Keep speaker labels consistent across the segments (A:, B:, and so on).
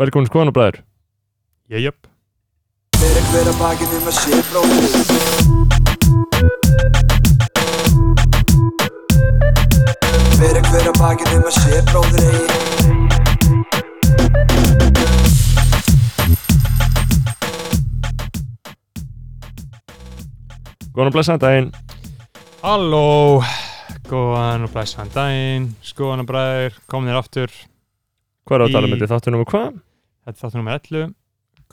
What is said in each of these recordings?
A: Velkomin skoðanabræður Jæjöp
B: Er einhver að bakinu með sér bróðið Er einhver að bakinu með sér bróðir eigi
A: Góðan og blessaðan daginn
C: Halló, góðan og blæsan daginn, skoðan og bræður, komnir aftur,
A: Hvað er að tala
C: Í-
A: með þetta þáttunum og hvað?
C: þetta er þáttur nummer 11,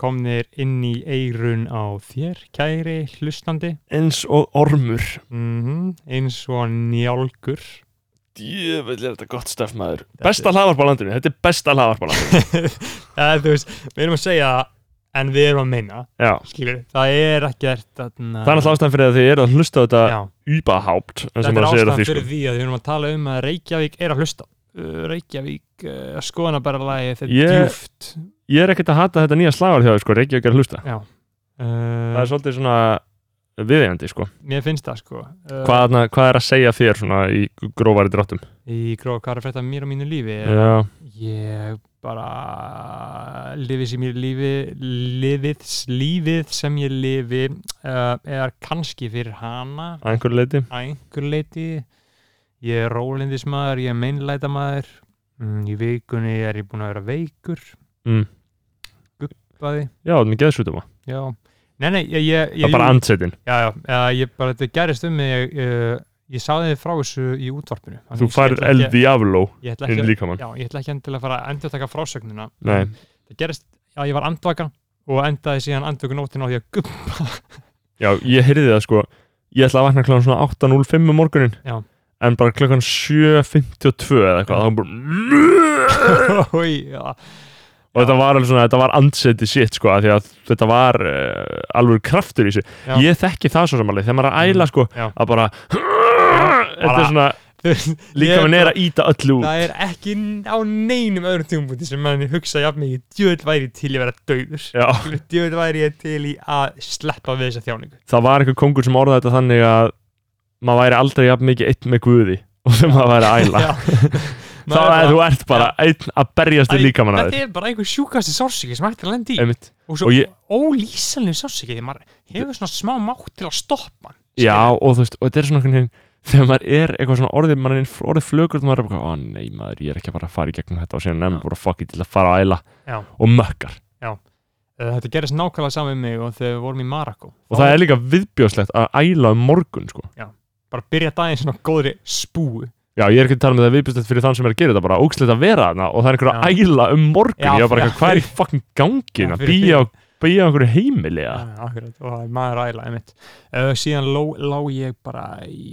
C: komnir inn í eirun á þér, kæri, hlustandi,
A: Eins og ormur
C: mm eins og njálgur.
A: Djöfell er þetta gott stöf maður Besta hlaðvarp á landinu, þetta er besta hlaðvarp á landinu
C: Eða, þú veist, við erum að segja það, en við erum að meina,
A: Já,
C: skilur, það er ekkert þarna-
A: það er alltaf ástæðan fyrir að þið eru að hlusta á þetta
C: Já,
A: Úbahápt, eins og
C: þetta er
A: maður segir á
C: ástæðan
A: því
C: fyrir því að við erum að tala um að Reykjavík er að hlusta. Uh, Reykjavík, uh, skoðanabæralagi, þetta er
A: Ég-
C: djúft.
A: Ég er ekkert að hata þetta nýja slagar hjá þér sko, Reykjavík er að hlusta
C: Já.
A: Það
C: Uh,
A: er svolítið svona viðeigandi sko
C: mér finnst það sko uh,
A: hvað, þarna- hvað er að segja þér svona í grófari dráttum?
C: í gróða hvað er að frétta af mér og mínu lífi
A: Já,
C: ég bara lifið sem ég lifi lifið, lífið sem ég lifi uh, er kannski fyrir hana
A: að einhverju leiti
C: að einhver leiti ég er rólindismæður, ég er meinlæta maður mm, í vikunni er ég búin að vera veikur
A: mm.
C: bæði,
A: Já, það er mikið aðsútum
C: já nei, nei, ég, ég,
A: Það
C: ég
A: er bara andsetin
C: já, já, já, ég bara, þetta gerist um mig ég, ég, ég sagði þið frá þessu í útvarpinu
A: Þú færð eld í afló
C: ég ætla
A: inn
C: ekki,
A: í líkamann
C: já, ég ætla ekki endilega að fara að endur taka frásögnina
A: Nei,
C: það gerist að ég var andvaka og endaði síðan andvökunóttin á því að gupp
A: Já, ég heyrði það sko Ég ætla að vakna klokkan svona 8.05 um morgunin
C: Já.
A: En bara klokkan 7.52 eða eitthvað þá bara...
C: Oj, já.
A: Og þetta var alveg svona, þetta var andseti sitt sko af Því að þetta var uh, alveg kraftur í sig
C: Já.
A: Ég þekki það svo samanlega Þegar maður er að æla sko
C: Já.
A: Að bara Þetta er svona
C: Þú veist,
A: Líka
C: ég-
A: minn er að íta öllu út
C: það er ekki á neinum öðrum tímumbúti sem mann hugsa jafn mikið djöðl væri ég til í að vera döður
A: Já
C: djöðl væri ég til í að sleppa við þessa þjáningu
A: það var einhver kongur sem orðaði þetta þannig að maður væri aldrei jafn mikið einn með guði og þegar maður væri að æla
C: Já.
A: þá
C: Maður
A: er
C: bara-
A: þú ert bara einn að berjast í
C: Æ,
A: líkamann að
C: þetta er bara einhver sjúkasti sársiki sem hægt er að lenda í
A: þér
C: og svo
A: og ég-
C: ólýsanlega sársiki því maður hefur svona smá mátt til að stoppa hann
A: já og þú veist og þetta er svona einhvern veginn þegar maður er eitthvað svona orðið maður er einn orðið flögur og maður er bara ó nei maður ég er ekki að fara að fara í gegnum þetta og síðan nefnum bara fuck it til að fara að æla
C: Já.
A: og mökkar
C: Eh, þetta gerist nákvæmlega saman með mig og þegar við vorum í Marako
A: og það er líka viðbjóðslegt að æla um morgun sko
C: bara byrja daginn svona á góðri spúu
A: Já, ég er ekki að tala með það viðbjóðslegt fyrir þann sem er að gera þetta bara ógslegt að vera þarna og það er einhver að æla um morgun
C: Já,
A: ég var bara
C: já.
A: eitthvað, hvað er í fucking gangin
C: Já,
A: að
C: fyrir
A: býja á, býja á einhverju heimili eða?
C: Já, Eh, akkurat, og það er maður æla einmitt uh, síðan lá, lá ég bara í,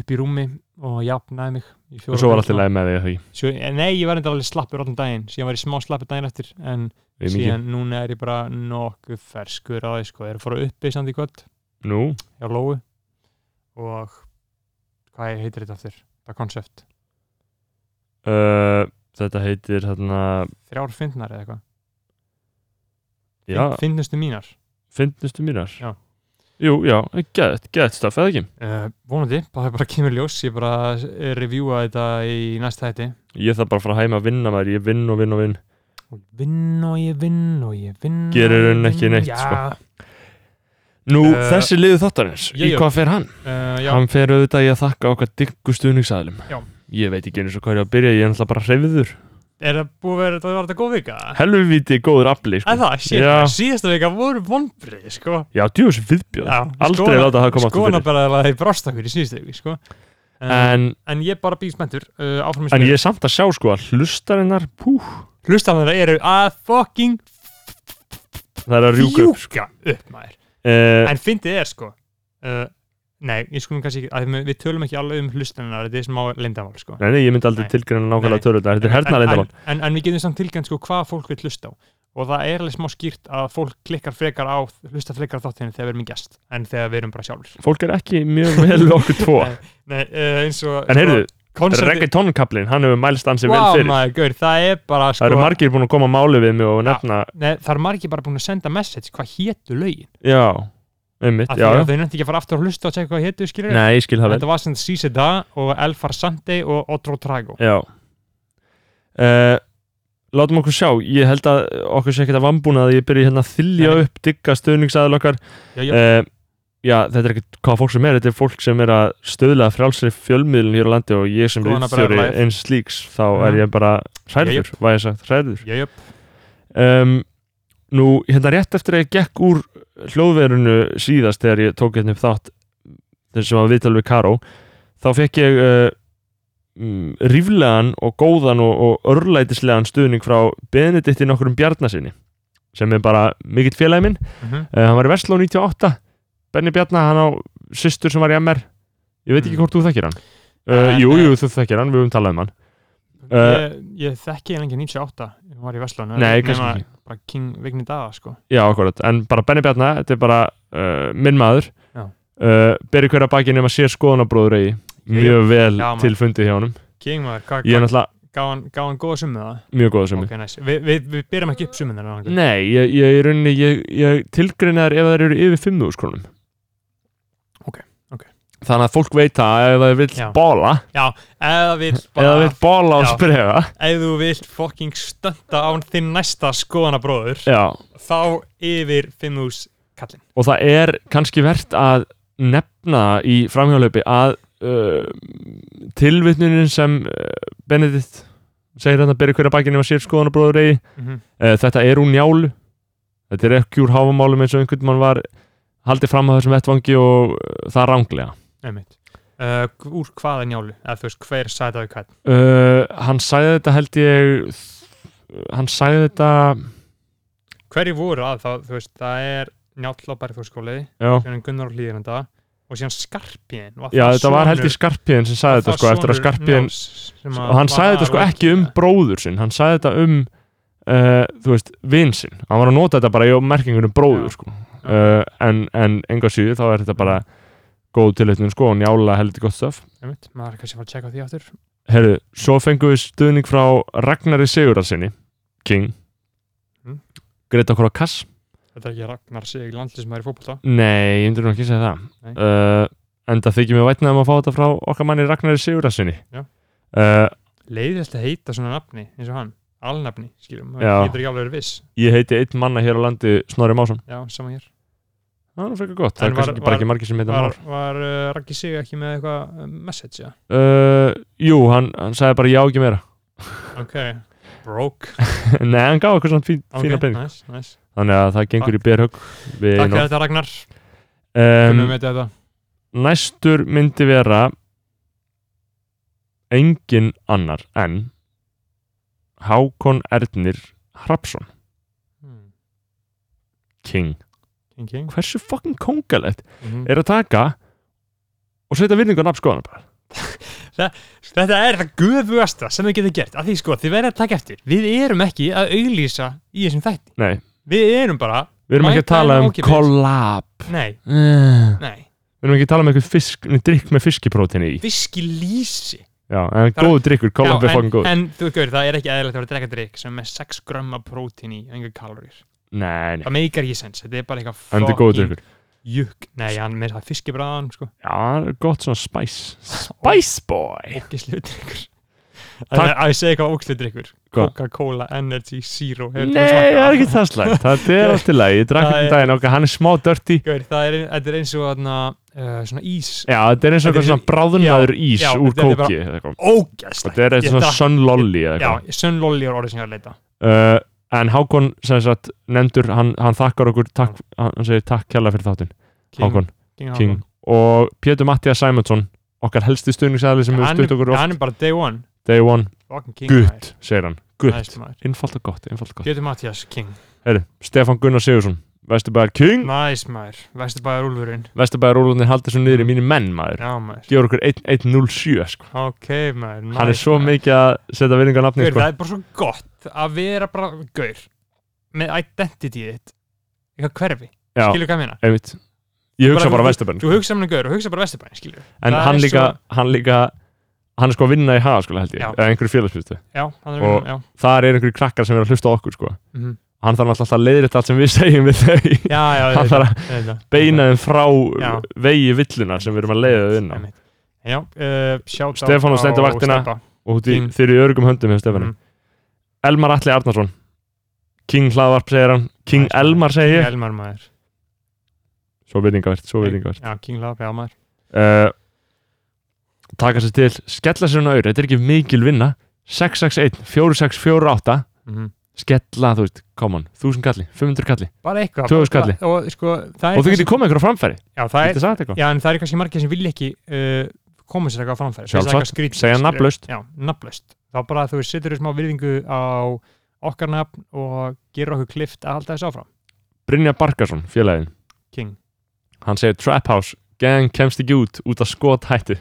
C: upp í rúmi og jafnaði mig í fjóra
A: og svo var allt í
C: klukkuna.
A: lagi með því að því
C: Sjö, eh, nei, ég var enda alveg slappur allan daginn síðan var ég smá slappur daginn eftir en
A: Við erum ekki,
C: síðan núna er ég bara nokkuð ferskur á því sko, ég er að fara upp í sandi kvöld
A: nú,
C: hjá Lóu og hvað heitir þetta aftur? Það konsept,
A: uh, þetta heitir þarna,
C: þrjár fyndnar eða eitthvað
A: já,
C: fyndnustu mínar
A: finnustu mínar
C: Já.
A: Jú, já, gett, gett stöf, eða ekki
C: Uh, vonandi, það er bara kemur ljós ég bara eh, reviewa þetta í næsta hætti
A: Ég þarf bara að fara heim að vinna maður, ég vinn og vinn og vinn
C: og ég vinn og ég vinn og ég vinn og
A: Gerir
C: ég
A: hún ekki
C: vinn,
A: neitt, sko.
C: já,
A: Nú,
C: Eh,
A: þessi liðu þáttarins, í
C: jú, jú.
A: hvað fer hann?
C: uh, já,
A: Hann fer auðvitað í að þakka okkar diggu stuðningsæðlum
C: Já.
A: Ég veit ekki eins og hvað er að byrja, ég er náttúrulega bara hreyfiður
C: er það búið að vera þetta var þetta góð vika?
A: Helviti góður afli, sko
C: En það, shit,
A: Já.
C: síðasta vika voru vonbrið, sko
A: Já, djús viðbjóð,
C: Já,
A: aldrei
C: skoðana-
A: láta það koma aftur
C: skoðana
A: fyrir
C: bara að það brást okkur í síðasta vika, sko en,
A: En,
C: en ég bara býst mentur uh, áfram
A: en ég er samt að sjá, sko, að hlustarinnar, pú,
C: hlustanir eru að fucking
A: það er að rjúka upp, sko.
C: fjúka upp maður
A: Eh,
C: en fyndið er sko uh, nei, ég skulum kannski ekki að við, við tölum ekki alveg um hlustunar þetta er smá leyndamál sko
A: Nei, nei, ég myndi aldrei
C: Nei.
A: tilgreina nákvæmlega
C: Nei.
A: tölurnar, þetta er hernaðlindamál.
C: en, en, en við getum samt tilgjönd sko hvað fólk vil hlusta á og það er alveg smá skýrt að fólk klikkar frekar á hlusta frekar á þáttinu þegar við erum í gest en þegar við erum bara sjálfur
A: Fólk er ekki mjög vel við okkur tvo.
C: Nei, nei, uh, eins og
A: En heyrðu,
C: konserti,
A: reggaetonkablin, hann hefur mælst ansi vel
C: wow,
A: fyrir.
C: maður, gaur, það er bara sko
A: Það eru margir búin að koma að máli við mig og nefna,
C: nei, það eru margir bara búin að senda message hvað hétu lögin
A: já, einmitt,
C: af
A: já.
C: því að
A: já.
C: þau nefndi ekki að fara aftur að hlusta og tjekka hvað hétu skilur
A: Nei, ég skil það vel.
C: þetta var sem Sise Da og Elfar Sante og Otro Trago
A: Já. Uh, látum okkur sjá, ég held að okkur sé ekkert að vambúna að ég byrja hérna að þylja
C: Nei.
A: upp digga stöðningsaðil okkar
C: já, já,
A: uh, já, þetta er ekkert hvað fólk sem er, þetta er fólk sem er að stöðla frálsri fjölmiðlun hér á landi og ég sem
C: Skoðana
A: ríðstjóri
C: bræður live.
A: eins slíks, þá er
C: Já.
A: ég bara
C: Jæja.
A: hræður, hvað ég sagt, hræður
C: já, já,
A: um, nú, hérna rétt eftir að ég gekk úr hljóðverunu síðast þegar ég tók hérna upp þátt þessum að viðtal við Karó þá fekk ég uh, mm, ríflegan og góðan og, og örlætislegan stuðning frá Benedikti nokkurum Bjarnasinni sem er bara mikill félagi minn
C: mhm,
A: Uh, hann var í Vestló 98 Benni Bjarnar, hann á systur sem var í MR Ég veit ekki
C: Mm.
A: hvort þú þekkir hann uh,
C: En,
A: Jú,
C: eh,
A: jú, þú þekkir hann, við höfum talað um hann uh,
C: ég, ég þekki eiginlega ekki 98 ég var í Vestlun
A: Nei, kannski ekki
C: bara King Vigni Daga sko
A: Já, akkurat, en bara Benni Bjarnar, þetta er bara uh, minn maður
C: Já.
A: uh, Beri hverja baki nema sér skoðanabróður eigi Mjög vel
C: Já, maður.
A: til fundið hjá honum
C: King maður, hvað
A: Ég er
C: hva,
A: náttúrulega
C: gaf hann- gaf hann góða summu það?
A: mjög góða summi
C: Ok, næs, nice. við vi, vi byrjum ekki upp summun þennan
A: Nei, ég, ég, ég, rauninni, ég, ég tilgreina þær ef þær eru yfir 5.000 krónum
C: Ok, ok.
A: Þannig að fólk veit það ef það vill
C: Já.
A: bóla
C: Eða vilt
A: Ef það
C: bara,
A: vill bóla og
C: Já.
A: sprega
C: ef þú vilt fucking stönda án þinn næsta skoðana bróður
A: Já,
C: þá yfir 5.000 kallinn
A: og það er kannski verðt að nefna í framhjálöpi að uh, tilvitnunin sem uh, Benedikt segir hann að byrja hverja bakinn ef að sér skoðanabróður eigi
C: mm -hmm.
A: uh, þetta er úr njálu þetta er ekki úr háfamálum eins og einhvern mann var haldið fram að þessum vettvangi og uh, það ránglega
C: uh, úr hvaða njálu eða þú veist hver sæti á hvern
A: uh, hann sagði þetta held ég hann sagði þetta
C: hverju voru að þá þú veist það er njáll á bærfjóðskóli
A: já,
C: síðan Gunnar og Hlýðranda og síðan Skarpíðin
A: já þetta var held ég Skarpiðin sem sagði þetta sko eftir að Skarpiðin
C: Hérna
A: og hann sagði þetta sko ekki um bróður sinn hann sagði þetta um uh, þú veist, vin sinn hann var að nota þetta bara í merkingunum bróður
C: Já.
A: sko. uh, en, en enga síðu þá er þetta bara góð tilhættun sko, og njála heldur gott stöf
C: Einmitt, maður er kannski að fara að checka á því áttur
A: Herru, svo fengum við stuðning frá Ragnari Sigurarsinni King
C: Mm.
A: Greta okkur á kass
C: Þetta er ekki Ragnar Sig landlýsmaður í fótbolta
A: Nei, ég myndur nú ekki að segja
C: Nei.
A: það uh, Enda þykir mér vætnaðum að fá þetta frá okkar manni Ragnari Sigurarsinni
C: Já.
A: uh,
C: Leiðist að heita svona nafni eins og hann Alnafni, skilum, það
A: Já.
C: getur ekki alveg verið viss
A: Ég heiti einn manna hér á landi Snorri Másson
C: Já, sama hér
A: Það er nú frekar gott, það
C: En
A: er
C: var-
A: kannski bara
C: var-
A: ekki margir sem heita Már
C: Var, var uh, Raggi Sig ekki með eitthvað uh, message, já?
A: uh, Jú, hann, hann sagði bara já ekki meira
C: Ok, broke
A: Nei, hann gaf okkur svona fín, fína
C: Ok,
A: pening
C: nice, nice
A: Þannig að það gengur í berhögg við
C: Takk fyrir
A: nóg.
C: þetta Ragnar,
A: um,
C: komum við þetta hérna.
A: Næstur myndi vera Engin annar en Hákon Ernir Hrapsson
C: Hmm,
A: King
C: King King
A: Hversu fucking kongalegt
C: Mhm.
A: er að taka og setja virðingu á nafn skoðana bara
C: Þetta er það guðvugasta sem þið getur gert af því sko, þið verður að taka eftir við erum ekki að auglýsa í þessum þætti
A: Nei,
C: við erum bara,
A: við erum ekki að
C: Mæta
A: tala
C: henni Eh.
A: um
C: ókeypis.
A: kollab
C: nei,
A: Við
C: nei
A: erum ekki að tala um einhver fisk, drikk með fiskipróteini í
C: fiski lýsi
A: Já, en
C: Það-
A: góðu drikkur,
C: Já,
A: kollab er
C: en,
A: fokkin góð
C: en þú veist, það er ekki eðlilegt að vera að drekka drikk sem er með 6 grömma prótín í og engar kalorir,
A: Nei, nei,
C: það meikar ekki sens þetta er bara eitthvað
A: en þetta er góðu drikkur
C: jukk, nei, hann með það fiskibræðan sko,
A: Já, það er gott svona spice Spice boy
C: ógislu drikkur
A: Takk.
C: að að ég segi eitthvað ógislu drikkur
A: Hvað?
C: Coca-Cola, Energy, Zero hefur þú
A: Nei,
C: smakkað?
A: það er ekki það slægt Það er allt í lagi, ég drakk
C: Það
A: ekki
C: er-
A: daginn okkar Hann er smá dirty
C: Gaur, það er, þetta er eins og þarna, uh, svona ís
A: Já, þetta er eins og
C: Þetta er
A: eitthvað svona bráðunnaður ís
C: já,
A: úr
C: þetta er bara-
A: kóki eða eitthvað.
C: ógæslega
A: Þetta er eitthvað svona sun lolly eða
C: já,
A: eitthvað
C: Sun Lolli er orðið sem ég var að leita
A: Uh, En Hákon, sem sagt, nefndur Hann, hann þakkar okkur, takk, hann segir takk kjalla fyrir þáttinn, Hákon
C: King,
A: King Og Pétur Mattias Sæmundsson Okkar helsti stuðningsæðli sem
C: Hákon.
A: hefur
C: hann,
A: stutt
C: er,
A: okkur oft
C: hann er bara day one
A: Day one,
C: fucking King
A: gutt, segir hann Gutt,
C: nice, maður.
A: einfalt og gott, einfalt og gott
C: Getur Mattias King
A: Heyri, Stefán Gunnar Sigursson, Vesturbæðar King
C: nice maður Vesturbæðar Úlfurinn
A: Vesturbæðar Rólundir haldur svo niður í mínu menn maður
C: já maður
A: Gjör okkur 1-0-7 sko.
C: ok maður nice,
A: Hann er svo
C: maður.
A: mikið að setja vinninga nafni
C: Gaur,
A: sko.
C: það er bara svo gott að vera bara gaur með identity þitt eitthvað hverfi
A: Já,
C: skilur hvað ég meina
A: einmitt Ég hugsa
C: Bara-
A: bara Vesturbæðin
C: þú hugsa með gaur og hugsa bara Vesturbæðin skilur
A: En
C: það er
A: hann
C: svo-
A: líka, hann líka Hann er sko að vinna í hafa sko held ég
C: Já.
A: Eða einhverju félagsbyrstu
C: já hann er
A: Og-
C: og, já
A: Þar er einhverju krakkar sem er að hlusta á okkur sko
C: mm -hmm.
A: Hann þarf náttúrulega alltaf að leiðrétta allt sem við segjum við þau
C: já já
A: Hann
C: þetta-
A: þarf að
C: þetta-
A: beina þeim frá
C: Já.
A: vegi villuna sem við erum að leiða þau inn á
C: Einmitt. já uh, sjátt
A: Stefán og stendur vaktina. Og þú-
C: Fín.
A: þeir eru í örgum höndum hjá Stefánu
C: Mm.
A: Elmar Atli Arnarsson King Hlaðvarp segir hann King
C: Það er svona-
A: Elmar segir
C: King
A: ég
C: Elmar maður
A: Svo veitingavert, svo veitingavert
C: Já, King Lapp, já maður
A: uh, Taka sér til, skella sér hún auður Þetta er ekki mikil vinna 661, 4648
C: Mhm.
A: Skella, þú veist, come on 1000 kalli, 500 kalli
C: Bara eitthvað
A: Tvö skalli.
C: Og, sko, það er
A: Og þú
C: kannski-
A: getur komið einhverju á framfæri
C: Já, það er
A: Þetta sagt eitthvað
C: Já, en það er kannski margir sem vilja ekki uh, koma sér eitthvað á framfæri Finnst það
A: Sjálfsagt.
C: eitthvað skrítið,
A: Segja
C: skilur.
A: nafnlaust.
C: Já, nafnlaust Þá bara þú setur þér smá virðingu á okkar nafn og gera okkur klift að halda þessu áfram
A: Brynja Barkarsson, félagin
C: King
A: Hann segir Trap House, gang kemst ekki út Út af skot hættu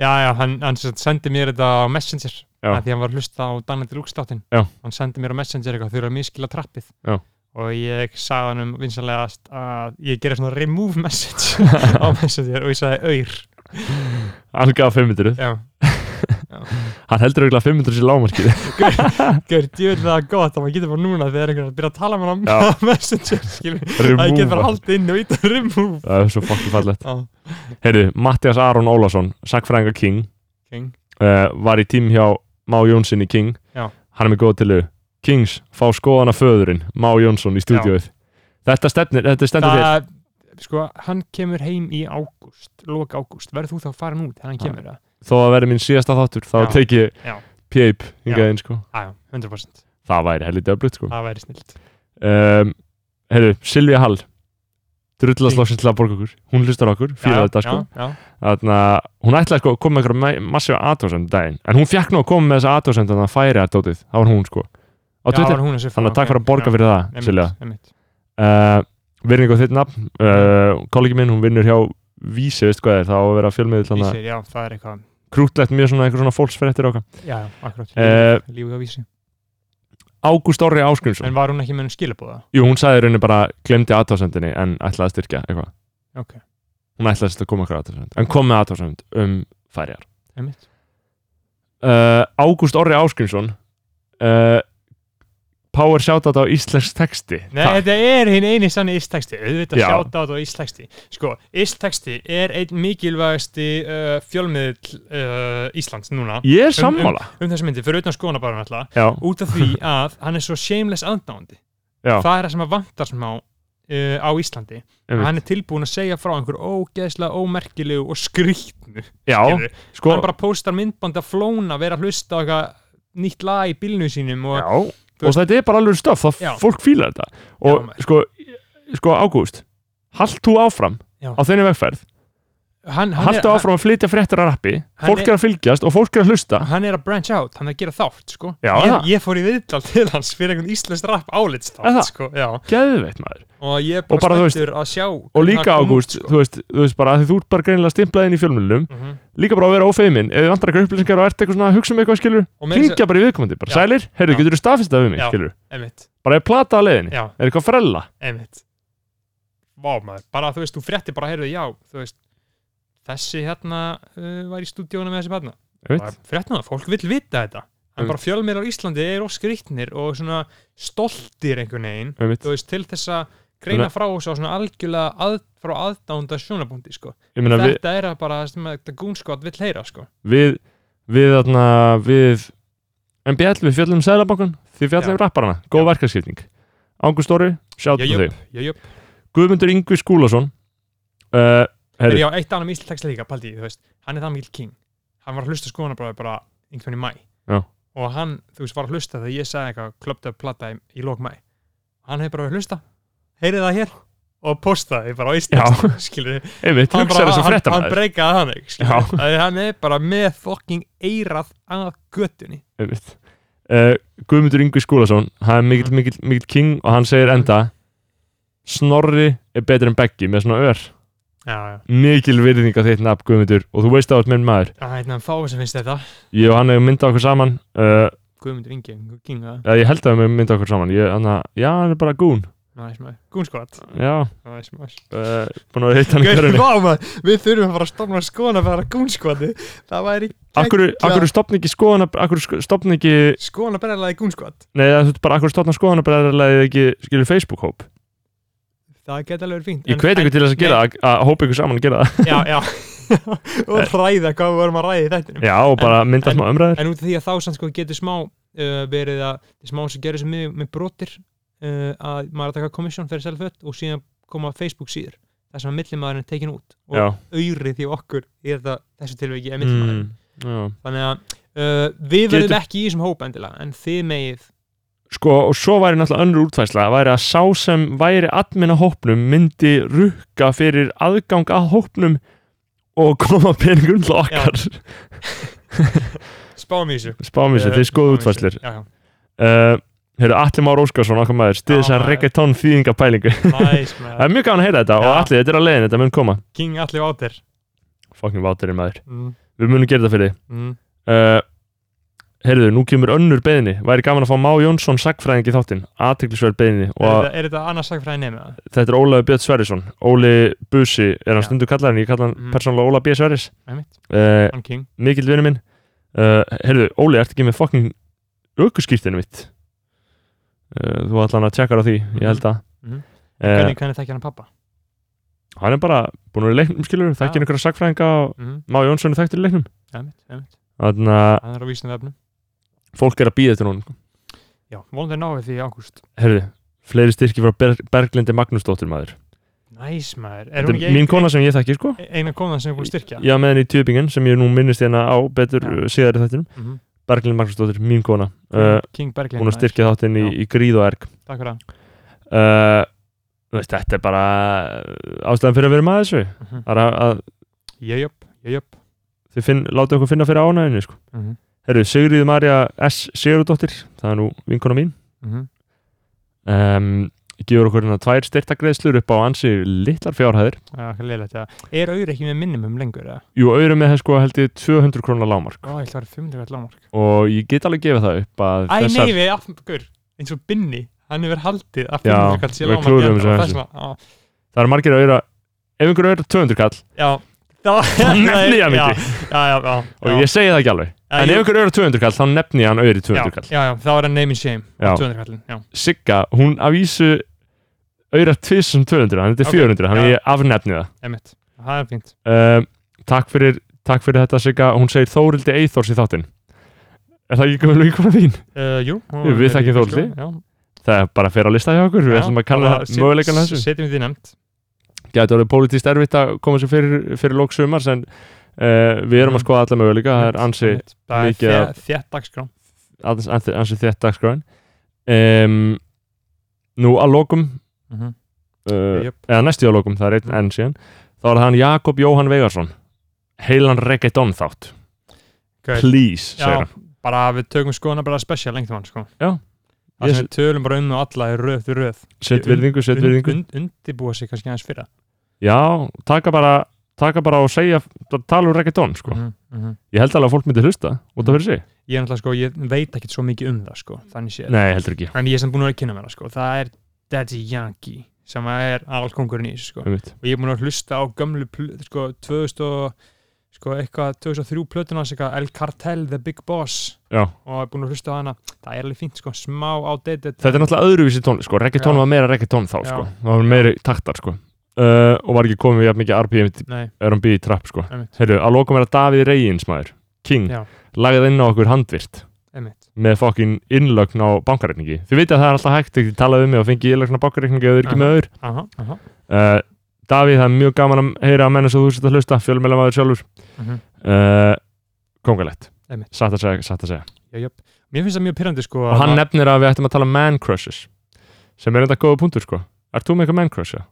C: Já, já, hann, hann sem sagt sendi mér þetta á Messenger
A: Já.
C: af því hann var að hlusta á Danandi Lúkstáttin
A: Já.
C: Hann sendi mér á Messenger eitthvað, þau eru að miskila trappið
A: Já.
C: Og ég sagði hann um vinsanlegast að ég gera svona remove message á Messenger og ég sagði auður
A: Hann gaf 500
C: Já,
A: Hann heldur auðvitað 500 sér lámarkið
C: Gauður, ég veit það gott að maður getur bara núna þegar einhver er að byrja að tala með hann á
A: Já.
C: Messenger, skilur að ég
A: Remove.
C: get bara haldið inn og ít að remove
A: Það er svo fokkin fallegt
C: Já,
A: Heyrðu, Mattias Aron Ólason, sagfræðinga King
C: king
A: uh, Var í tím hjá Má Jónsson í King
C: Já.
A: Hann er með góð til þau Kings, fá skoðana föðurinn Má Jónsson í stúdíóið Þetta stefnir, þetta stendur þér
C: Það, sko, hann kemur heim í ágúst, loka ágúst verður þú þá farin út þegar hann
A: Já.
C: kemur það?
A: Þó að verði minn síðasta þáttur Þá
C: Já.
A: tek ég
C: Já.
A: P.A.P.
C: Já.
A: hingað inn sko
C: Já, já, 100%
A: Það væri helviti öflugt sko
C: Það væri snilt
A: um, Heyrðu, Silvia Hall
C: King.
A: Drullastlokksinn til að borga okkur Hún hlustar á okkur, fyrir þetta sko
C: Já,
A: Þarna, hún ætlaði sko að koma með einhverja massífa aðtóðsend daginn en hún fjekk nú að koma með þessa aðtóðsend þannig að færi að dótið, það var hún sko á
C: já,
A: Twitter,
C: var hún að segja
A: þannig að takk fyrir að borga fyrir það Silja,
C: Emitt,
A: uh, virðing á þitt nafn uh, kollegi minn, hún vinnur hjá Vísi, veist hvað það er, það á að vera fjölmiðil
C: emitt
A: þannig að
C: Vísir, já, það er eitthvað
A: krútlegt mjög svona einhver svona fólksfréttir okkar
C: Já, já, akkurát
A: Eh,
C: Lífið- Lífið á vísi
A: Ágúst Orri Áskrimsson,
C: En var hún ekki með hún skilabóða?
A: jú hún sagði í rauninni bara glemdi aðtóðsendinni en ætlaði að styrkja eitthvað,
C: Ok,
A: hún ætlaði að koma eitthvað aðtóðsend en kom með aðtóðsend um færiar
C: emitt
A: uh, Ágúst Orri Áskrimsson uh, Power shoutout á íslensk texti
C: Nei,
A: Takk.
C: þetta er hinn eini sannig ísteksti, auðvitað
A: Já.
C: sjáta á þetta á ísteksti. Sko, ísteksti er einn mikilvægasti uh, fjölmiðl uh, Íslands núna
A: Ég er sammála
C: um þessu myndi, fyrir utan skoðana bara náttúrulega,
A: Já,
C: út af því að hann er svo shameless aðdáandi.
A: Já.
C: Það er það sem að vantar smá uh, á Íslandi.
A: Einmitt.
C: Hann er tilbúin að segja frá einhver ógeðslega, ómerkilegu og skrýtnu.
A: já,
C: skilurðu.
A: sko
C: Hann bara póstar myndband að flóna, vera að hlusta á eitthvað nýtt lag í bílnu sínum og
A: já, og þetta er bara alveg stöf það
C: Já.
A: fólk fíla þetta og
C: maður.
A: sko, sko Ágúst Halt þú áfram
C: Já.
A: á þenni vegferð
C: hann, hann,
A: Haltu
C: er,
A: áfram að flytja fréttir að rappi Fólk
C: er-
A: er að fylgjast og fólk er að hlusta
C: hann, hann er að branch out, hann er að gera þátt, sko.
A: Já,
C: ég,
A: það.
C: ég fór í viðtal til hans fyrir einhvern íslenskt rapp
A: Er
C: álitstátt,
A: það?
C: sko. Já.
A: Geðveitt maður
C: Og ég er
A: Og bara,
C: bara
A: þú
C: spenntur að sjá.
A: Og líka Ágúst,
C: sko.
A: þú, veist, þú veist bara að þú ert bara greinilega stimplaðin í fjölmjölunum
C: Mm -hmm.
A: Líka bara að vera ófeimin Ef þið vantar eitthvað upplýsingar og ert eitthvað svona að hugsa um eitthvað skilur
C: Og meira
A: Hringja bara í viðkomandi, bara
C: Já.
A: sælir, heyrðu,
C: Já.
A: getur þú staðfist það við mig,
C: Já.
A: skilur
C: Einmitt,
A: Bara er plata á leiðinni,
C: já,
A: er eitthvað frella
C: einmitt Vá maður, bara þú veist, þú fréttir bara heyrðu, já, þú veist Þessi hérna uh, var í stúdíónu með þessi barna
A: Einmitt.
C: Fréttum það, fólk vill vita þetta En
A: Einmitt.
C: bara fjölmiðlar á Íslandi er of skrýtnir og svona stoltir einhvern veginn
A: Einmitt.
C: Þú veist, til þess að greina frá þessu á svona algjörlega að, frá aðdánda sjónabúndi, sko
A: Ég meina, við,
C: Þetta er að bara, það sem að þetta gúnskot vill heyra, sko
A: við, við, þarna, við MBL, við fjöllum Sæðlabankan, þið
C: Já.
A: fjöllum um rapparana, góð verkarskipting Ángust Orri, sjátt á
C: Jöjöp,
A: þig
C: jöjöp
A: Guðmundur Yngvi Skúlason uh,
C: Þegar
A: Herri,
C: já, eitt annað með íslensk líka, paldi, þú veist Hann er það mikill king Hann var að hlusta skoðana bara, bara einhvern veginn í mæ
A: já,
C: og hann, þú veist, var að hlusta þegar ég sagði eitthvað klöpt upp platta í, í lok mæ hann hefur bara verið að hlusta, heyrið það hér og postaði bara á Ísland
A: Já.
C: skilur við,
A: einmitt,
C: hann,
A: hugsa þess
C: bara,
A: að
C: hann,
A: frétta
C: hann breykaði hann ekki, skilur
A: Já.
C: við, Að hann er bara með fucking eirað að göttunni
A: einmitt uh, Guðmundur Yngvi Skúlason, hann er
C: Mm.
A: mikill, mikill, mikill king og hann segir enda Snorri er betur en Beggi með svona ör
C: já, já,
A: mikil virðing á þitt nafn Guðmundur og þú veist að þú ert minn maður
C: það er hann hérna, fáið sem finnst þetta
A: Ég og hann hefum myndað okkur saman uh,
C: Guðmundur Ingi, Kinga,
A: eða Ég held að við höfum myndað okkur saman ég, hann að, Já, hann er bara gún
C: næs maður Gúnskvat,
A: Já,
C: næs maður
A: uh, búin að heita hann í
C: Gaur,
A: hverjunni
C: vá, maður, Við þurfum að fara að stofna skoðan að fara gúnskvati Það væri
A: Akkur, akkur stopni ekki skoðana Akkur stopni ekki
C: skoðan að berjalega í gúnskvat
A: Nei, það er bara akkur stopna skoðana Bræðarlega ekki skilur Facebook hóp
C: Það geta alveg verið fínt
A: Ég
C: En-
A: hveti
C: en-
A: ykkur til þess að gera það, Að hópa ykkur saman að gera það
C: já, já og ræða hvað við vorum að ræða í þættinum
A: Já, og bara mynda
C: en-
A: smá umræður
C: en út af því að þá samt sko getur smá uh, verið að það smá sem gerir sem með, með brotir uh, að maður er að taka komissjón fyrir selfött og síðan koma Facebook síður þar sem að millimaðurinn er tekin út og
A: já,
C: auðrið í okkur í þetta, þessu tilviki er millimaðurinn
A: mm, já.
C: þannig að uh, við
A: Getur-
C: verðum ekki í þessum hóp endilega en þið megið
A: sko, og svo væri náttúrulega önnur útfæsla væri að sá sem væri admin á hópnum myndi rukka fyrir aðgang að hópnum og koma peningum til okkar
C: spáum um í þessu Uh,
A: spáum um
C: Eh,
A: þessu, þið skoðu útfæslir
C: já, já.
A: uh, Heyrðu, Atli Már Óskarsson, okkar maður stiðis
C: Já,
A: að
C: maður.
A: reggaetón þýðingapælingu
C: Nice,
A: Það
C: maður.
A: er mjög gaman að heyra þetta og
C: Já.
A: Atli, þetta er að leiðin, þetta mun koma
C: King allir átir
A: Fucking váturinn maður,
C: mm,
A: við munum gera þetta fyrir
C: mm.
A: þig uh, Heyrðu, nú kemur önnur beðinni Væri gaman að fá Má Jónsson sagfræðing í þáttinn Athyglisverð beðinni
C: er,
A: og
C: þetta, er þetta annars sagfræði nefna?
A: þetta er Ólafi Björn Sverrisson Óli Busi, er hann
C: Já.
A: stundu kallar en ég kalla hann
C: Mhm.
A: persónulega Óla B. Sverris
C: Einmitt.
A: uh,
C: Hann King
A: Mikill vinnu minn uh, Heyrðu, Óli, ertu ekki með fucking aukurskýrtinu mitt uh, Þú ætla hann að tjekkar á því, ég held að
C: Mhm.
A: uh,
C: Hvernig, hvernig þekkja hann pappa?
A: hann er bara búin að vera í leiknum skilur þekkir einhverja sagfræðinga og
C: Mm,
A: Má Jónsson er þekktur í leiknum
C: einmitt, einmitt.
A: þannig að
C: Hann er á vísinu vefnum
A: fólk er að býða eftir sko. hún
C: Já, vonandi að náðu því í ágúst
A: herðu, fleiri styrki frá Ber Berglindi Magnúsdóttir maður
C: Næs maður Er
A: Þetta
C: hún
A: er
C: ekki
A: mín
C: ein-
A: kona sem ég þekki sko
C: ein- eina konan sem er búin að styrkja?
A: já með henni í tjöpingen sem ég nú minnist hérna á betur
C: Já.
A: uh, síðar í þættinum
C: Mhm.
A: Berglindi Magnúsdóttir, mín kona uh,
C: King Berglind
A: hún að styrkja þáttinn í,
C: Já.
A: í gríð og erg
C: Takk fyrir hann
A: uh, þú veist, þetta er bara uh, ástæðan fyrir að vera með þessu
C: Mhm.
A: Það er að, að
C: Jöjöp, jöjöp
A: þið finn, láta okkur finna fyrir ánæðinu sko.
C: Mhm,
A: herru, Sigriði Marja S. Sigurðardóttir það er nú vinkona mín
C: mhm.
A: um, gefur okkur hérna tvær styrtagreðslur upp á ansi litlar fjárhæðir
C: Já, Ah, hvað leiðilegt, já. Er auður ekki með minnumum lengur? eða?
A: Jú, auðrum með sko held ég 200 krónar lámar
C: Ó, ég ætla að vera 500 allan
A: og ég get alveg gefið það upp að
C: Æ, nei, við aftur eins og Binni, hann hefur haldið að
A: Já,
C: 500 kall sé
A: við
C: lágmark
A: klúðrum
C: hérna
A: þessu
C: og þess vegna- á,
A: það eru margir auðra ef einhver auðra 200 kall
C: Já, það
A: nefni ég hann
C: já,
A: ekki.
C: já, já, já,
A: og ég segi það ekki alveg
C: Já,
A: en
C: jú.
A: ef einhver auðra 200 kall þá nefni ég hann auðri
C: já,
A: 200 kall
C: já, já, það var að name and shame
A: Já.
C: 200 kallin, já,
A: Sigga, hún að vísu auðra 1200, hann þetta er
C: Ok,
A: 400 þannig
C: já.
A: ég afnefni það
C: emitt það er fínt,
A: um, takk, fyrir, takk fyrir þetta Sigga, hún segir Þórildi Eithors í þáttinn er það ekki gömul vinkona þín?
C: uh, jú
A: Jú, við þekkjum Þórhildi. það er bara að fyrir að lista hjá okkur við ætlum að kanna möguleikana þessu
C: setjum við því nefnd
A: gæti orðið pólitískt erfitt að koma sér fyrir, fyrir lók sumars en uh, við erum að skoða alla möguleika það er ansi,
C: Mhm. Einmitt. það er
A: mikið
C: þétt- þétt dagskrá
A: ansi, ansi, ansi þétt dagskráin um, nú að lókum
C: Mhm.
A: uh,
C: Jöp.
A: eða næstu að lókum, það er
C: Mhm.
A: einn enn síðan þá er það hann Jakob Jóhann Vegarsson heilan reggaeton þátt
C: Gaur.
A: please, segir
C: já,
A: hann
C: bara við tökum skoðana bara special lengt hann, sko
A: Já.
C: það
A: Ég-
C: sem við tölum bara um og alla í röð fyrir röð
A: set virðingu, set
C: Und-
A: virðingu
C: und- undibúa sig kannski aðeins fyrra
A: já, taka bara taka bara og segja, tala um reggaeton sko.
C: Mhm, mhm.
A: ég held alveg að fólk myndi hlusta út af fyrir sig,
C: ég er náttúrulega sko, ég veit ekkert svo mikið um það sko, þannig sé
A: nei, heldur ekki
C: en ég er sem búin að vera að kynna mér það sko, það er Daddy Yankee sem er allkongurinn í þessu sko
A: einmitt.
C: og ég er búin að hlusta á gömlu pl- sko, 2000 og, sko, eitthvað 2003 plötuna hans, eitthvað El Cartel, The Big Boss
A: já
C: og er búin að hlusta á hana það er alveg fínt sko, smá outdated
A: þetta er náttúrulega öðruvísi tónlist sko. reggaetón
C: Já.
A: var meira reggaetón þá
C: Já.
A: sko. það var meiri taktar sko. uh, og var ekki komið við jafn mikið RPM í-
C: Nei,
A: R&B í trapp sko.
C: Einmitt.
A: Heyrðu, að lokum er að Davíð Reyins maður King,
C: Já.
A: lagði inn á okkur handvirt
C: einmitt
A: með fokkin innlögn á bankareikningi þið veit að það er alltaf hægt, þið talaðu um mig og fengi innlögn á bankareikningi eða þið er ekki
C: Aha.
A: með öður
C: aha, aha.
A: uh, Davíð, það er mjög gaman að heyra að menna sem þú sett að hlusta, fjölmjöla maður sjálfur
C: Mm -hmm.
A: uh, kongalegt
C: Einmitt.
A: satt að segja, satt að segja
C: mér finnst það mjög pyrrandi sko
A: og hann
C: að-
A: nefnir að við ættum að tala um man crushes sem er enda góða punktur sko Ert þú með eitthvað man crush, já?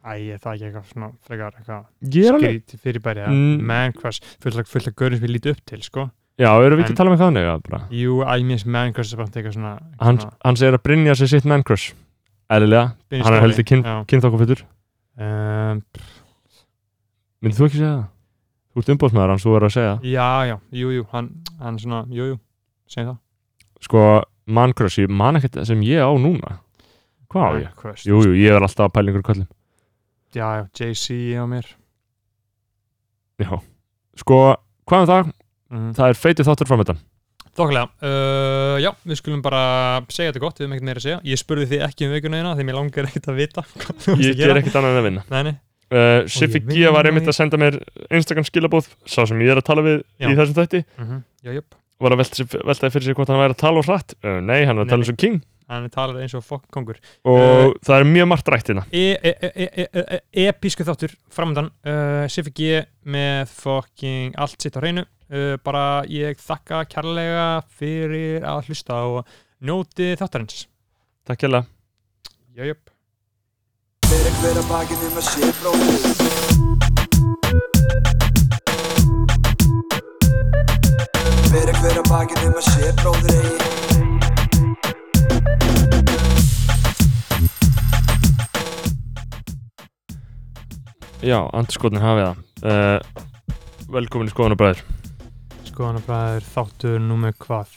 C: Æ, er það ekki eitthvað svona frekar eitthvað
A: Ég er alveg
C: skríti fyrirbæri
A: Mm.
C: mm. man crush, fullt af- fullt af görnum sem ég líti upp til sko
A: Já, erum við ekki
C: En-
A: að tala með þannig? Já, bara.
C: jú, æ, mér finnst man crush er bara eitthvað svona,
A: Hann,
C: svona
A: hann segir að Brynja sé sitt man crush Eðlilega,
C: Binni
A: hann er
C: Snorri,
A: heldur kyn, Ehm,
C: já.
A: kynþokkafittur
C: um,
A: Myndið þú ekki segja það? Þú ert umbóðsmaður hans, þú verður að segja það.
C: já, já, jú, jú, hann, hann svona jú, jú, segi það
A: Sko, man crush, ég man ekkert sem ég á núna Hvað á ég?
C: Quest.
A: Jú, jú, ég er alltaf að pæla ykkur köllum
C: Já, já, JC á mér
A: Já, sko, hvað um það?
C: mm.
A: Það er feitið þáttur framöndan
C: Þokkilega, uh, já, við skulum bara segja þetta gott, við erum ekkert meira að segja Ég spurði þið ekki um vikunaðina, því mér langar ekkert að vita hvað þú varst að
A: Ég
C: gera.
A: ger ekkert annað en að vinna
C: Nei, nei,
A: uh, Siffi
C: ég
A: G var
C: vinna
A: einmitt
C: í-
A: að senda mér Instagram skilabóð Sá sem ég er að tala við
C: Já.
A: í þessum þætti
C: mm -hmm. já, jöp
A: var að velta, sér- veltaði fyrir sér hvort hann væri að tala og hratt uh, nei, hann er að
C: Nei.
A: tala eins og king
C: hann talar eins og fokkkongur
A: og það er mjög margt rætt hérna
C: e, e, e, e, e, episku þáttur framöndan uh, Siffi G með fucking allt sitt á hreinu uh, bara ég þakka kærlega fyrir að hlusta og njóti þáttarins
A: takk hérlega
C: Jöp
B: Fyrir hver að bakið um að sé bróðir Fyrir hver að bakið um að sé bróðir eigi
A: já, andurskotnir hafið það uh, velkomin í skoðanabræður
C: Skoðanabræður þáttur númer hvað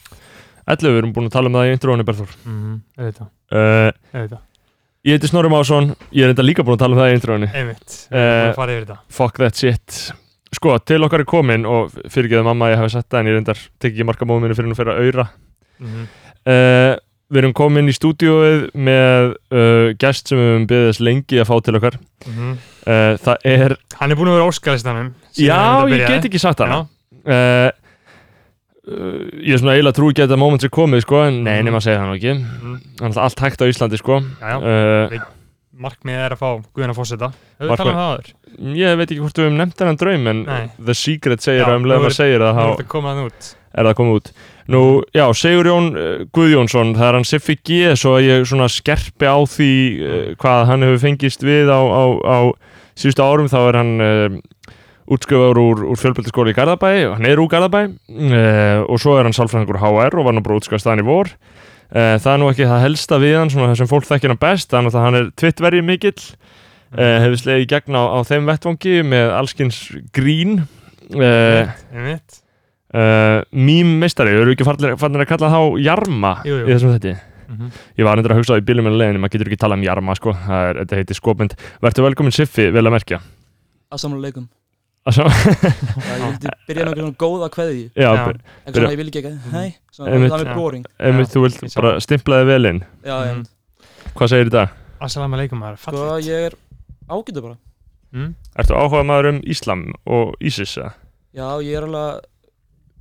A: 11, við erum búin að tala um það í intróni Berður
C: mm auðvitað,
A: uh,
C: auðvitað,
A: ég heiti Snorri Másson ég er enda líka búin að tala um það í intróni
C: einmitt
A: Eh,
C: uh, farið yfir þetta
A: fuck that shit sko, til okkar er komin og fyrirgeðu mamma að ég hafi sett það en ég reyndar tekið ekki marka móðum minni fyrir hún fyrir að auðra
C: mm
A: uh, við erum komin í stúdíóið með uh, gest sem við höfum beðist lengi að fá til okkar uh, það er,
C: Mhm. Hann er búin að vera óskalistanum
A: já, ég get ekki sagt það
C: Já,
A: uh, uh, ég er svona eiginlega trú ekki að þetta moment er komið sko, en nei,
C: Mhm.
A: nema að segja það nú ekki
C: mm,
A: Þannig að allt hægt á Íslandi sko
C: já, já.
A: uh,
C: markmið er að fá Guðina Fosseta
A: Markmið-
C: Hefur við talað um það áður?
A: Ég veit ekki hvort við höfum nefnt þennan draum en
C: Nei.
A: The Secret segir
C: Já,
A: að um
C: nú
A: leðum að
C: er-
A: segir að
C: Það er
A: þá
C: þetta komað út
A: er það komið út Nú, já, Sigur Jón uh, Guðjónsson það er hann Siffi G svo að ég svona skerpi á því uh, hvað hann hefur fengist við á, á, á síðustu árum þá er hann uh, útskjöfur úr, úr fjölbjöldaskóli í Garðabæ og hann er úr Garðabæ uh, og svo er hann sálfræðingur HR og var nú bara útskjöfst þannig í vor uh, það er nú ekki það helsta við hann svona þessum fólk þekkir hann best þannig að hann er tvittverið mikill
C: Mm.
A: uh, hefur slegið í gegn á, á þeim vettvangi með allskins grín uh,
C: Mhm. Einmitt
A: uh, mím meistari, eru ekki farnir, farnir að kalla þá jarma
C: Jú, jú.
A: í þessum þetta
C: Mhm.
A: ég var endur að hugsa á í bílum en leiðinni, maður getur ekki talað um jarma sko. það er, þetta heiti skopmynd, verður velkomin Siffi vel að merkja
D: Assalamualaikum
A: Að sjá-
D: Það ég vildi byrja nokkur svona góða kveði
A: Já,
C: Já.
A: já.
D: En svona ég vil ekki ekki Hei Svona
A: Einmitt.
D: það er
C: Já.
D: mjög boring
A: Einmitt,
C: Já,
A: þú vilt
C: ég sá
A: bara stimplaði vel inn
D: Já,
C: Mhm.
D: en
A: hvað segir í dag?
C: Assalamu alaikum, það er
D: Sko
C: fallið
D: ég er ágætur bara
C: mm?
A: Ertu áhugað maður um Íslam og ISIS? eða?
D: Já, ég er alveg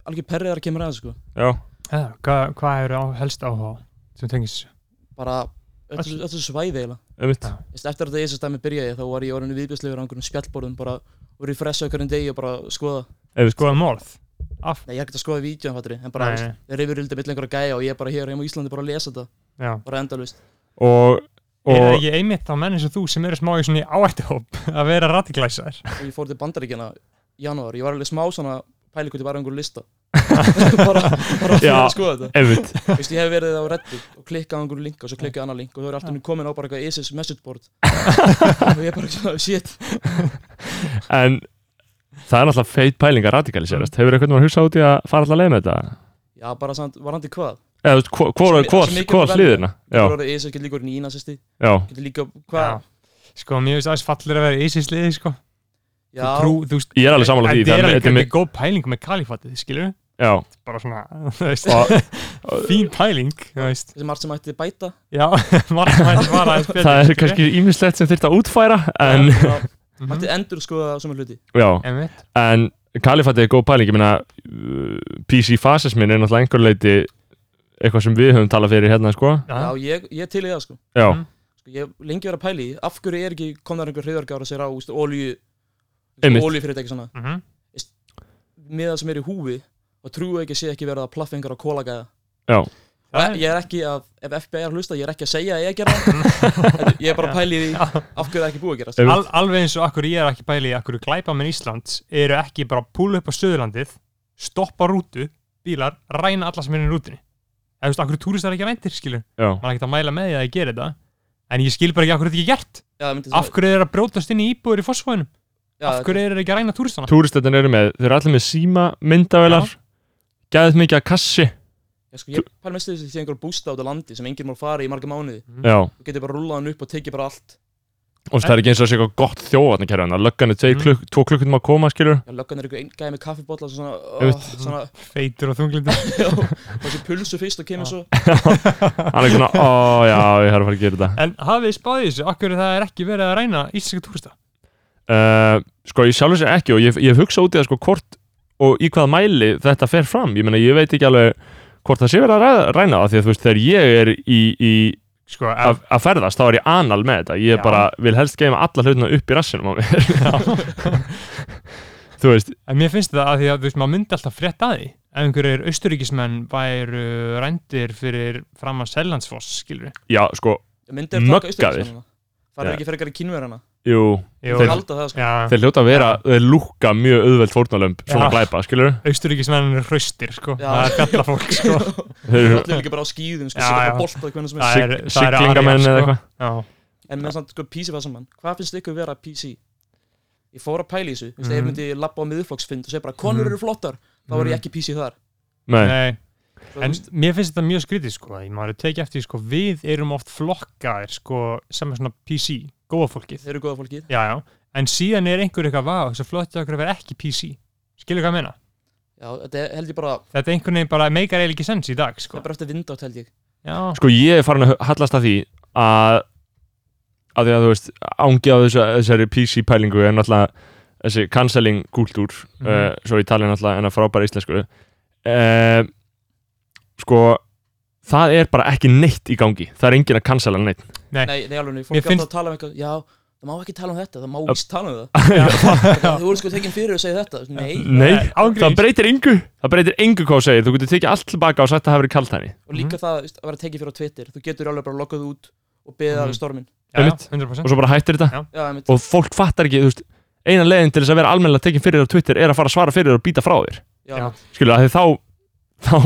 D: Algjör perrið þar að kemur aðeins sko
A: Já,
C: Já, Hvað hva eru á, helst áhuga á sem tengis
D: Sko- Bara Þetta er svo svæði eiginlega
A: einmitt
C: Já.
D: Þú veist, Eftir að þetta þessi stæmi byrjaði Þá var ég orðinu viðbjörslegur á einhvern spjallborðum Bara Og refresha okkur en degi og bara skoða
A: einmitt sko.
C: Skoða morð Af
D: Nei, ég er ekkert að skoða vídeo en fattri En bara,
C: Nei.
D: þú veist, þeir rifur yldi mitt lengur að gæja Og ég er bara hér heim á Íslandi bara að lesa þetta
C: Já
D: Bara endalvist
A: og,
C: Er það
A: og
C: ekki einmitt á menn eins og þú sem eru smá í svona í áættuhóp að vera ratiglæsar?
D: Og ég fór til bandaríkjana í janúar Ég var alveg smá svona Pæli hvort ég var á einhverju lista Bara, bara fyrir
A: Já.
D: að skoða þetta
A: einmitt
D: Þú veist, ég hef verið á Reddit og klikkað á einhverju link og svo klikkað annar link og þú er alltaf komin á bara eitthvað ISIS message board og ég er bara svona, shit
A: en það er náttúrulega feit pæling að radikaliserast hefur eitthvað maður hugsað út í að fara alltaf leið með þetta?
D: Já, bara samt, varandi hvað?
A: eða, þú veist, hvor- hvor-
D: Svo mi- svo
A: hvor
D: mikið
A: hvor
D: að
A: hliðina? Já,
D: Þú voru ISIS, getur líka orðið nína, sérsti
A: já,
D: Getur líka, hvað?
C: Sko, mér finnst aðeins fallir að vera ísinsliði, sko
D: Já,
C: Þú trú, þú veist
A: Ég er alveg sammála því,
C: En
A: það
C: það er
A: er-
C: alveg
A: þetta er
C: þetta er góð pæling með kalifatið, skilur við?
A: já
C: Bara svona, þú veist,
A: Og-
C: fín pæling, þú veist
D: þessi margt sem ætti bæta
C: Já, margt mætti bara aðeins betur
A: það er
C: skilurðu?
A: kannski ýmislegt sem þurft að útfæra en,
D: Já,
C: Mhm.
D: Mætti endur skoða svona hluti
A: já,
C: Einmitt,
A: en kalifatið er góð pæling ég meina, uh, PC fasismin er náttúrulega einhver leiti eitthvað sem við höfum talað fyrir hérna sko
D: Já,
C: já,
D: ég, ég til í það, sko
A: já,
C: Mhm.
D: Sko, Ég hef lengi verið að pæli, af hverju er ekki komnar einhver hreiðargára sér á, úst, olíu
A: Einmitt.
D: Olíufyrirtæki svona
C: mhm
D: Með það sem er í húfi og trúi ekki að sé ekki verið að plaffa einhverja kólagæða
C: Það
D: Og
C: er-
D: ég er ekki að, ef FBI er að hlusta, ég er ekki að segja að ég er að gera það Ég er bara að pæli því af hverju það er ekki búið að gera
A: Ef-
C: Al, alveg eins og akkur ég er ekki pæli í akkur glæpamenn Íslands eru ekki bara að púla upp á Suðurlandið stoppa rútu, bílar, ræna alla sem er í rútunni eða þú veist, akkur túristar ekki að vendir skilur,
A: já,
C: maður er ekkert að mæla með því að ég gera þetta en ég skil bara ekki akkur þetta er ekki gert
D: Já, myndi
C: af hverju þeir að brótast inn í íbúður í fósfóðinum
D: já,
C: af hverju þeir ekki að ræna túristana
A: túristöndin eru með þeir eru allir með síma, myndavelar gæðið mikið að kassi
D: já, sko, Ég pæli mest þessi því einhver bústa út á landi sem enginn má fara í marga mánuði
C: Mhm.
A: já,
D: Þú getur bara rullað hann upp og tekið bara allt
A: og það er ekki eins og sé eitthvað gott þjóðan að kæra hann, löggan er tveir
C: Mhm.
A: klukk, tvo klukkutum að koma skilur,
D: Já, löggan er einhver einn gæði með kaffibotla svona, oh,
A: Einmitt.
D: svona
C: feitur og þunglindur
D: já, og þessi pulsu fyrst og kemur svo
A: hann er svona, ó já, ég þarf að fara að gera þetta
C: en hafið þið spáðið þessu, akkur það er ekki verið að ræna íslenska túrista
A: Eh, uh, sko ég sjálf sér ekki og ég, ég hugsa út í það sko hvort og í hvað mæli þetta fer fram ég meina ég veit ekki alveg hvort það sé verið að ræða- ræna það því að þú veist þegar ég er í, í
C: sko,
A: að,
C: ef,
A: að ferðast þá er ég anal með þetta ég
C: Já.
A: bara vil helst geima alla hlutina upp í rassinum á mér þú veist
C: en mér finnst það að því að þú veist, maður myndi alltaf frétt að því ef einhverjir austuríkismenn væru rændir fyrir fram að Sellandsfoss, skilur við
A: já sko
D: Myndi er taka
A: Möggaðir.
D: austuríkismannana Það
A: Já.
D: er ekki frekar í kínverjana
A: jú
D: Þeir
A: Þeir-
D: halda það sko
C: Já,
A: þeir hljóta að vera þeir lúka mjög auðveld fórnalömb svona
C: Já.
A: glæpa skilur
C: austuríkismenn eru hraustir, sko
D: Já.
C: það er fjallafólk, sko
A: þeir
D: Það
A: eru
D: er líka bara á skýðum sko
C: Já,
D: Sér
C: já.
D: bara boltað hvernig sem er
C: Já,
A: sig,
C: er- það er
A: siglingamenn
C: aðeins,
A: eða
C: sko.
A: eitthvað
C: Já,
D: En með samt sko PC var saman Hvað finnst ykkur vera PC? Ég fór að pæla í þessu Þú veist,
C: Mhm.
D: ef ég myndi labba á miðflokksfynd og segja bara Konur
C: Mhm.
D: eru flottar Þá var ég ekki PC þar
A: nei,
C: nei
D: Svo,
C: En
D: þú veist,
C: mér finnst þetta mjög skrítið sko, að maður er tekið eftir því, sko, við erum oft flokkaðir sko, sem er svona PC, góða fólkið,
D: Þeir eru góða fólkið
C: já já, en síðan er einhver eitthvað vá, þessu flottaði okkur að vera ekki PC, skilur hvað að menna?
D: Já, þetta er- held ég bara
C: Þetta er einhvern veginn bara meikar eiginlega ekki sens í dag
D: Það
C: sko.
D: er bara eftir vindátt held ég
C: Já,
A: sko ég er farin að hallast að því að að því að þú veist ángi á þessa, þessari PC pælingu er náttúrulega þessi cancelling kultúr mm
C: Mhm.
A: svo ég tala náttúrulega en að frábæra íslensku uh, sko það er bara ekki neitt í gangi það er engin að cancella neitt
C: Nei.
D: Nei, nei alveg,
C: Mér
D: fólk finnst...
C: finnst-
D: alltaf að tala um eitthvað Já, það má ekki tala um þetta, það má
A: Öp.
D: ekki tala um það
C: já,
D: Þú voru sko tekin fyrir að segja þetta Nei,
A: nei, það
C: ángríns.
A: breytir engu það breytir engu hvað þú segir, þú getur tekið allt tilbaka og sagt að það hafi verið kaltæni
C: Mhm.
D: og líka það þú veist, að vera tekið fyrir á Twitter Þú getur alveg bara loggað út og beðið
C: Mhm.
D: af stormin
C: já,
A: einmitt.
C: 100%.
A: og svo bara hættir þetta
C: Já.
D: Já, einmitt
A: og fólk fattar ekki, þú veist eina leiðin til þess að vera almennilega tekin fyrir þér á Twitter er að fara að svara fyrir þér og býta frá þér
D: Já,
C: Já.
D: einmitt.
A: skilur að þá þá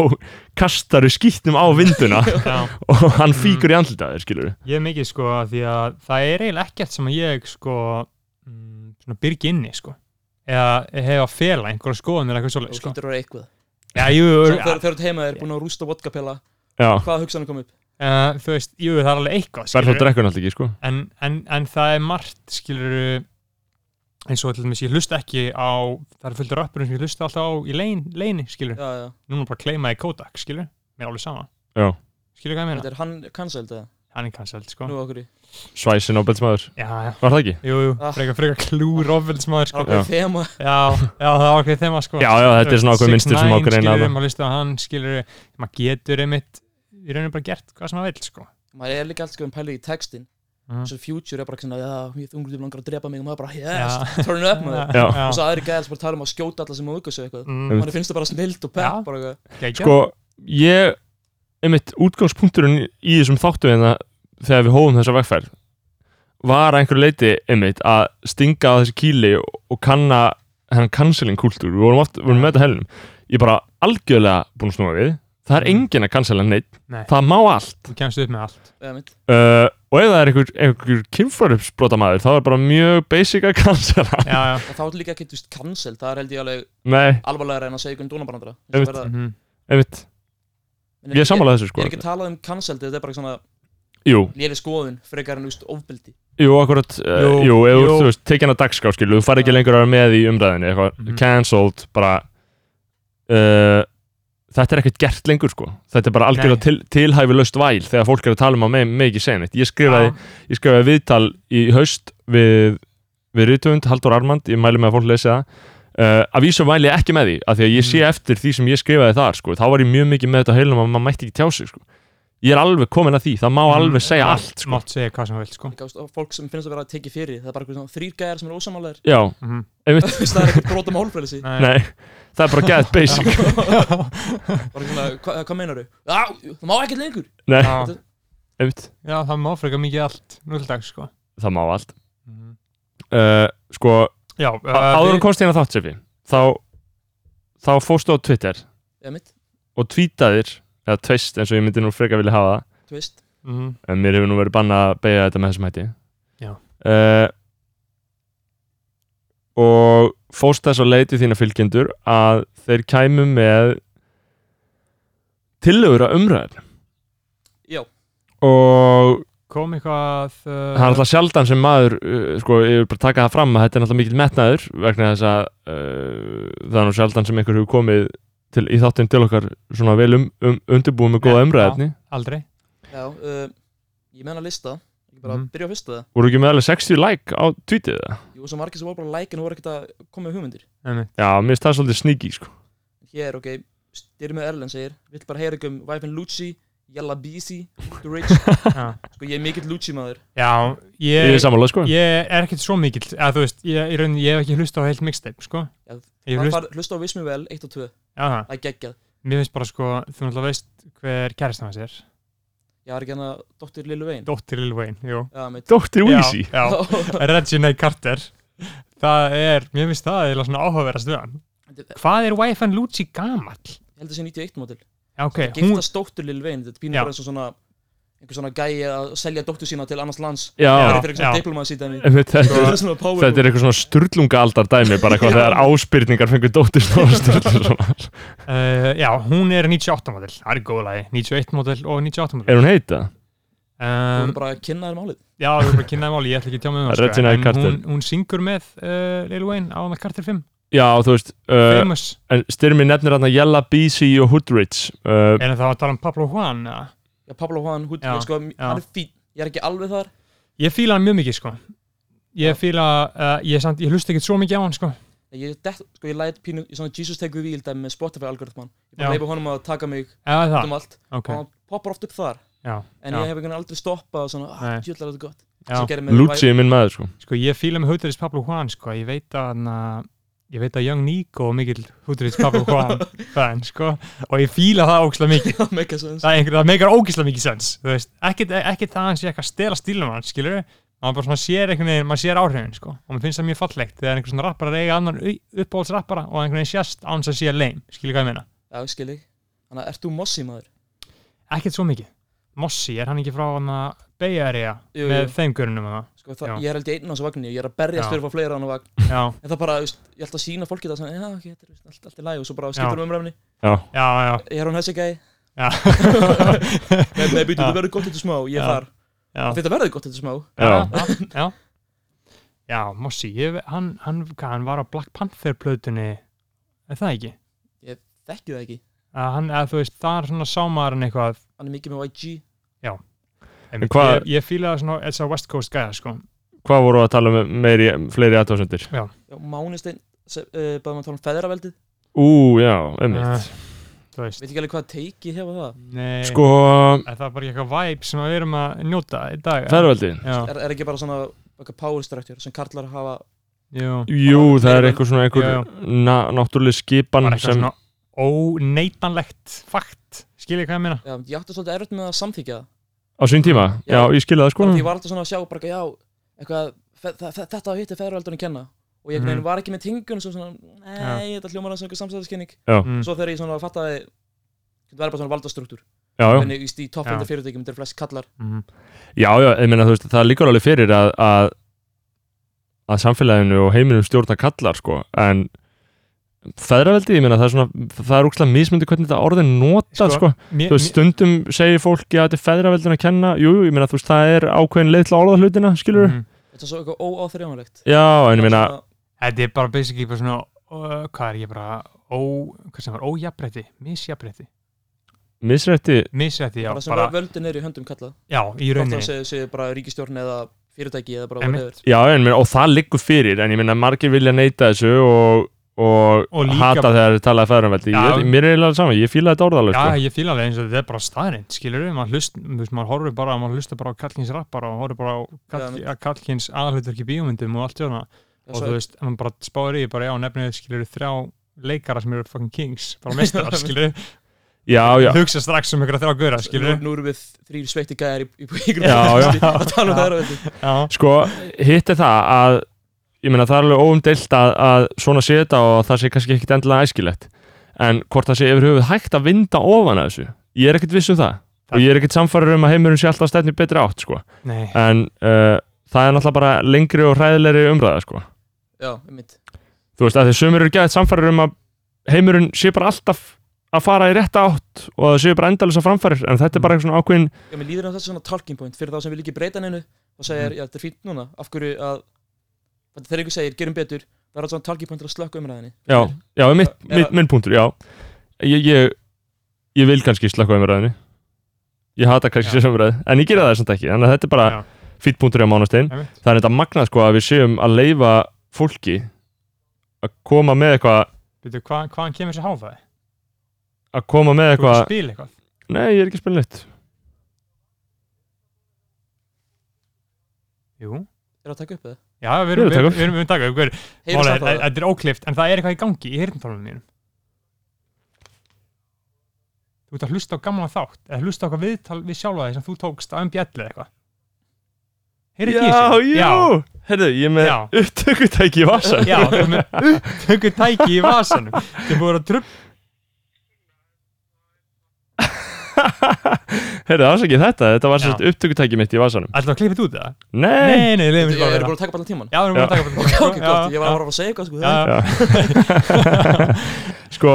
A: kastaru skýtnum á vinduna
C: Já. Mm.
A: og hann fýkur í andlitaðir skilur
C: Ég er mikið sko af því að það er eiginlega ekkert sem að ég sko mm, svona byrgi inni sko eða hefa að fela einhverja skoðanir eða eitthvað
D: Þú
C: svoleið sko.
D: getur að vera eitthvað
C: Já, jú, jú,
D: Svo Þegar þegar þú ert heima þér, búin að rústa vodkapela
A: já,
D: Hvaða hugsanir kom upp?
C: uh, þú veist, jú, það er alveg eitthvað
A: verð þá
C: skilurðu.
A: drekkur náttúrulega ekki sko
C: en, en, en það er margt skilur eins og til dæmis ég hlusta ekki á það er fullt af rappurum sem ég hlusta alltaf á í lein, leini skilur,
D: Já, já,
C: núna bara kleima í Kodak skilur, mér er alveg sama
A: Já.
C: skilur hvað ég
D: þetta
C: meina,
D: er hann cancelled eða?
C: hann er cancelled sko
D: Nú okkur í
A: svæsin ábælsmaður,
C: já, já,
A: var það ekki?
C: jú, jú,
D: Ah.
C: frekar, frekar klúr ofveldsmaður
D: Það
C: sko
D: er okkur þema
C: já, já, það var okkur þema sko
A: já, já, þetta er svona okkur
C: 6ix9ine,
A: minnstir sem okkur eina
C: skilurðu,
A: að
C: maður hlusta á hann, skilur, maður getur einmitt í rauninu bara gert hvað sem maður vil sko
D: Maður er líka allt sko um pælið í textin
C: Mhm.
D: Svo future er bara svona Já, mér þungur til langar að drepa mig Og maður bara, yes,
C: Já.
D: turn up maður
A: Já.
D: Og svo aðri gæðs bara tala um að skjóta alla sem móðgössu eitthvað
C: Mm,
D: Manni finnst það bara snilt og
C: Já.
D: pepp bara eitthvað
C: geggjað.
A: sko, ég einmitt útgangspunkturinn í þessum þáttu hérna þegar við hóðum þessa vegferð var að einhverju leiti einmitt að stinga á þessi kýli og, og kanna hennan canceling kultúr, við vorum oft, við vorum með þetta helnum ég er bara algjörlega búin að snúa við það er
C: Mm.
A: engin að cancela neitt,
C: Nei.
A: það má allt
C: þú kemst upp með allt
D: Já, einmitt.
A: uh, og ef það er einhver, einhver kynfrarupsbrotamæður þá er bara mjög basic að cancela
C: já, já,
D: Og þá er líka ekki, þú veist, cancelled Það er held ég alveg
A: nei,
D: alvarlegra en að segja ykkur um dónabarnandra
A: Einmitt.
C: mhm,
A: einmitt, ég er sammálaði þessu
D: Ég
A: sko
D: er ekki að tala um cancelled, þetta er bara svona
A: jú,
D: léli skoðun, frekar en úst ofbeldi
A: jú, akkurat uh, jú,
C: Jú,
A: jú, ef
C: jú.
A: þú- þú veist, tekin að dagskrá skilu, þú fari ekki
D: Já.
A: lengur að vera með í umræðinni eitthvað,
C: Mhm.
A: cancelled, bara uh, þetta er ekkert gert lengur sko, þetta er bara algjörlega
C: Nei.
A: til, tilhæfi löst væl þegar fólk er að tala um að með, með ekki segja neitt, ég skrifaði
C: já.
A: ég skrifaði viðtal í haust við, við Rítvönd, Haldur Armand ég mæli með að fólk lesi það uh, að vísa mæli ég ekki með því, af því að
C: Mm.
A: ég sé eftir því sem ég skrifaði þar, sko, þá var ég mjög mikið með þetta á heilanum að maður mætti ekki tjá sig, sko ég er alveg komin að því, það má
C: Mm.
A: alveg segja allt sko.
C: mátt segja hvað sem þú vilt sko.
D: Líka, þú veist, og fólk sem finnst að vera að tekið fyrir það er bara einhver svona þrýr gæjar sem eru ósamálaðir
A: já,
C: Mhm.
A: einmitt,
D: það er ekkert brotum hálfrelsi
C: Nei.
A: nei það er bara gett basic,
D: bara svona, hva, hvað meinar þau? Já, það má ekkert lengur
A: nei,
C: Já,
A: einmitt
C: já, það má frekar mikið allt nú til dags sko.
A: það má allt
D: Mhm.
A: uh, sko,
C: Já,
A: uh,
C: uh,
A: áður
C: við,
A: en komst ég að þátt sefi þá, þá fórstu á Twitter
D: eða mitt,
A: og tweetaðir, eða twist eins og ég myndi nú freka vilja hafa það
D: þú veist
C: mhm,
A: en mér hefur nú verið banna að beigja þetta með þessum hætti
C: Já.
A: Eh, og fórst þess að leiti þína fylgjendur að þeir kæmu með tillögur að umræður
D: já,
A: og
C: kom eitthvað uh,
A: það er alltaf sjaldan sem maður eh, sko, ég vil bara taka það fram að þetta er alltaf mikill metnaður vegna þess að uh, það er nú sjaldan sem einhver hefur komið til, í þáttinn til okkar svona vel um, um, undirbúið með góða
C: Nei,
A: umræðefni
C: aldrei
D: já uh, ég menna lista, Ég bara
C: Mhm.
D: byrja á fyrsta það
A: voru ekki með alveg 60 like á tweetið það
D: Jú, svo margir sem voru bara að like en voru ekkert að koma með hugmyndir
C: einmitt.
A: já, mér finnst það svolítið sneaky sko.
D: Hér, ok, styrmið Erlend segir Vill bara heyra ekki um Vipin Lucci, Jalla Bisi, The Rich
C: Já.
D: Sko, ég er mikill Lucci maður
C: Já,
A: ég er
C: ég,
A: samanlega sko
C: ég er ekkert svo mikill eða þú veist, ég, ég, raun, ég hef ekki hlustað á heilt mixtape sko.
D: Já,
C: ég
D: Það
C: hlust,
D: far- Hlusta á Vismi vel, 1 og
C: já,
D: 2
C: það.
D: Það er geggjað
C: mér finnst bara sko þú náttúrulega veist hver kærist hans er
D: Ég var ekki hana Dóttir Lilu Vein
C: Dóttir Lil Wayne, jú
D: Já, mitt
A: Dr.
C: Já,
A: Weezy
C: já, Regina Carter það er, mér finnst það eða svona áhugaverðast við hann
D: Ég
C: hvað er Wife and Lucci gamall?
D: held að sé 91 mótil
C: Já, ok, Eh, hún,
D: Giftast Dóttir Lilu Vein Þetta er
C: Já.
D: pínur bara eins og svona Einhver svona gæi að selja dóttur sína til annars lands
A: já,
D: Það er fyrir eitthvað
C: já. Sko,
D: diplomað síðan
A: einmitt, þetta
D: Þetta
A: er
D: er svona power
A: Þetta er eitthvað svona sturlunga aldar dæmi bara eitthvað þegar áspyrningar fengur dóttir stóra sturlun svona.
C: uh, já, hún er 98 model, það er góð lagi 91 model og 98 model
A: Er hún heita?
D: Þú
C: um,
D: erum bara að kynna þér málið
C: Já, við erum bara að kynna það máli, ég ætla ekki að tjá með um það
A: Regina
C: en
A: Carter.
C: hún, hún syngur með uh, Lil Wayne á með Carter 5
A: Já, þú veist uh,
C: Famous,
A: en styrmi nefnir hann að Jella, BC og Hoodrich uh,
C: en það var að tala um Pablo Juan ja.
D: Já, Pablo Juan, hútt,
C: Já,
D: sko,
C: já.
D: hann er fín Ég er ekki alveg þar
C: Ég fíla hann mjög mikið, sko Ég fíla, uh, ég, samt, ég hlusta ekkert svo mikið á hann, sko
D: Ég, dett, sko, ég læt pínu, ég svona Jesus take the wheel dæmi með Spotify algoritman Ég
C: Já.
D: bara leiði honum að taka mig
C: Eða það,
D: út um allt
C: ok
D: og hann poppar oft upp þar
C: já,
D: En
C: já,
D: ég hef einhvern veginn aldrei stoppað og svona,
C: Nei.
D: ah, djöðlar þetta gott
C: já.
D: Sem gerir með
A: Lucci er minn maður sko.
C: Sko, ég fíla með Hoodrich Pablo Juan, sko Ég veit að, na, ég veit að Young Nico og mikill Hoodrich Pablo Juan fan, sko Og ég fíla það ógislega mikið
D: Já, make a sense
C: Það, er einhver, það meikar ógislega mikið sens, þú veist Ekkert ekki það að hann sé eitthvað að stela stílum hans, skilur maður bara svona sér einhvern veginn, maður sér áhrifin sko. og maður finnst það mjög fallegt þegar einhver svona rappara eiga annan uppáhaldsrappara og einhvern veginn sést án þess að sé lame, skilur hvað ég meina
D: Já, ég skil ég Þannig að ert þú mossi maður?
C: ekkert svo mikið, Mossi, er hann ekki frá hann að Bay Area
D: Jú,
C: með
D: jú.
C: þeim görunum og
D: Sko, það,
C: Já.
D: ég er held í einn á þessu vagninni og ég er að berjast
C: Já.
D: fyrir að fá fleira á hann vagn
C: það já,
D: En það bara, veist, ég ætla að sína fólki það sem, já, ok, þetta er veist, allt, allt í lagi og svo bara skiptur um umræfni
A: Já,
C: já, já,
D: Ég er hún þessi gæi
C: já
D: Nei, nei, býtu,
C: Já.
D: þetta verður gott þetta smá, ég er
C: Já.
D: þar
C: já,
D: Þetta verður gott þetta smá
A: já,
C: já, já. já Mossi, ég, hann, hann, hvað, hann var á Black Panther plötunni er það ekki?
D: Þekki það ekki
C: að hann, að þú veist, þar svona sámaður hann eitthvað
D: Hann er mikið með YG
C: Einmitt,
A: hvað-
C: ég, ég fíla það svona þess að West Coast gæða sko.
A: Hvað voru að tala um meiri, fleiri aðtásendir?
D: Já, Mánisteinn, uh, bæðum að tala um feðraveldið
A: Ú, já, einmitt
C: uh, þú veist
D: Veit ekki alveg hvað teiki ég hef á það
C: nei,
A: Sko,
C: að það er bara eitthvað væp sem við erum að njóta í dag
A: ferðvaldi
C: já,
D: er, er ekki bara svona eitthvað power structure sem karlar hafa
C: jú,
A: Jú, það er eitthvað svona einhver
C: Já,
A: na, náttúrulega skipan
C: bara eitthvað
A: sem
C: svona óneitanlegt fakt skiljið hvað ég meina
D: já, Ég átti svolítið erfitt með að samþykja það
A: á sín tíma, já,
D: Já.
A: ég skilja það sko
D: Bara því Ég var alltaf svona að sjá bara eitthvað, já eitthvað, fe- þa- þa- Þetta á hitti feðraveldunum kenna Og ég mm.
C: Mhm.
D: var ekki með tingun sem svona Nei, þetta hljómar aðeins sem einhver samstæðiskenning
C: mm,
D: Svo þegar ég svona fattaði Þetta verður bara svona valdastruktúr
A: Já, já,
D: Þannig víst, í
C: Já.
D: toppfjönda fyrirtækjum þetta er flest kallar
C: mm,
A: Já, já, ég meina þú veist, það líkur alveg fyrir að, að, að samfélaginu og heiminum stjórna kallar, sko, en feðraveldi, ég meina það er svona, það er úkslega mismyndi hvernig þetta orðin notað,
C: Sko,
A: sko,
C: mér,
A: þú veist,
C: mér,
A: stundum segir fólki að þetta er feðraveldin að kenna, jú, jú, ég meina þú veist, það er ákveðin leið til að orða hlutina, skilur
C: mm,
D: Þetta er svo eitthvað óáþrjámanlegt
A: Já, en ég meina,
C: þetta er bara basically bara svona uh, hvað er ég bara ó, hvað sem var, ójafnrétti, misjafnrétti
A: misrætti,
C: misjafnrétti, já,
D: Bara sem
C: bara,
D: völdin er í höndum kalla
C: já, í
D: Hvort það
C: rauninni
D: sé, sé bara ríkistjórn eða fyrirtæki eða bara
C: Einmitt.
D: whatever.
A: já, en ég meina, og það líkur fyrir, en ég meina, margir vilja neyta þessu og, og,
C: Og líka-
A: hata þegar þeir talaði feðraveldi,
C: Já.
A: ég, mér er eiginlega saman, ég fíla þetta orðalega,
C: Já,
A: sko.
C: ég fíla alveg eins og þetta er bara staðrind, skilur við, maður hlust, þú veist, maður horfir bara, maður hlustar bara á kallkins rappara og horfir bara á kall,
D: Já,
C: kallkins aðhlutverki bíómyndum og allt svona
D: Já,
C: og
D: svo-
C: þú veist, maður bara spáir í, bara já, nefnir skilur við þrjá leikara sem eru fucking kings, bara mestarar, skilur við,
A: Já, já,
C: hugsa strax um ykkur að þrjá guðra, skilur
D: nú, nú erum við þrýr sveikti gæðar í, í, í
A: Já, já.
D: að tala um þeirra veldi
C: já,
A: Sko, hitt er það að ég meina það er alveg óumdeilt að, að svona sé þetta og það sé kannski ekkit endilega æskilegt en hvort það sé yfir höfuð hægt að vinda ofan að þessu, ég er ekkit viss um það og ég er ekkit samfærir um að heimurinn sé alltaf stefni betri átt sko,
C: nei,
A: en uh, það er náttúrulega bara lengri og hræðilegri umræða sko,
D: já, einmitt
A: þú veist að því sömur eru gæðið samfærir um að heimurinn sé bara alltaf að fara í rétta átt og það séu bara endalisa framfærir en þetta er bara eitthvað svona ákveðin
D: já, mér líður að þetta er svona talking point fyrir þá sem vil ekki breyta neinu og segir, já, þetta er fínt núna af hverju að þegar ykkur segir, gerum betur það er alltaf svona talking point til að slökka umræðinni
A: já, já, mitt,
D: Eða-
A: mitt, minn punktur, já ég, ég, ég vil kannski slökka umræðinu ég hata kannski
C: Já.
A: þessu umræðu en ég gera það samt ekki, þannig að þetta er bara
C: já,
A: fýtpunktur á mánastein
C: Einmitt.
A: það er þetta magnað sko að við séum að leifa fólki að koma með eitthvað
C: Býtu, hva, hvaðan kemur þessi háfæði?
A: að koma með
C: Þú ert að
A: eitthvað
C: spila eitthvað?
A: nei ég er ekki að spila neitt
C: Jú.
D: Er að taka upp eða?
C: Já, við erum,
A: Við erum að taka
C: við erum,
A: upp.
C: við erum, við erum taka upp. Guður,
D: Heyrðu
C: málega,
D: samt það?
C: Þetta er óklift, en það er eitthvað í gangi í hirtintólunum mínum. Þú ert að hlusta á gamla þátt, eða hlusta á eitthvað viðtal við sjálfa því sem þú tókst á MBL eða eitthvað. Heyrðu ekki í
A: já,
C: þessu?
A: jú, herðu, ég er með
C: Já.
A: upptökutæki í vasan
C: Já, þú er með upptöku tæki í vasanum sem búið að trubla
A: herðu, afsakið þetta, þetta var
C: Já.
A: sérst upptökutæki mitt í vasanum
C: Ætlaðu að klippa þetta út eða?
A: nei,
C: Nei, nei, leiðum
D: Ég
C: við bara
D: er
C: vera
D: búin að taka upp allan tíman
C: Já, við erum búin að taka upp
D: Ok, ok, gott, ég var að fara að segja eitthvað sko
C: Já.
A: sko,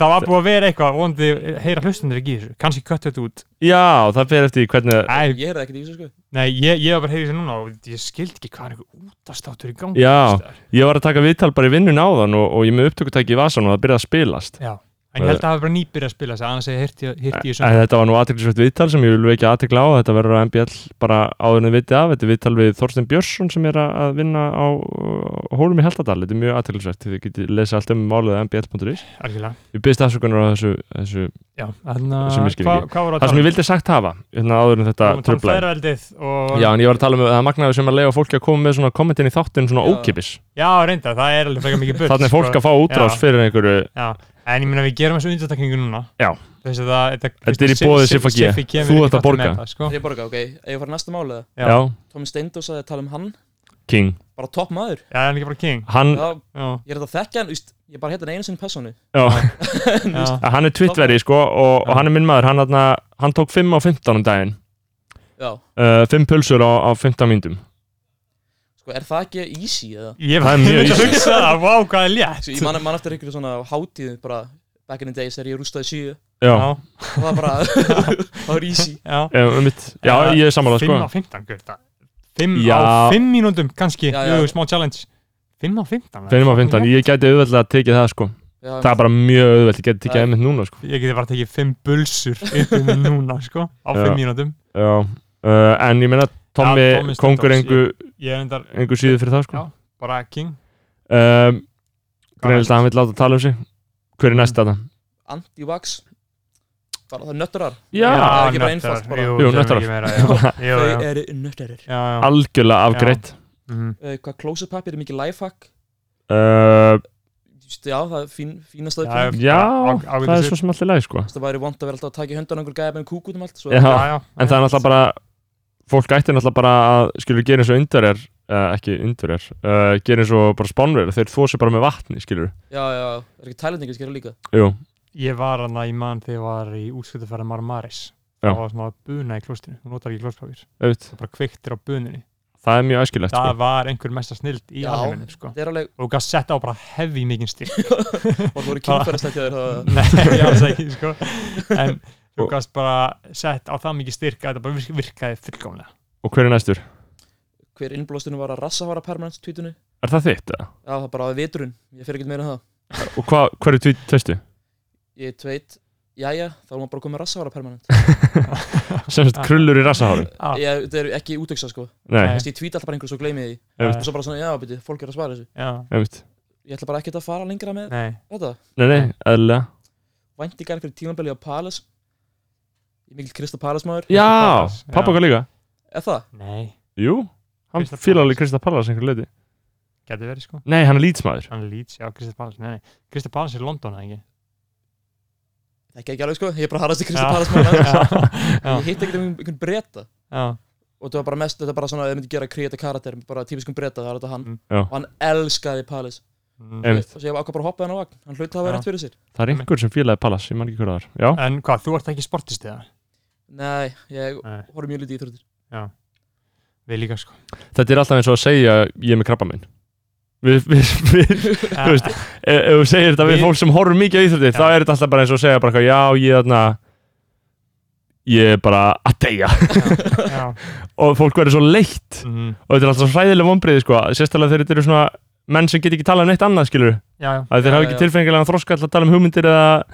C: Það var búið að vera eitthvað vondi heyra hlustundir ekki í þessu kannski köttu þetta út
A: já, það fer eftir því hvernig
C: Æ,
D: Ég heyrði ekkert í þessu sko
C: Nei, ég, ég var bara að heyra þessu núna og ég skildi ekki hvað er eitthvað útastáttur í gangi
A: Já.
C: einhvers staðar.
A: ég var að taka viðtal bara í vinnun áðan og, og ég er með upptökutæki í vasan og það byrjaði að spilast
C: Já. En ég held að það var bara nýbyrja að spila þess að annars hefði hirti, hirti ég svona
A: En eh, þetta var nú aðteglisvægt viðtal sem ég vil vekja aðtegla á þetta verður að MBL bara áður en við vitið af þetta er viðtal við Þorstein Björnsson sem er að að vinna á uh, Hólum í Heldadal þetta er mjög aðteglisvægt, þið getið lesið allt um málið á mbl.is
C: Algjörlega
A: Ég byrst afsökunar á þessu, þessu
C: Já, þannig
A: Sem ég
C: að
A: skil
C: hvað
A: ekki.
C: hvað voru að
A: það sem ég vildi sagt hafa hérna áður en þetta tröflaði
C: Tannferðaldið um og
A: Já, en ég var að tala um að það magnaði sem að leiða fólki að koma með svona kommentin í þáttin svona
D: Já.
A: ókipis
C: Já, reynda, það er alveg frekar mikið bull
A: Þannig er fólk
C: sko.
A: að fá útrás
C: Já.
A: fyrir einhverju
C: Já, en ég meina við gerum þessu undantakningu núna
A: Já.
C: Þess að það þetta-
A: Þetta er í
C: Sif-
A: boði
C: Sif-
A: Siffa G.
C: Siffi kemur
A: Þú
C: ekki
A: átt að
C: þarna
A: borga.
C: með það, sko.
D: Ég borga, ok, ef ég fara næsta mál eða
A: Já,
C: Já.
D: Tómi Steindós að tala um hann,
A: King
D: bara topp maður
C: Já, hann er ekki bara king
A: Hann,
D: Já,
C: Já,
D: ég er þetta að þekkja hann, víst, ég bara heit hann einu sinni personu
A: já,
C: já,
A: hann er twittverið sko og, og
C: Já.
A: hann er minn maður, hann, hann, hann tók 5 á 15 um daginn
D: Já,
A: uh, fimm pulsur á, á 15 myndum
D: sko, er það ekki easy eða?
C: Ég
A: Það er mjög
C: myndi að
A: easy.
C: hugsa það, vá hvað er létt
D: Svo ég man, man eftir einhverju svona hátíð bara back in the days þegar ég rústaði síu
A: já,
C: Já,
D: og það bara, það var easy
C: já
A: já. Um, mitt, já ég er sammála
C: 5 á
A: sko.
C: 15, guð það- 5
A: Já.
C: á 5 mínúndum, kannski,
D: Já, já.
C: jú, smá challenge 5 á
A: 5
C: 15
A: á 15, ég gæti auðveldlega að tekið það sko.
D: Já,
A: það er bara mjög auðveld, ég gæti tekið
D: Já.
A: það einmitt núna sko.
C: Ég geti bara tekið 5 bulsur yfir mig núna, sko, á
A: Já.
C: 5 mínúndum
A: já, uh, en ég meina Tommi,
C: Já, Tommi Steindórs,
A: kongur engu,
C: Ég er endar
A: engu síðu fyrir það sko.
C: Já. bara king
A: um, greinilega að hann vil láta tala um sig hver er næsta þetta?
D: anti-vax bara það er nötturar
A: Já,
D: það er ekki bara
C: nöttarar,
D: einfalt bara.
C: Jú,
A: Jú,
C: sem
A: nöttarar.
C: ekki meira, já. Jú,
D: þau
C: já.
D: eru nötturar
C: Já, já.
A: algjörlega afgreitt
C: Mhm.
D: uh, hvað close-up happy er mikið lifehack
A: uh,
D: Just, já, það er fín, fínast
C: Já,
D: aðeins
A: já,
C: Á- á-
A: það er svo sem allir læg sko.
D: það væri vond að vera alltaf að taka í höndan einhver gæða með kúk út um allt svo,
A: Já.
C: Já, já,
A: en það er náttúrulega bara fólk ætti náttúrulega bara að skilur gera eins og undur er uh, ekki undur er, uh, gera eins og bara spánverð þeir þó sér bara með vatni skilur
D: já, já, er ekki tælendingur skilur líka
A: Jú,
C: Ég var hann að ég mann þegar ég var í útskjöldafæra Marmaris
A: Já.
C: Það var svona buna í klostinu, hún notar ekki klostpapir
A: auðvitað
C: Það bara kveiktir á buninni
A: Það er mjög æskilegt
C: Það
A: sko.
C: var einhver mesta snild í
D: Já.
C: alheiminum sko.
D: það er alveg,
C: Og gaf sett á bara heavy mikinn stíl
D: og það voru kynferðastætt hjá þér það-
C: Nei, ég var það ekki sko. En þú gafst bara sett á það mikið styrk að þetta bara virk- virkaði fullkomlega
A: Og hver er næstur?
D: hver innblóstunum var að rassa var að permanent tweetinu
A: Er það þitt? eða?
D: já, það bara á viturinn, ég fer ekki meira en það
A: Og hva, hver er tvít tveistu?
D: ég tveit, jæja, þá er maður bara komið með rassa var að permanent
A: Semst
C: Ah.
A: krullur í rassahári?
C: ah,
D: ég, þetta er ekki útöksa sko,
A: Nei,
C: Nei.
D: Þess, ég tweet alltaf bara einhverju svo gleymi ég því
A: einmitt.
D: og svo bara svona, já, beti, fólk er að svara þessu
C: Já,
A: einmitt
D: ég ætla bara ekkert að fara lengra með
C: nei
D: þetta
A: Nei, nei, eðlilega
D: væntingar fyrir tímabili á Palace ég er mikill Krista Palace maður
A: Já,
C: Pallas, já.
A: pappaka líka
D: eða það,
C: Nei,
A: Jú, hann
C: Crystal
A: fílar
C: Palace.
A: alveg Krista Pallas einhver leiti
C: geti verið sko
A: Nei, hann er lýtsmaður
C: Hann er Leeds, já, Kristið Pallas, nei, nei Kristið Pallas er í London, eða ekki?
D: það er ekki alveg sko ég er bara harðast í Krista
C: Já.
D: Palace maður
C: Já.
D: ég hitt ekkert um einhvern breyta
C: Já,
D: og þetta var bara mest, þetta er bara svona, þau myndi gera kreita karakter bara típiskum breyta, það er þetta hann
C: Mm.
A: Já.
D: og hann elskaði Palace
C: Mm.
A: Einmitt.
D: og svo ég ákvað bara að hoppa hann á vagn, hann hluti að
C: Já.
D: hafa rétt fyrir sér
A: Það er einhver sem fílaði Pallas, ég man ekki hver það er Já,
C: En hvað, þú ert ekki sportist eða?
D: nei, ég
C: Nei.
D: horf mjög lítið í þrjóttir
C: Við líka sko
A: þetta er alltaf eins og að segja ég er með krabba minn Við, við, við,
C: Þú
A: veist, ef ef þú segir þetta við
C: Við-
A: fólk sem horfum mikið á íþróttir
C: Já.
A: þá er þetta alltaf bara eins og að segja bara eitthvað, já, ég er þarna ég er bara að deyja
C: Já
A: og fólk verður svo leitt
C: Mhm.
A: og þetta er alltaf svo hræðileg vonbriði sko sérstaklega þegar þetta eru svona menn sem get ekki talað um neitt annað skilur
C: Já, já
A: að þeir
D: Já,
A: hafa ekki
D: já.
A: tilfinningarlega þroska til að tala um hugmyndir eða,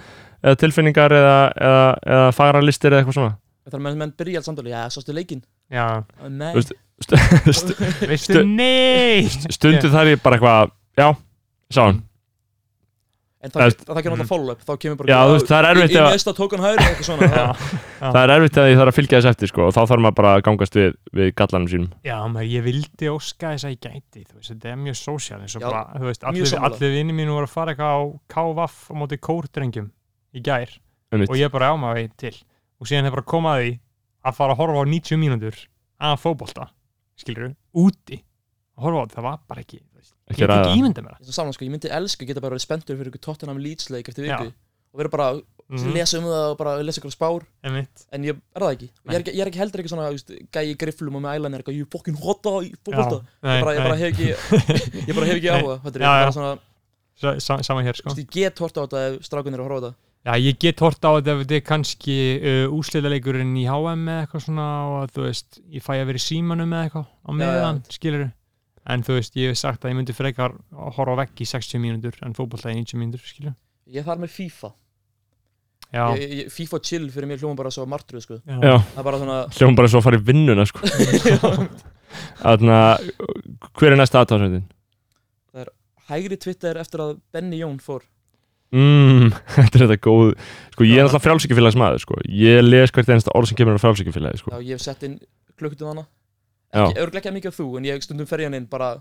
A: eða tilfinningar eða, eða, eða fagralistir eða eitthvað svona
D: Þannig að menn, menn byrja allt samtali, já, sástu leikinn?
C: Já,
D: Nei,
A: Þú veist, st
C: veistu neitt
A: stundu þar ég bara eitthvað já, sá hann
D: En það,
A: Veist-
D: það, það kemur alltaf follow-up, þá kemur bara
A: já, þú veist, það er erfitt
D: Í
A: ef,
D: næsta tók hann hægri eða eitthvað svona
C: Já.
A: það er erfitt ef ég þarf að fylgja þess eftir sko, og þá þarf maður bara að gangast við, við gallanum sínum
C: Já, maður, ég vildi óska þess að ég gæti, þú veist, þetta er mjög sósíal eins og
D: Já,
C: bara, þú veist,
D: mjög
C: allir,
D: sammála.
C: allir vinnir mínu voru að fara eitthvað á KVF á móti kórdrengjum í gær
A: einmitt.
C: og ég bara ámaði til og síðan hefur bara komað því að fara að horfa á 90 mínútur að fótbolta, skilur úti að horfa á þetta, það var bara ekki, þú veist,
A: Ekki
C: ég get
A: ræða.
C: ekki ímynda mér
D: Ég, saman, sko, ég myndi elska að geta bara verið spenntur fyrir ykkur Tottenham Leeds leik eftir viku
C: Já.
D: og vera bara að
C: það mm,
D: lesa um það og bara lesa ykkur spár
C: einmitt,
D: en ég er það ekki ég er ekki, ég er ekki heldur ekki svona þú veist, gæi í grifflum og með ælan er eitthvað ég er fokkin hota í fókbalta
C: nei,
D: ég bara, ég bara
C: nei,
D: hef ekki ég bara hef ekki
C: Nei.
D: áhuga fattur,
C: Já,
D: ég,
C: já.
D: bara svona,
C: sa, sa, sama hér,
D: þú
C: sko
D: veist, ég get horta á þetta ef strákunir eru að horfa á þetta
C: Já, ég get hort á þetta ef þetta er kannski uh, úsleilaleikurinn í HM eða eitthvað svona og að, þú veist, ég fæ að vera í símanum eða eitthvað á meðan, ja, en þú veist, ég hef sagt að ég myndi frekar að horfa á vegg í 60 mínútur en fótbolta í 90 mínútur, skilur
D: ég þarf með FIFA
C: Já,
D: ég, ég, FIFA chill fyrir mér hljóma bara svo martröð sko.
A: já,
D: það er bara svona
A: hljóðum bara svo að fara í vinnuna sko. Þarna, hver er næsta aðtáðsöndin?
D: hægri Twitter eftir að Benny Jón fór
A: Mm, þetta er þetta góð sko, ég er alltaf frjálsíkjafélags maður sko. ég les hvert einasta orð sem kemur á frjálsíkjafélagi sko.
D: já, ég hef sett inn klukkutum hana
A: Já.
D: ekki, örglega ekki mikið af þú en ég stundum fer í hann inn bara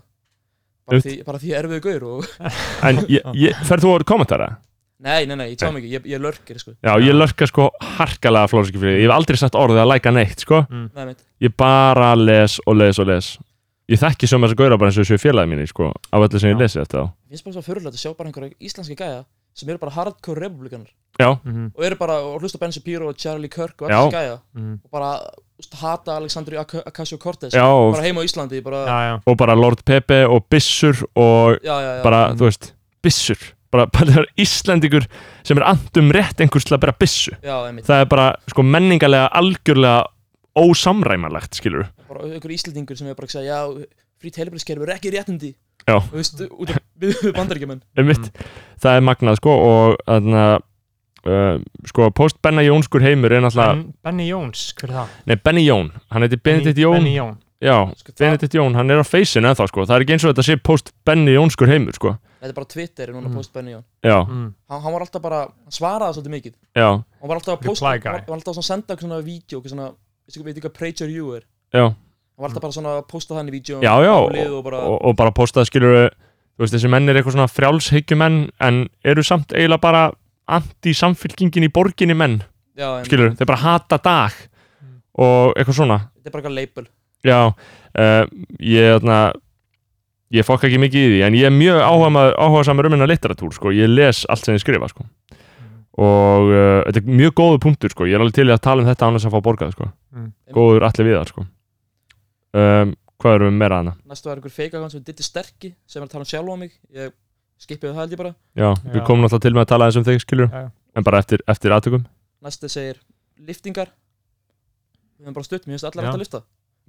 D: bara
A: Einmitt.
D: því, bara því ég er erfiðu gaur og
A: en ég, ég, ferð þú að kommentara?
D: nei, nei, nei, ég tjáum ekki, ég, ég lörkir sko.
A: Já, ég lörka sko harkalega frjálsíkjafélagi ég hef aldrei sagt orðið að læka neitt sko.
C: Mm,
D: nei, meit,
A: ég bara les og les og les ég þekki sem þess að gauðra bara eins og þessu félagi mínu sko, af öllu sem ég
C: Já.
A: lesi eftir þá
D: finnst bara svo fyrirlega að sjá bara einhverja íslenski gæja sem eru bara hardcore republikanar
A: já,
C: mhm,
D: og eru bara og hlusta á Ben Shapiro og Charlie Kirk og
A: Já.
D: allir gæja
C: mhm.
D: og bara úst, hata Alexandri Ocasio-Cortez
A: já og,
D: bara heima á Íslandi bara,
C: já, já,
A: og bara Lord Pepe og Bissur og
D: já, já, já,
A: bara,
C: Mm.
A: þú veist, Bissur bara, bara það er Íslandingur sem er andum rétt einhvers til að bera Bissu
D: já, einmitt
A: það er bara sko menningarlega algjörlega ósamræmanlegt, skilur
D: bara einhver íslendingur sem er bara að segja já, frýtt heilbæðiskerfi er ekki réttindi
A: Já.
D: og þú veist, út af við við bandaríkjumenn
C: Mm.
A: einmitt, það er magnað sko og þarna uh, sko, post Benna Jónskur heimur er náttúrulega,
C: ben, Benny Jóns, hver er það?
A: nei Benny Jón hann heiti Benedikt Jón,
C: Mm. Benny Jón,
A: já
D: Sko, það-
A: Benedikt Jón, hann er á feysinu ennþá sko, það er ekki eins og þetta sé post Benny Jónskur heimur sko,
D: þetta er bara Twitter núna
C: Mm.
A: Mhm.
D: mm. postbenni Jón
A: já,
C: mm,
D: hann, hann var alltaf bara, hann svaraði svolítið mikið
A: já,
D: hann var alltaf að
C: Reply
D: posta,
C: guy.
D: hann var alltaf svona að senda okkur svona vídeo, okkur svona, veistu veit ekki hvað Prager You er
A: já
D: hann var alltaf bara svona að posta þannig vídeo
A: já, já,
D: og, og, bara,
A: og, og bara postað skilur þú veist, þessi menn er eitthvað svona frjálshyggjumenn en eru samt eiginlega bara anti-samfylkingin í borginni menn
D: já, einmitt.
A: skilur, þeir bara hata dag og eitthvað svona
D: þetta er bara eitthvað label
A: já, uh, ég þarna ég fokk ekki mikið í því en ég er mjög áhuga, áhuga samar um hennar litteratúr sko, ég les allt sem ég skrifa sko og uh, þetta er mjög góðu punktur sko, ég er alveg til í að tala um þetta án þess að fá borgað sko,
C: Mm.
A: góður allir viðar sko um, hvað erum við meira að hana?
D: næstu var einhver fake account sem dittir sterki sem er að tala um sjálf á mig ég skipið það held ég bara
A: Já, við
C: Já.
A: komum náttúrulega til með að tala eins um þig, skilur
C: Já, já.
A: En bara eftir, eftir aðtökum
D: næstu segir liftingar við höfum bara stutt, mér finnst allar
C: Já.
D: hægt að lifta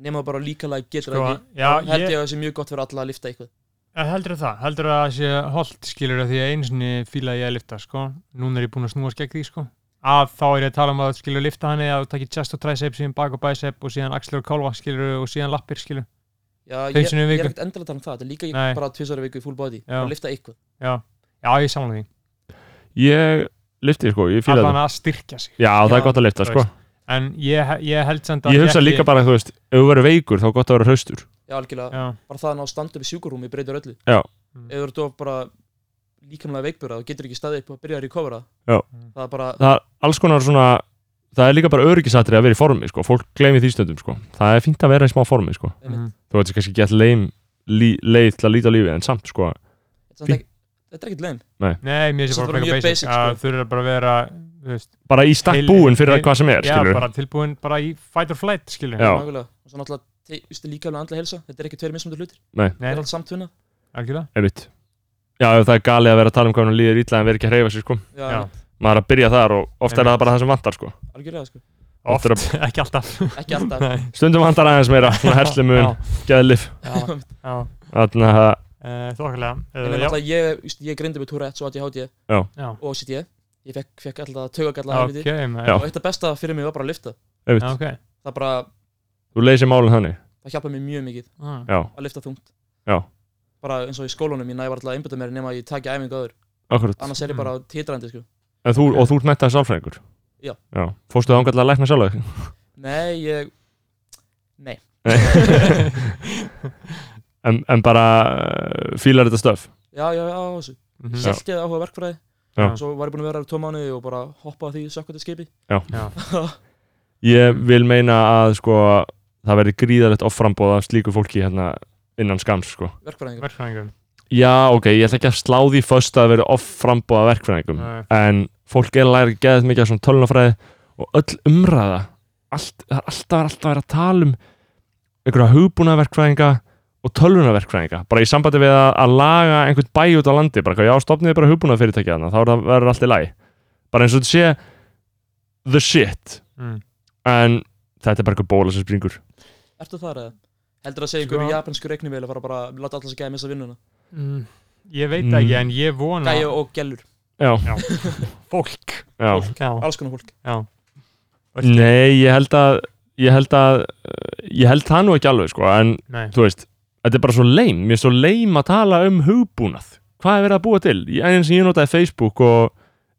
D: nema bara líka lag getur
C: sko,
D: það
C: já,
D: ekki held
C: ég,
D: ég að það sé mjög gott fyrir alla að lifta eitthvað
C: Ja, heldur það, heldur það að sé holt skilur að því að einu sinni fílaði ég að lifta sko, núna er ég búinn að snúa skegg því sko að þá er ég að tala um að skilur lifta hann eða að þú takir chest og tricep, síðan bak og bicep og síðan axlir og kálva skilur og síðan lappir skilur
D: já, ég,
C: Tvisvar í
D: ég
C: viku.
D: er ekkert endilega að tala um það þetta er líka
C: Nei.
D: ég, bara tvisar viku í full body bara að lifta eitthvað
C: já, ég samla því,
A: Ég lifti, sko, ég fíla
C: allan
A: þetta
C: að styrkja sig
A: Já, það
D: Já,
A: er gott að lifta,
C: þú
A: sko
C: en ég, ég held samt að
A: Ég hugsa líka bara, þú veist, ef þú verður veikur, þá er gott að vera hraustur
D: já, algjörlega
C: já,
D: bara það að ná standa upp í sjúkurúmi breytir öllu
A: Já.
C: Mm.
D: ef þú ert of bara líkamlega veikbjörða þú getur ekki staðið upp og byrjar að recovera
A: Já.
C: Mm.
D: það er bara
A: Það er alls konar svona Það er líka bara öryggisatri að vera í formi, sko Fólk gleymi því stundum, sko Það er fínt að vera í smá formi, sko
D: einmitt.
C: mhm.
A: Þú veist, kannski gett leim, lí, leið til að líta á lífið En samt, sko,
D: Þetta er samt ekki- þetta er ekkert leim
C: nei, mér sé bara
D: Samt bara
C: frekar
D: mjög
C: basic,
D: basic,
C: að
D: sko.
C: þú eru bara að vera þú veist,
A: bara í stakk
C: Heil-
A: búin fyrir
C: heil-
A: hvað sem er,
C: já,
A: skilur
C: bara tilbúin bara í fight or flight skilur
A: Já.
D: Nákvæmlega. og svo náttúrulega te- þú veist, líka alveg andlega helsa þetta er ekki tveir mismundu hlutir
C: nei,
D: þetta er allt samtvinna
C: algjörlega
A: Einmitt Já, ef það er galið að vera að tala um hvað hann líður ítla en vera ekki að hreyfa sér, sko
D: já,
C: Já.
D: einmitt.
A: Maður er að byrja þar og ofta er
C: Einmitt.
A: það bara það sem vantar, sko
D: algjörlega sko
A: Oft
C: oft,
A: er
C: ekki alltaf
D: ekki alltaf
C: Nei.
A: Stundum vantar aðeins meira, svona herslumun, eh, geðlif
C: já, já,
A: Þannig að
C: já, þokkalega
D: en náttúrulega ég, þú veist, ég grindi með Tourette og ADHD
C: já,
D: og OCD E. ég fekk, fekk alltaf taugagalla
C: ok,
D: helviti
C: maður.
A: Já.
D: og eitt af besta fyrir mig var bara að lifta
A: Einmitt.
C: Já, ok,
D: það bara
A: þú leysir málinn þannig
D: það hjálpa mér mjög mikið
C: Ah.
A: já,
D: að lifta þungt
A: já,
D: bara eins og í skólanum, ég næði alltaf að einbytta mér nema að ég taki æfingu aður,
A: akkurat
D: annars er ég bara titrandi sko.
A: En þú, og þú ert mentaði sálfræðingur?
D: Já.
A: Já, fórstu það ángætlega að lækna sjálf þig?
D: nei, ég,
A: En, en bara uh, fílar þetta stöf?
D: já, já, já, á þessu
C: Mhm.
A: Já.
D: selti eða áhuga á verkfræði
A: Já.
D: og svo var ég búin að vera í tvo mánuði og bara hoppa að því sökkvætti skipi
C: Já.
A: Ég vil meina að sko það verði gríðarlegt offrambóð af slíku fólki hérna innan skams sko
D: verkfræðingur
C: Verkfræðingum.
A: Já, ok, ég ætla ekki að slá því föst að vera offrambóð af verkfræðingum
C: Nei.
A: en fólk er að læra geðið mikið af svona tölunafræði og öll umræða allt, það er alltaf, alltaf að vera að tala um einhverja hugbúnaverkfræðinga og tölvunaverkfræðinga bara í sambandi við að, að laga einhvern bæ út á landi bara hvað, já, stopniði bara hugbúnafyrirtækja þarna þá er það verður allt í lagi bara eins og þetta sé the shit
C: Mm.
A: en þetta er bara einhver bóla sem springur
D: ertu þar eða? heldur að segja
C: Sko-
D: einhverju japanskur reiknivél að fara bara að láta alltaf að gæja missa vinnuna
C: Mm. Ég veit ekki,
A: Mm.
C: en ég vona
D: gæja og gellur,
A: já,
C: fólk.
A: já.
C: Já.
D: alls konar fólk
C: Já.
A: nei, ég held að ég held að ég held það nú ekki alveg sko en
C: Nei.
A: þú veist, þetta er bara svo leim mér er svo leim að tala um hugbúnað hvað er verið að búa til? Ég, eins og ég notaði Facebook og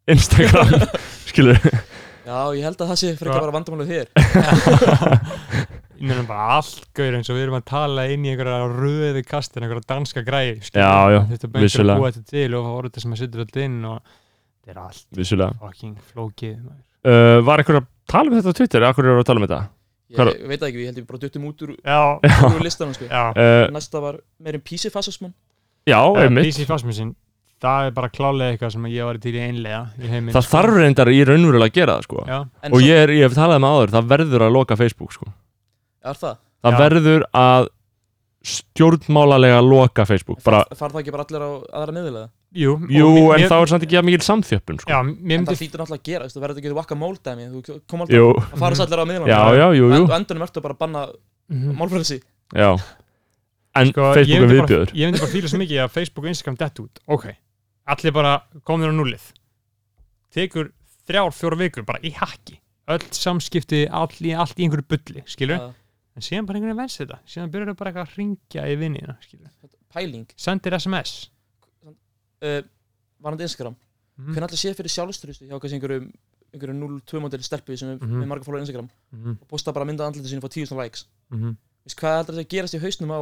A: Instagram skilur,
D: já, ég held að það sé frekar
C: Já.
D: bara vandamálið þér
C: Ég meina bara allt gauður eins og við erum að tala inn í einhverja röði kastin, einhverja danska græi
A: Já, já,
C: þetta er bara einhver
A: vissulega.
C: að búa þetta til og það voru þetta sem að setja þetta inn og þetta er allt
A: vissulega
C: fucking flókið maður.
A: uh, var einhver að tala um þetta á Twitter? Akkur er að tala um þetta?
D: ég
A: Hvað
D: veit það ekki, ég held ég bara duttum út úr,
C: Já,
D: úr listanum sko.
C: já
A: Uh,
D: næsta var um meirinn písifasismann
A: já, einmitt
C: PC Fasmusin, það er bara klálega eitthvað sem ég var til í einlega í heiminn
A: það þarf reyndar í raunverulega að gera það sko.
C: sko. Já,
D: en
A: og
D: samt-
A: ég, er, ég hef talað með áður, það verður að loka Facebook sko.
D: er það,
A: það
C: Já.
A: verður að stjórnmálalega loka Facebook bara,
D: far það ekki bara allir á aðra miðlega
C: jú, og
A: jú,
C: mér-
A: en
C: mér-
A: þá er samt ekki að mikil samþjöppun sko.
C: Já, mér
D: en það
C: myndi
D: hlýtur náttúrulega að gera, þú veist, það verður ekki vakka móldæmi þú kom alltaf,
A: jú,
D: það fara allir á miðlega
A: já, já, jú, jú
D: og endunum ertu bara að banna
C: Mhm.
D: málfrelsi
A: já. en
C: sko, ég
A: Facebook er
C: myndi bara-
A: viðbjöður
C: Ég myndi bara fíla svo mikið að Facebook og Instagram dett út Ok, allir bara komnir á núlið Tekur þrjár, fjóra vikur bara í haki Öll samskipti, all í, allt í einhverju bulli, skilur
D: Já.
C: En síðan bara einhvern veginn venst þetta Síðan byrjar þau bara eitthvað að ringja í vinnina, skilur
D: pæling
C: Sendir SMS
D: uh, varandi Instagram
C: Mhm.
D: hvernig allir sé fyrir sjálfstrustu hjá kannski einhverjum einhverjum 0-2 modeli stelpu sem er
C: Mhm.
D: með marga fólk á Instagram
C: mm
D: og posta bara mynda andlitið sín og fá 10.000 likes
C: -hmm.
D: Vist, hvað heldur þetta að gerast í hausnum á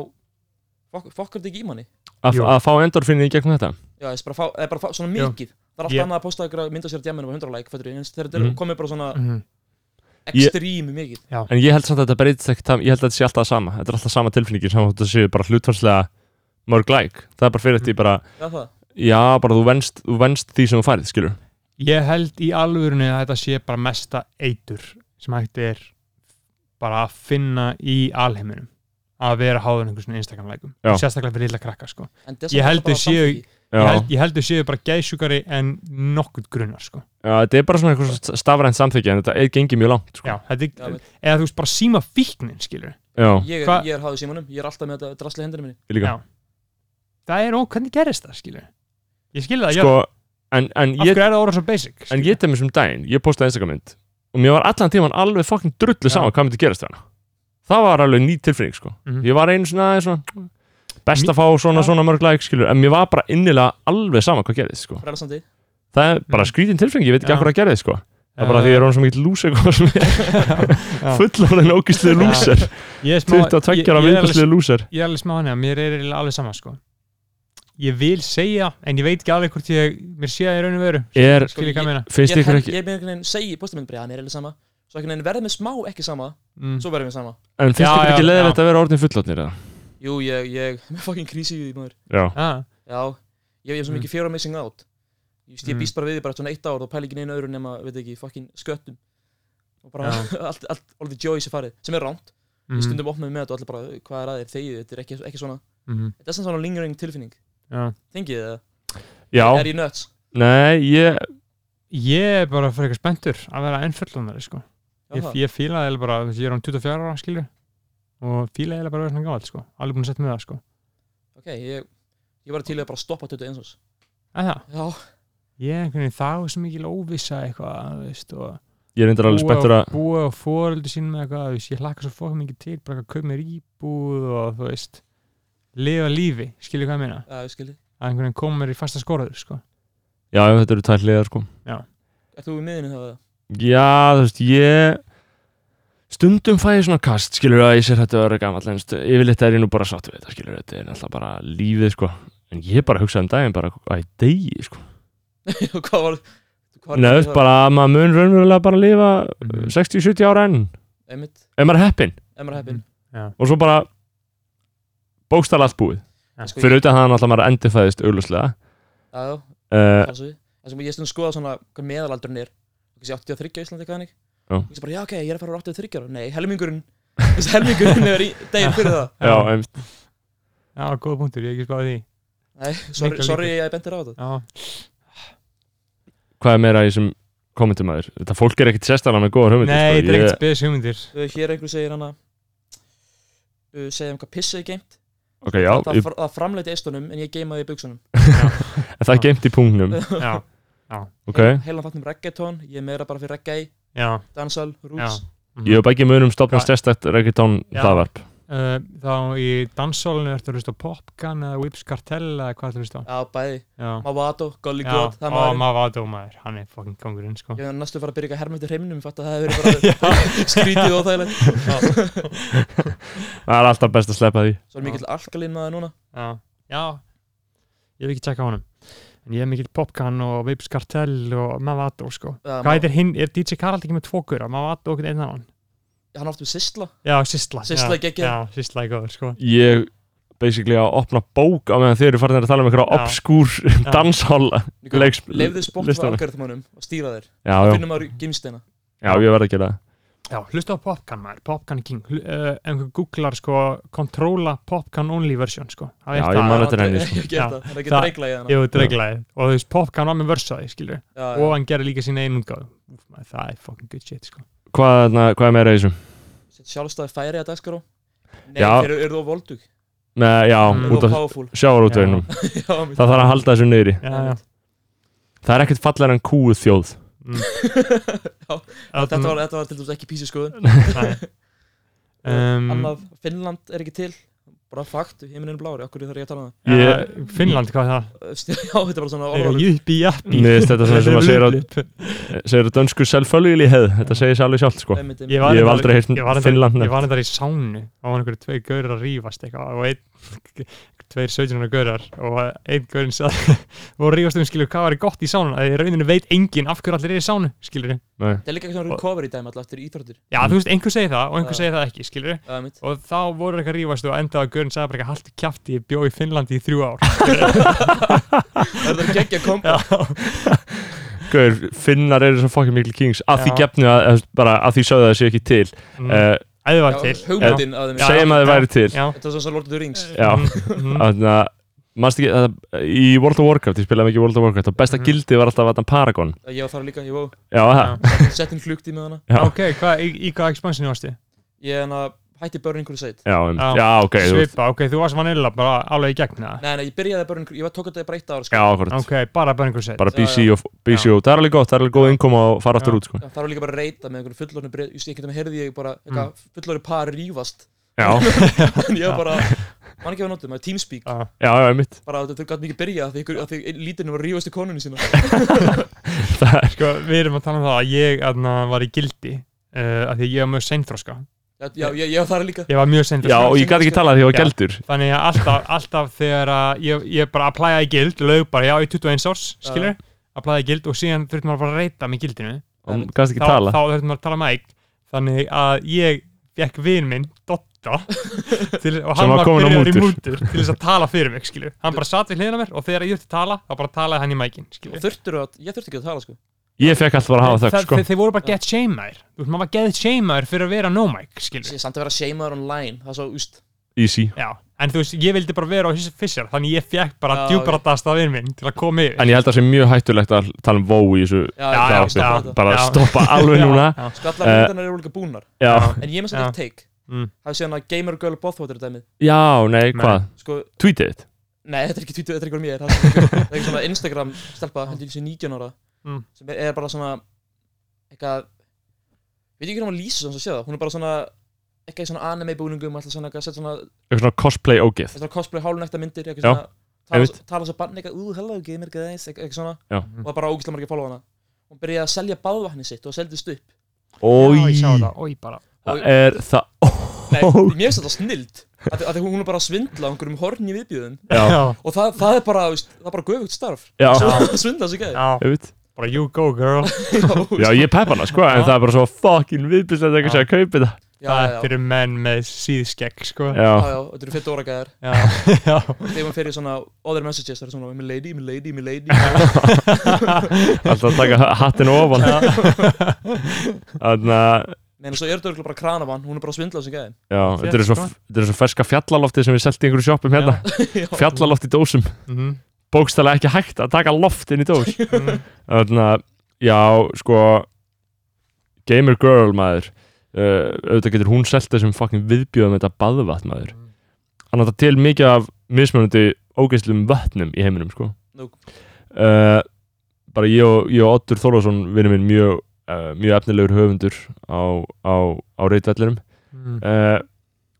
D: fokk- fokkar þetta ekki í manni
A: að,
C: Jú.
A: að fá endorfinni í gegnum þetta
D: já, þess bara, fá, eða bara fá, svona
C: Já.
D: mikið það er alltaf
C: Ég-
D: annað að posta einhverja mynda sér að djaminu á 100 like fættur, en þegar þetta
A: Mhm.
D: mm. komið bara svona
C: -hmm.
A: Ég-
D: ekstrími mikið
A: en ég held samt að þetta breytist ekkert það- ég held að þetta sé alltaf sama, þetta er alltaf sama tilfinningi saman þetta séu bara hlutvarslega mörg læk það er bara fyrir þetta
C: Mm.
A: í bara,
D: já, það,
A: já bara þú venst, þú venst því sem þú færið, skilur
C: Ég held í alvörunni að þetta sé bara mesta eitur sem hægt er bara að finna í alheiminum að vera háður einhvern svona Instagram-lækum
A: Já.
C: sérstaklega fyrir lilla krakka sko
D: en þess
C: Ég held þau séu-
A: já,
C: ég held, ég held þau séu bara gæðsjúkari en nokkuð grunnar sko.
A: já, þetta er bara svona eitthvað stafrænt samþykja en þetta er, gengið mjög langt, sko
C: já, þetta
D: Já,
C: er,
D: veit.
C: eða þú veist bara síma fíknin skilur
A: já,
D: ég,
C: Hva-
D: er- ég er háðið símanum, ég er alltaf með þetta drasli hendurinn minni
A: ég líka,
C: Já. það er ó, hvernig gerist það skilur ég skilur það,
A: sko en, en
C: já, af
A: ég,
C: hverju er það orðið svo basic
A: en ég tegum þessum daginn, ég postaði Instagram mynd og mér var allan tíman alveg fucking drullu
C: Já.
A: saman hvað myndi gerast við hana það var alveg ný tilfinning, sko
C: Mhm.
A: ég var einu svona, aðeins svona best
C: Mér-
A: að fá svona,
C: Já.
A: svona mörg læk, skilur en mér var bara innilega alveg sama hvað gerðist, sko
D: frelsandi,
A: það er bara
C: Mm.
A: skrítin tilfengi, ég veit ekki
C: Já.
A: akkur að gera þið sko það er bara því að ég er hún svo mikið lúser sko, sem er fullorðin ógistið
C: Já.
A: lúser
C: ég er smá-
A: 22 ára
C: ég- ég er alveg-
A: viðkastið lúser
C: ég er alveg smá hann að mér er eiginlega alveg sama sko ég vil segja, en ég veit ekki alveg hvort ég mér sé það í raun og veru
A: er,
D: Sko,
C: skilur ég hvað ég meina
A: finnst
D: ég,
A: ykkur
D: held-
A: ekki
D: ég er með einhvern veginn segi postaminn bara, hann er eða sama svo einhvern veginn verðum við smá ekki sama
C: Mm.
D: svo verðum við sama
A: en finnst
C: Já,
A: ykkur ekki
C: já,
A: leðilegt að vera orðin fullorðnir eða?
D: jú, ég, ég, með fucking krísi í því maður
A: já,
C: Ah,
D: Já, ég ég hef svo mikið fear of missing out Just, Ég
C: Mm.
D: býst bara við því bara eftir svona eitt ár og pæli ekki neina öðru nema, veit ekki, fucking sköttum og bara allt, allt, all the joy sem farið sem er rámt,
C: mhm,
D: ég stundum opnaði með þetta og allir bara, hvað er að þér þegið, þetta er ekki, ekki svona
C: mhm,
D: þetta er sem svona lingering tilfinning,
C: já.
D: þengið þið það
A: já,
D: er ég nuts,
A: nei, ég
C: ég er bara fyrir eitthvað spenntur að vera ennföllunari sko
D: já
C: ég,
D: það,
C: ég fílaði eiginlega bara, þú veist, ég er án 24 ára skilju og fílaði eiginlega bara að vera svona gáðal sko, alveg búin að setja með það sko
D: ok ég, ég var til í að bara stoppa þetta eins og
C: að það,
D: já,
C: ég er einhvern veginn þá sem ekki óvissa eitthvað, þú veist og
A: ég er endur alveg spettur að
C: búa og fóröldi sín með eitthvað þú veist, ég hlakka svo fokk mikið til bara að kaupa mér íbúð og þú veist lifa lífi, skilju hvað ég meina
D: Já, ég skilji
C: að einhvern veginn koma mér í fasta skoraður sko.
A: já, já, þetta eru tætliðar sko
D: Er þú í miðinu þá? eða?
A: já, þú veist, ég stundum fæ ég svona kast skilur að ég sér þetta öðru gamall en stu- yfirleitt er ég nú bara sátt við þetta skilur þetta er alltaf bara lífið sko en ég bara hugsaði um daginn bara að ég degi sko
D: Hvað var hvað var-
A: Nei, þú veist, bara að maður mun raunverulega bara lifa uh,
C: Mhm.
A: Mm. 60-70 ára enn
D: Einmitt,
A: ef maður er heppin
D: ef maður er heppinn.
A: Mm. og svo bara bókstala allt búið
D: Sko,
A: fyrir auðvitað þannig að maður endurfæðist auglustlega
D: Já, já,
A: uh,
D: sjálfsögðu. Það sem ég stundum skoða svona hvað meðalaldurinn er Kansi 83 á Íslandi eitthvað hannig
A: Já.
D: Ég sé bara, já ok, ég er að fara úr 83 ára Nei, helmingurinn Þessi helmingurinn er í degir fyrir það
A: já, um,
C: já, góð punktur, ég hef ekki spáði því
D: Nei,
C: Miklu
D: sorry, sorry að ég bentir á þetta
C: já,
A: hvað er meira í sem kommentum að þér þetta fólk er ekkit sérstæðan með góðar hugmyndir
C: nei, þetta
A: sko.
C: er
A: Ég-
C: ekkert spes hugmyndir
D: Uh, Hér einhver segir hana uh, Segja um hvað pissið er geimt
A: ok, já,
D: Það,
A: ég,
D: fr- það framleiti eistunum en ég geimaði í buksunum
A: en það er geimt í punktnum
C: já,
A: ok,
D: Heilan þáttum reggaeton, ég er meira bara fyrir reggae
C: já, Mhm.
D: Dansal,
C: já
D: roots
A: ég hef ekki munum stopna
C: Já.
A: sérstætt reggaetón
C: Já.
A: hlaðvarp
C: Uh, þá í danssólinu ertu að hlusta á Popgun eða Whips Cartel eða hvað ertu að hlusta á?
D: Já, bæði
C: Já,
D: Mavato,
C: já,
D: Golly God, það
C: og
D: maður
C: Mavado maður, hann er fucking kongurinn sko
D: Ég var næstu að fara að byrja eitthvað hermöndu hreiminum Ég fatt að það hefur verið bara skrítið og óþægilegt
A: það er alltaf best að sleppa því
D: Svo er mikill alkalinn maður núna
C: Já, já, ég hef ekki tjekka honum En ég hef mikill Popgun og Whips Cartel og Mavado sko
D: Já,
C: Hvað heitir hinn, er DJ Karald ekki með tvo guður? Mavado og einn annan?
D: Hann átti við Sisla
C: Já, Sýsla
D: Sysla er
C: já,
D: geggjað.
C: Já, Sýsla er góður sko
A: ég basically að opna bók á meðan þeir eru farin að tala um
C: Já.
A: einhverja obskúr danshál Leiks-
D: Leifðu spótt á
A: listanum.
D: algoritmanum og stýra þér
A: já,
D: Það
A: já,
D: finnum maður gimsteina
A: já, ég verð að gera það
C: Já, hlusta á Popgun maður, Popgun King Hlu- uh, Ef einhver googlar sko, Controla Popgun Only version sko Það er
A: Já,
C: það-
A: ég man
D: Það
A: þetta er
D: er
A: henni,
D: ekki
C: sko. Já.
D: gert það, það er ekki
C: Það-
D: dreigla í hana
C: Jú, dreglaði og þú veist, Popcorn var með versaði, skilur
D: Já,
C: og
D: já.
C: hann gerði líka sína einungáð það er fucking good shit, sko
A: hvað, na, hvað er meira í þessum?
D: Sett Sjálfstæði færi að dagskrá Nei,
A: Já.
D: þeir eru þú voldug
A: Nei, já,
C: Mm.
D: Þeir
A: út
D: eru
A: af
D: powerful
A: sjávarútveginum
D: Já,
A: það
D: mitt.
A: þarf að halda þessu niðri
C: já, já.
A: það er ekkert fallar en kúu þjóð
C: Mm.
D: Þetta var, þetta var til dæmis ekki písi skoðun
C: um,
D: Annað, Finnland er ekki til Bara fakt, heiminin blári, okkur þarf ég að tala um
C: ég, Eh, Finnland, hvað er það?
D: það Já, þetta er bara svona
C: Eru
D: orðalag.
C: jippi jappi
A: Mér finnst þetta svona sem að segja að-
C: Þetta er blip.
A: segir að dönsku selvfölgili heð þetta segir sér alveg sjálft sko
D: Einmitt, einmitt.
C: Ég
A: Ég hef
C: reyndar-
A: aldrei heyrt
C: ég var reyndar-
A: Finnland
C: Ég
A: nefnt.
C: var þetta í sánu og hann einhverju tvei gaurar að rífast eitthvað og einn, tveir 17 ára gaurar og einn gaurinn sagði og rífast um skilur hvað var gott í sánuna að í rauninu veit enginn af hverju allir er í sánu skilur
A: Nei.
D: Það er líka svona recovery dæmi alltaf eftir íþróttir
C: já
A: Mm.
C: þú veist einhver segir það og einhver
D: Já.
C: segir það ekki skilur
D: Já, mitt
C: og þá voru eitthvað að rífast og endaði að Guðurinn sagði bara eitthvað haltu kjafti, ég bjó í Finnlandi í þrjú ár
D: Það er geggja kompa
A: Gaur, finnar eru svo fucking mikil kings að því
C: Já.
A: gefnu að, að- bara að því sögðu að það sé ekki til
C: Mm.
A: uh,
C: Æði var til
D: Já, Hugmyndin af þeim
C: Já.
A: segjum að þið
C: já.
A: væri til
C: Já,
D: Þetta er svona Lord of the Rings
A: Já.
C: Mhm.
A: þannig að Manstu ekki, það, í World of Warcraft, ég spilaði mikið World of Warcraft og besta
C: Mhm.
A: gildi var alltaf að Paragon
D: Ég var þar líka, ég var
A: Já, það,
D: sett inn flugti með hana
A: já,
C: Ok, hvað, í, í hvað expansionu varstu?
D: Ég hana, hætti Burning Crusade
A: já, um,
C: Já.
A: já, ok þú veist.
C: Svipa, ok, þú varst vanilla bara alveg í gegn það
D: Nei, nei, ég byrjaði að Burning Crusade, ég var tók að þetta bara eitt ára sko.
A: Já, akkurat,
C: Ok, bara bara einhver set
A: bara
D: Já,
A: BC
D: já.
A: og, BC og það er alveg gott, það er alveg góð innkoma og fara aftur
C: Já.
A: út sko.
D: Já, Það var líka bara að reyta með einhverjum fullorðinu breyð Ég getum að heyrði ég bara, eitthvað fullorðinu par rífast
A: Já,
D: En ég var bara, mann ekki að notum, maður teamspeak
C: Já,
A: já, já, mitt
D: Bara að þau gæti mikið byrja að þau, að þau lítinu var að rífast í konunni sína
A: Það er,
C: sko, við erum að tala um það að ég aðna, var í gildi uh, af því að ég var mjög seinþroska
D: Já, já, ég var þar líka
C: Ég var mjög
A: já,
C: seinþroska
A: og ég gæti ekki talað því að ég var geldur
C: Þannig að alltaf, alltaf þegar að ég, ég bara applæjaði í gild, lög bara já í 21 árs, skilur, applæjaði í gild og síðan þurftum maður bara að reyta með gildinu
A: og gæti ekki
C: þá,
A: tala
C: þá þurftum maður að tala mæk þannig að ég fekk vinn minn Dotta til, og
A: Sem
C: hann
A: var
C: var
A: kominn á
C: byrjaður í
A: mútur.
C: mútur til þess að tala fyrir mig skilur. hann bara satt við hliðina á mér og þegar ég þurfti að tala þá bara talaði hann í mækin
D: Og þurftur að, ég þurfti ekki að tala sko
A: Ég fekk alltaf bara að hafa þögn sko.
C: þeir, þeir voru bara get shameaður Þú veist, maður var get shameaður fyrir að vera no mic skilur.
D: Samt að vera seimaður online, það er svo, úst
A: Easy
C: Já, en þú veist, ég vildi bara vera á fissjar þannig ég fekk bara
D: Já,
C: djúpar að dasta vinn minn til að koma yfir
A: En ég held að það sé mjög hættulegt að tala um vó í þessu
C: Já,
D: Já, já,
A: já,
D: já, já.
A: Bara
C: Já.
A: stoppa alveg núna
C: já,
D: Skallar
A: Eh.
D: myndanar sko, eru líka búnar
A: Já,
D: En ég með
C: Já.
D: samt eitt take
C: Mm.
D: Það er síðan að Gamer Girl Bothwater dæmið
A: já, nei, hvað?
D: Sko,
A: Tweetið þitt
D: nei, þetta er ekki Twitter, þetta er ekki verið mér Það er svona- það er ekki svona Instagram stelpa, heldur ég sé 19 ára
C: Mm.
D: Sem er, er bara svona Eitthvað veit ekki hvernig maður lýsa þess að sé það hún er bara svona ekki í svona anime búningum alltaf svona, eitthvað að setja svona,
A: eitthvað svona cosplay ógeð
D: eitthvað svona cosplay hálunækta myndir
A: Já,
D: eitthvað svona, tala,
A: einmitt.
D: tala svo bann eitthvað, ú, hello, give me guys eitthvað eitthvað svona,
A: Já.
D: og það er bara ógislega margir follow hana hún byrjaði að selja baðvatni sitt og seldi stupp
A: Ói,
C: Já, ég sá þetta, oi bara
A: það er það
D: Nei,
A: Ó.
D: mér finnst þetta snild að, að hún er bara að svindla á einhverjum horni viðbjöðum
A: Já,
D: og það, það er bara, veist, það er bara göfugt starf
A: já,
D: að svindla sig gæði
C: Já,
A: ég veit
C: bara you go girl
A: Já, ég pep hana, sko, en
C: Já.
A: það er bara svo fucking viðbyrst að eitthvað sé að kaupi það
C: Það
D: já,
C: er
D: já,
C: fyrir menn með síðskegg sko
A: Já,
D: já, já, þetta eru fyrir dóra gæðar
C: Já, já.
D: þegar maður fer í svona other messages það er svona, "Oh, my lady, my lady, my lady
A: alltaf að taka hattin ofan Þannig að,
D: Nei, en svo er þetta örugglega bara kranavann, hún er bara að svindla sig gæði
A: já, þetta er svo
C: sko.
A: þetta er svo ferska fjallalofti sem við selti í einhverju sjoppum hérna Fjallalofti í dósum,
C: Mhm,
A: bókstælega ekki hægt að taka loft inn í dós
C: mhm.
A: Þannig að, já, sko Gamer girl, maður uh, auðvitað getur hún selt þessum fucking viðbjöðum þetta baðvatn, maður Hann átta til mikið af mismunandi ógeislum vötnum í heiminum, sko
D: Nú.
A: uh, Bara ég og, ég og Oddur Þórðarsson vinur minn mjög, uh, mjög efnilegur höfundur á, á, á reitvellinum
C: Mhm.
A: uh,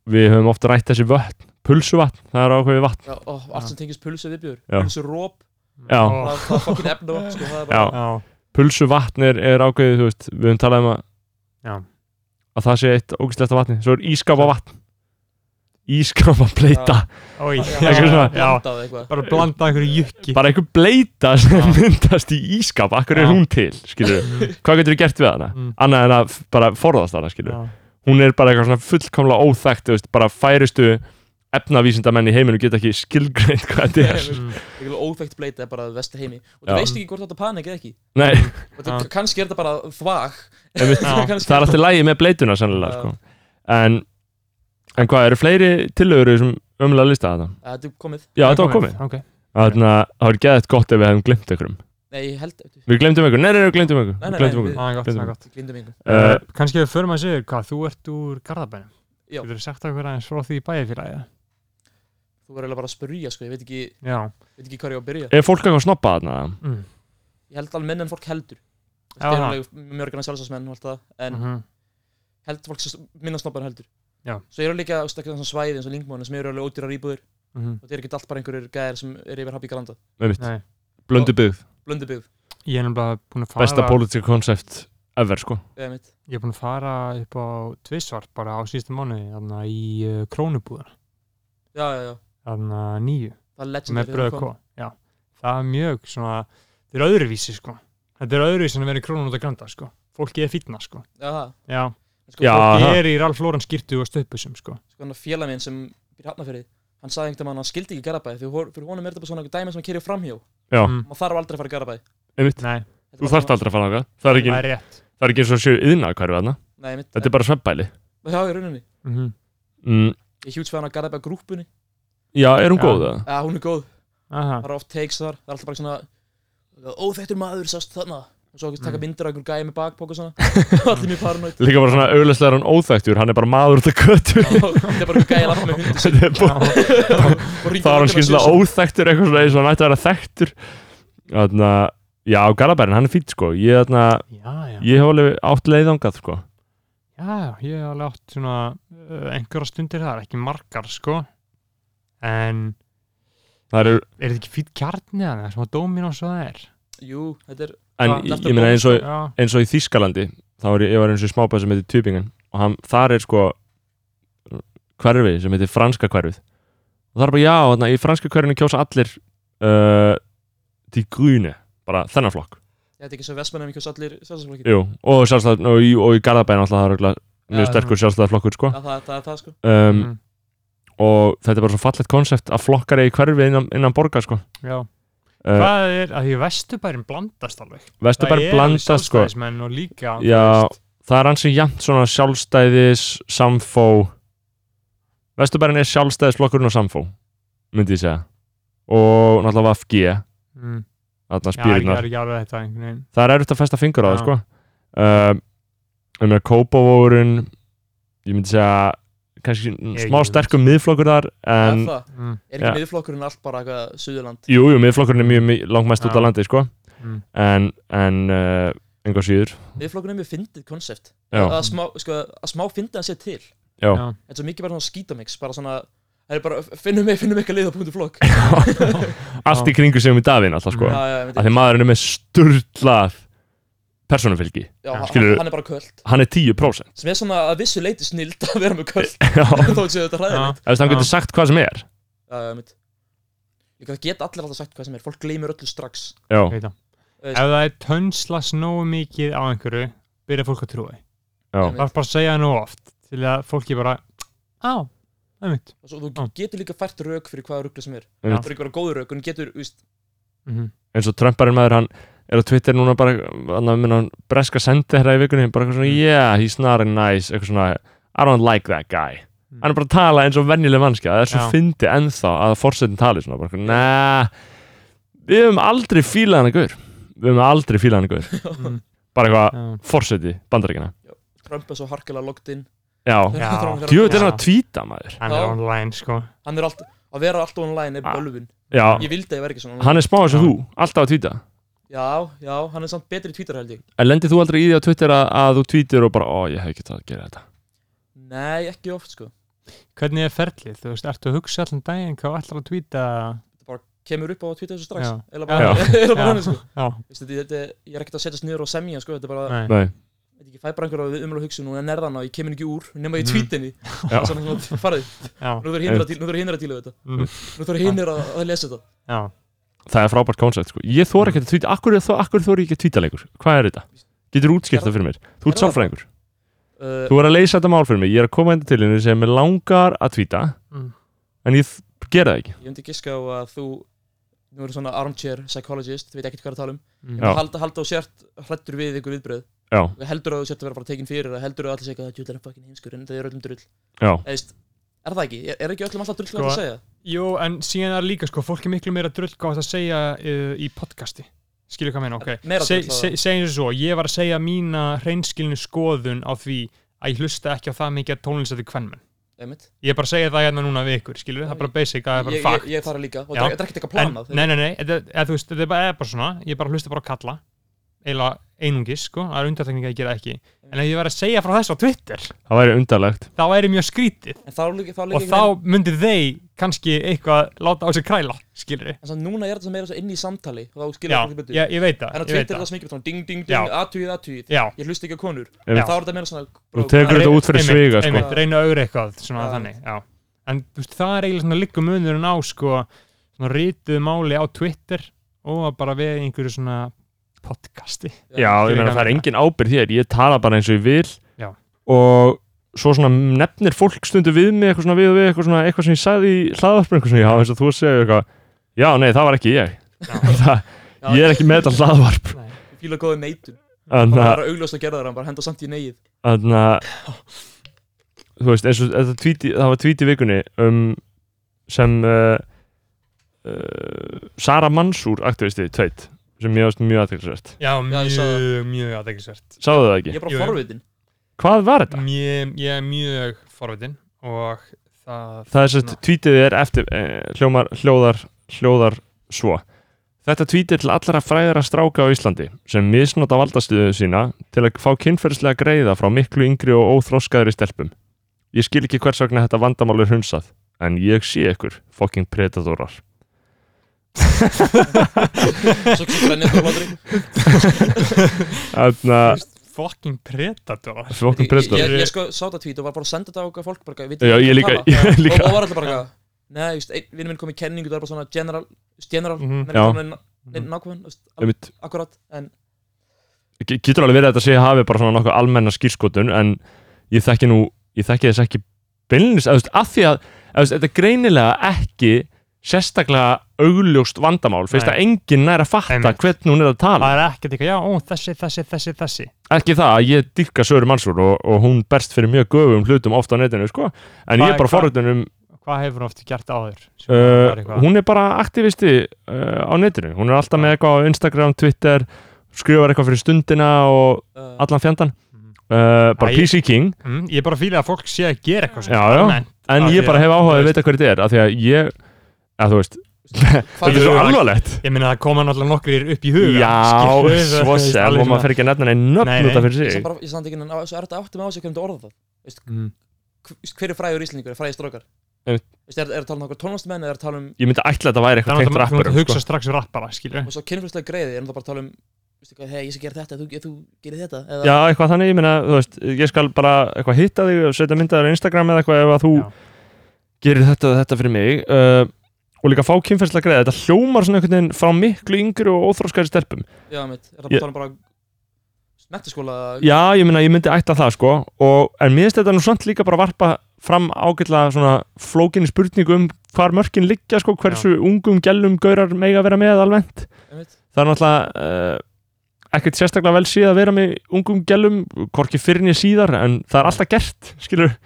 A: Við höfum ofta rætt þessi vötn Pulsuvatn, það er ákveðið vatn
D: já, ó, allt sem tengist pulsu viðbjöður,
A: Já.
D: pulsu róp
A: Já.
C: Ó,
D: það, það er fokkin efna sko, það er bara,
A: Já,
C: Já,
A: pulsuvatn er, er ákveðið, þú veist, við höfum talað um að
C: já
A: að það sé eitt ógæstlegt af vatni svo er ískafa vatn ískafa bleita
C: Oi,
D: það er svona
A: svona,
D: blandað eitthvað
C: bara blanda einhverju jukki
A: bara einhver bleita sem
C: Já.
A: myndast í ískafa akkur
C: Já.
A: er hún til, skilur
C: Mhm.
A: hvað getur við gert við hana,
C: Mm.
A: annað en að f- bara forðast hana, skilur
C: Já,
A: hún er bara eitthvað svona fullkomlega óþekkt þú veist, bara færistu efnavísindamenn í heiminu geta ekki skilgreint hvað þetta er
D: eitthvað
C: mm,
D: óþægt bleita er bara vest heimi og
A: Já.
D: þú veist ekki hvort þetta panik eða ekki
A: nei,
D: Og þetta-
C: Já.
D: kannski er þetta bara þvag
A: einmitt,
C: Já.
D: Kannski-
A: það er alltaf lægi með bleituna sannlega,
D: Já.
A: sko en, en hvað, eru fleiri tillögur í þessum ömulega lista þetta?
D: Að Þetta er komið
A: Já, þetta var komið
C: Ok,
A: Þannig að það var geðið gott ef við hefum glimt einhverjum
D: Nei, ég held Við
A: Við glemdum einhvern, nei, nei, nei, við glemdum einhvern
D: Nei, nei,
A: Við glemdum
D: nei,
A: einhvern
C: það er gott, það er gott
D: glindum yngur
A: uh,
C: Uh, Kanski við förum að segja hvað, þú ert úr Garðabænum
D: Já.
C: Þú ert sagt okkur aðeins frá því bæjarfélagi
D: Þú verður eiginlega bara að spyrja sko, ég veit ekki,
C: Já
D: veit ekki hvað ég á að byrja
A: Eh, Er fólk eitthvað að snoppa þarna?
C: mm.
D: Ég held alveg minn en fólk heldur
C: Já,
D: Það er
C: það.
D: alveg mjörgana sjálfsásmenn og allt það En
C: Mhm.
D: held fólk sem minna snobbar en heldur
C: Já.
D: Svo eru líka þú veist, ekki svona svæði eins og linkmónu sem eru alveg ódýrar íbúðir
C: Mhm.
D: og þetta er ekki allt bara einhverjir gæðir sem er yfir happy galanda
A: Með mitt,
C: Nei,
A: blöndu byggð
D: Blöndubyggð,
C: Ég er nefnilega búin að fara
A: Besta pólitíka koncept ever, sko
D: eða mitt
C: Ég er búin að fara upp á tvissvart bara á síðustu mánuði þarna í uh, krónubúðan
D: Já, já, já,
C: þarna nýju
D: það er legend
C: með bröðu kó Já, það er mjög svona þetta er öðruvísi sko þetta er öðruvísi en að vera í krónun út að granda sko fólki er fýtna sko
D: Já, það
C: Já,
D: Sko,
A: Já.
D: fólk-
C: fólki
A: Aha.
C: er í Ralf Lóran skýrtu og stöpusum sko
D: sko hann félag minn sem býr hafnafyrir Hann sagði einhvern veginn að hann skildi ekki Garabæði Fyrir hor- fyrir honum er þetta bara svona einhver dæmi sem hann kerja framhjó
A: Já,
C: Mm.
D: Maður þarf aldrei að fara í Garabæði
A: einmitt,
C: Nei,
A: þú þarft aldrei að fara þangað Það er ekki,
C: það er rétt
A: það er ekki eins og að séu yðna hverfi þarna
D: Nei, mitt
A: Þetta er bara sveppbæli
D: Já, í rauninni
C: mm
A: mm,
D: Ég er hjúts fyrir hann að Garabæða grúpunni
A: Já, er hún
C: Já.
A: góð það?
D: Já, hún er góð
C: Aha,
D: Það eru oft takes þar Það er alltaf bara svona Óþættur maður sást þarna Og svo ekki
A: Mm.
D: taka myndir af einhver gæði með bakpók og svona Allir mjög paranoid
A: Líka bara svona auðleslega er hann óþæktur Hann er bara maður út af götu
D: Já, Það er bara einhver gæði lappa með hundi
A: Þetta er bara- Það var hann skynlega
D: óþættur
A: óþæktur eitthvað svona eins og hann ætti að vera þæktur Þannig að, já, Garabærin, hann er fýtt, sko Ég, þarna,
C: já, já,
A: ég hef alveg átt leiðangað, sko
C: já, já, ég hef alveg átt svona uh, einhverja stundir þar, ekki margar sko en
A: Það er,
C: er þetta ekki fýtt kjarni að það, svona Dominos og það er
D: Jú, þetta er
A: en
D: Já,
A: ég,
D: þetta er
A: ég meina eins og
C: Já,
A: eins og í Þískalandi þá var ég, ég var eins og smábæð sem heitir Tübingen og hann, þar er sko hverfi sem heitir franska hverfið og það er bara já, þarna, í franska hverfinu kjósa allir uh, til grúni bara þennan flokk
D: Þetta er ekki svo vestmennum ekki hos allir sjálfsfólki
A: Jú, og, sjálfstæð, og, í, og í Garðabæn alltaf það er örugglega mjög
D: Já,
A: sterkur sjálfstæða flokkur sko.
D: Það það er það sko
A: um,
C: mm,
A: og þetta er bara svo fallegt konsept að flokkar eigi hverfi innan, innan borgar sko.
C: já.
A: uh,
C: Hvað er, að því vesturbærin blandast alveg
A: Vesturbæri blanda sko.
C: sjálfstæðismenn og líka þú
A: Já.
C: veist,
A: það er ansið jæmt svona sjálfstæðis samfó Vesturbærin er sjálfstæðisflokkurinn og samfó myndi ég segja og náttúrulega VFG
C: mm,
A: þarna
C: Já, ég
A: spýrinnar
C: er ekki alveg þetta einhvern veginn
A: það er erfitt að festa fingur á það
C: Já.
A: sko um, um að Kópavóurinn ég myndi segja kannski
C: Ég-
A: smá
C: ég-
A: sterkum miðflokkur þar
D: Það
A: en
D: er það
C: mm,
D: Er
A: Já.
D: ekki miðflokkurinn allt bara eitthvað Suðurland
A: jújú jú, miðflokkurinn er mjög mi- langmest út
C: Já.
A: á landi sko
C: mm,
A: en, en, uh, en enga síður
D: Miðflokkurinn er mjög fyndið konsept
A: já,
D: að smá, sko, að smá fyndið hann sé til
A: já,
C: já.
D: þetta er svo mikið bara svona skítamix bara svona, það er bara, finnum mig, finnum eitthvað leið á punktu flokk
A: allt í kringu sem í Davín alltaf sko,
D: Já,
A: að
D: já, ég veit
A: Sko. því maðurinn er með sturlað persónufylgi,
D: Já, hann-
A: skilurðu?
D: hann er bara kvöld
A: hann er 10%
D: sem er svona að vissu leiti snild að vera með kvöld
A: já, ef
D: þó séu þetta hræðilegt
A: þess að hann
C: Já.
A: getur sagt hvað sem er
D: Já, já, mitt Líka það geta allir alltaf sagt hvað sem er, fólk gleymir öllu strax
A: já,
C: Ég veit það. Ef það er tönslas nógu mikið á einhverju byrja fólk að trúi
A: já,
D: Einmitt.
C: Það er bara að segja það nógu oft til að fólki bara á, það er mitt
D: og svo, þú getur líka fært rauk fyrir hvaða rugla sem er
A: Já.
D: það er ekki bara góð rauk, en getur, þú veist
A: eins og Trumparinn maður hann er á Twitter núna bara hann að minna hann breska sendi hérna í vikunni bara eitthvað svona, yeah, he's not a nice eitthvað svona, I don't like that guy
C: Mm.
A: hann er bara að tala eins og venjuleg mannskja það er svo
C: Já.
A: fyndi ennþá að forsetin tali svona bara, nah, við höfum aldrei fílað hann ykkur við höfum aldrei fílað hann ykkur
C: Mhm.
A: bara eitthvað,
C: Já.
A: forseti, bandaríkina
D: Trump er svo harkilega logged in
A: já,
C: Já.
A: djúið er hann
C: Já.
A: að tvíta maður
C: Hann er
D: Já.
C: online sko
D: Hann er allt, að vera alltaf online er
A: Ah.
D: bölvun
A: já,
D: Ég vildi að ég væri ekki svona
A: hann er smá eins og
C: Já.
A: þú alltaf að tvíta
D: Já, já, hann er samt betri í Twitter held ég
A: en lendir þú aldrei í því á Twitter að, að þú tvítir og bara, ó, ég hef ekki það að gera þetta
D: Nei, ekki oft sko
C: Hvernig er ferlið? Þú veist, ertu að hugsa allan daginn hvað ætlar að tvíta
D: Þetta bara kemur upp á Twitter þessu strax
C: Já.
A: Já.
D: Eða bara, eða bara hann sko
C: Já,
D: Veistu, þetta, þetta, Ég er ekkert að setjast niður og semja sko Þetta er bara,
C: nei,
A: nei,
D: þetta ekki fæ bara einhverja umlega hugsun og nærðan og ég kemur ekki úr nema ég
C: Mm.
D: tweet henni
A: Já.
D: Svona svona, farið,
C: já,
D: nú þarf hinir að díla- nú þarf hinir að díla við þetta
C: Mm.
D: Nú þarf hinir að, að lesa þetta
C: já
A: það er frábært koncept sko. ég þóra ekki að tvíta, akkur, akkur þóra ég ekki að tvíta lengur hvað er þetta? Getur þú útskipt það fyrir mér? Þú ert
D: Gerðu það.
A: sálfræðingur,
D: uh,
A: þú er að leysa þetta mál fyrir mig ég er að koma enda til henni sem er langar að tvíta
C: Mm.
A: en ég þ- gera það ekki
D: Ég myndi giska á að þú Nú erum svona armchair psychologist, þú veit ekkert hvað er að tala um
C: Mm.
A: Já.
D: Halda, halda og sért hrættur við ykkur viðbröð
A: já,
D: og heldur að þú sért að vera bara tekin fyrir eða heldur að allir segja að djúlar er fucking heimskur en það er öllum drull
A: já,
D: Eða, veist, er það ekki? Er, er ekki öllum alltaf drull
C: Sko,
D: hvað það segja?
C: Jú, en síðan er líka sko, fólk er miklu meira drull hvað það að segja uh, í podcasti skilur hvað ég meina, ok
D: Meira
C: Se,
D: drull,
C: se, segjum þessu svo, ég var að segja mína hreinskilinu skoðun á því að ég hlusta ekki á það mikið að tónlistæti kvennmenn
D: Einmitt.
C: ég er bara að segja það hérna núna við ykkur, skilur það er bara basic, það er
D: Ég,
C: bara
D: ég,
C: fakt
D: ég þarf líka og
C: Já.
D: það er ekkert
C: en,
D: eitthvað planað
C: nei, nei, nei, eða, eða, þú veist, þetta er bara, eða bara svona ég bara hlusta bara á kalla eila einungis, sko, það er undartekninga að ég gera ekki en ef ég var að segja frá þess á Twitter
A: það væri undarlegt
C: þá er ég mjög skrítið
D: en þá líka, hérna. þá líka
C: og þá myndir þeir kannski eitthvað láta á sig kræla, skilur
D: en svo núna er þetta meira svo inn í samtali og þá skilur
C: Já,
D: fólk betur
C: ég, ég veit það ég
D: en á
C: veit
D: Twitter er það sem ekki betur ding ding
C: Já.
D: ding aðtugið aðtugið
C: Já,
D: ég hlust ekki á konur þá
A: Einmitt.
D: er þetta meira svona
A: Þú
D: bró-
A: tekur þetta
C: Reyna-
A: út fyrir
C: einmitt,
A: sviga sko.
C: einmitt, reyna að augra eitthvað, svona
D: Já.
C: þannig já. en þú veist, það er eiginlega svona líka munurinn á sko, svona rítuð máli á Twitter og að bara við einhverju svona podcasti
A: já, ég meina það er engin ábyrð hér ég tala bara eins og ég vil
C: Já.
A: og svo svona nefnir fólk stundu við mig eitthvað svona við og við eitthvað, svona, eitthvað sem ég sagði í hlaðvarpinu eitthvað sem ég hafa eins og þú segir eitthvað já, nei, það var ekki ég það,
D: Já.
A: ég er ekki með þetta hlaðvarp
D: ég fíla góði neitun
A: Þannig
D: bara
A: að-
D: það er augljóst að gera það bara henda samt í neið
A: þannig að þú veist, eins og þetta tvíti, það var tweet í vikunni um sem uh, uh, Sara Mansúr aktivisti, tveit, sem ég veist mjög aðteklisvert
C: já,
D: ég sá það.
C: mjög, mjög aðeinsvert
A: Sáðu það ekki?
D: ég er
C: Jú,
D: bara
C: jú.
D: forvitin
A: Hvað var þetta?
C: ég er mjög forvitin og það
A: Það er sett, tweetið er eftir eh, hljómar, hljóðar, hljóðar svo Þetta tweet er til allra fræðara stráka á Íslandi sem misnota valdastuðu sína til að fá kynferðislega greiða frá miklu yngri og óþróskaðri stelpum. Ég skil ekki hvers vegna þetta vandamál er hunsað, en ég sé ykkur, fucking predatorar.
D: svo kemur það nefnir á hlátri
A: Þannig að
C: fucking predator
A: Fucking
D: Ég-
A: predator
D: ég, ég sko sá þetta tvít og var bara að senda þetta á okkar fólk bara, við
A: Já, ég líka, ég
D: og, og
A: líka
D: var alltaf bara eitthvað, Nei, just, ein, vinnum minn kom í kenningu, það er bara svona general þú veist, General,
C: Mhm.
D: menn
A: Já. Mhm.
D: kom inn inn nákvæm, þú veist, alveg
A: Einmitt,
D: akkurat En
A: ge- Getur alveg verið að þetta sé hafi bara svona nokkuð almenna skýrskotun en ég þekki nú, ég þekki þess ekki beinlinis, að, þú veist, af því að að, þú veist, þetta er greinilega ekki sérstaklega augljóst vandamál finnst
C: Nei.
A: að enginn nær að fatta
C: Einmitt.
A: hvernig hún er að tala
C: það er ekkert eitthvað, já, ó, þessi, þessi, þessi, þessi
A: ekki það að ég dýrka Söru Mansúr og, og hún berst fyrir mjög göfum hlutum ofta á netinu sko, en ég
C: Hvað er-
A: er bara
C: hvað-
A: forhundin um
C: hvað hefur hún oft gert áður Sem
A: Uh,
C: var eitthvað-
A: hún er bara aktivisti uh, á netinu, hún er alltaf með eitthvað á Instagram, Twitter, skrifar eitthvað fyrir stundina og
D: uh,
A: allan fjandan
C: Mhm.
A: uh, bara
C: Æ.
A: PC King
C: Mm, ég er bara fílið að fólk sé að gera eitthvað
A: Já, já.
C: Almennt.
A: en
C: Af því
A: ég bara
C: að-
A: hef áhugað
C: þú
A: að vita hvað þetta er af því að ég, að þú veist Þetta er
D: Hvað-
A: svo alvarlegt
C: Ég meina það koma náttúrulega nokkrir upp í huga
A: Já,
C: skilurðu,
A: svo
C: það er
A: sem
C: alveg
A: og maður
C: svona-
A: fer ekki að nefna neinn
C: Nei,
A: nöfn
C: nei.
A: út af fyrir
D: Ég
A: sig
D: samt bara- ég samt ekki, en á- svo er þetta áttum á sig hvernig þú orða það
C: Mm.
D: Hv- veist, Hver er frægur íslendingur, frægir strókar
A: Einmitt.
D: Veist, Er er að tala um okkur tónlistmenn eða er að tala um
A: Ég myndi ætla að þetta væri eitthvað
C: Það er
A: tengt
C: náttúrulega þú mátt
A: rappurum
C: hugsa
A: sko.
C: strax um rappara skilur
D: og svo kynfyrslega greiði er það bara að tala um veistu hvað, hei, ég skal gera þetta, ef þú, ef þú gerir þetta eða,
A: Já, eitthvað þannig, ég meina, þú veist, ég skal bara eitthvað hitta þig og setja myndaður á Instagram eða eitthvað ef að þú
C: Já.
A: gerir þetta og þetta fyrir mig uh, og líka fá kynferðslega greið, þetta hljómar svona einhvern veginn frá miklu yngri og óþróskari stelpum
D: já, mitt, er það bara
A: Ég-
D: að tala um bara mentaskóla,
A: Já, ég meina, ég myndi ætta það sko og, en mér finnst þetta nú samt líka bara varpa fram ágætlega svona flókinni spurningu um hvar mörkin liggja sko, hversu ungum, gellum, gaurar mega vera með alveg
D: einmitt
A: það er náttúrulega uh, ekkert sérstaklega vel síð að vera með ungum gælum, hvorki fyrir nýja síðar en það er alltaf gert, skilur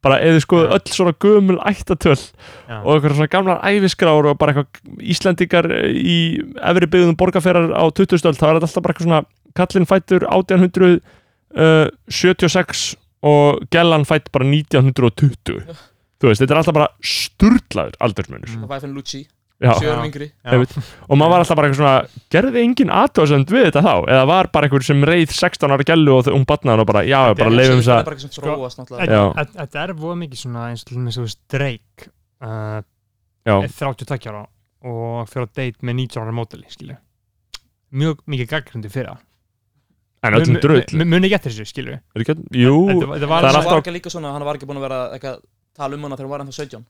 A: bara eða sko
C: Já.
A: öll svona gömul ættatöl
C: Já.
A: og eitthvað svona gamlar æviskrár og bara eitthvað Íslendingar í efri byggðum borgarferðar á 20. öld, þá er þetta alltaf bara eitthvað svona kallinn fættur uh, 1876 og gellan fætt bara 1920
D: Já.
A: þú veist, þetta er alltaf bara sturlaður aldursmunur
C: Mm.
D: það var FN Lucci,
A: Já.
D: sjörum
C: Já.
D: yngri
C: Já.
A: einmitt. og maður var alltaf bara eitthvað svona gerði engin aðtöðsend við þetta þá eða var bara einhver sem reið 16 ára gælu og um batnaðan og bara, já,
C: Þetta
A: bara
C: er-
A: leifum
D: það
A: þess
D: er
A: að
D: bara eitthvað sem þróast náttúrulega
A: Já.
C: Þetta þetta er voða mikið svona eins og til dæmis, þú veist, Drake uh,
A: já,
C: er 32 ára og fyrir að date með 19 ára mótali skilur mjög mikið gaggrundi fyrir það
A: en öllum
C: Mun-
A: drull
C: mun- muni ekki eftir þessu skilur
A: Er ekki- jú,
C: þetta þetta var
A: það er
D: hann
A: alltaf-
D: var ekki líka svona, hann var ekki búin að vera eitthvað tala um hana þegar hann var ennþá 17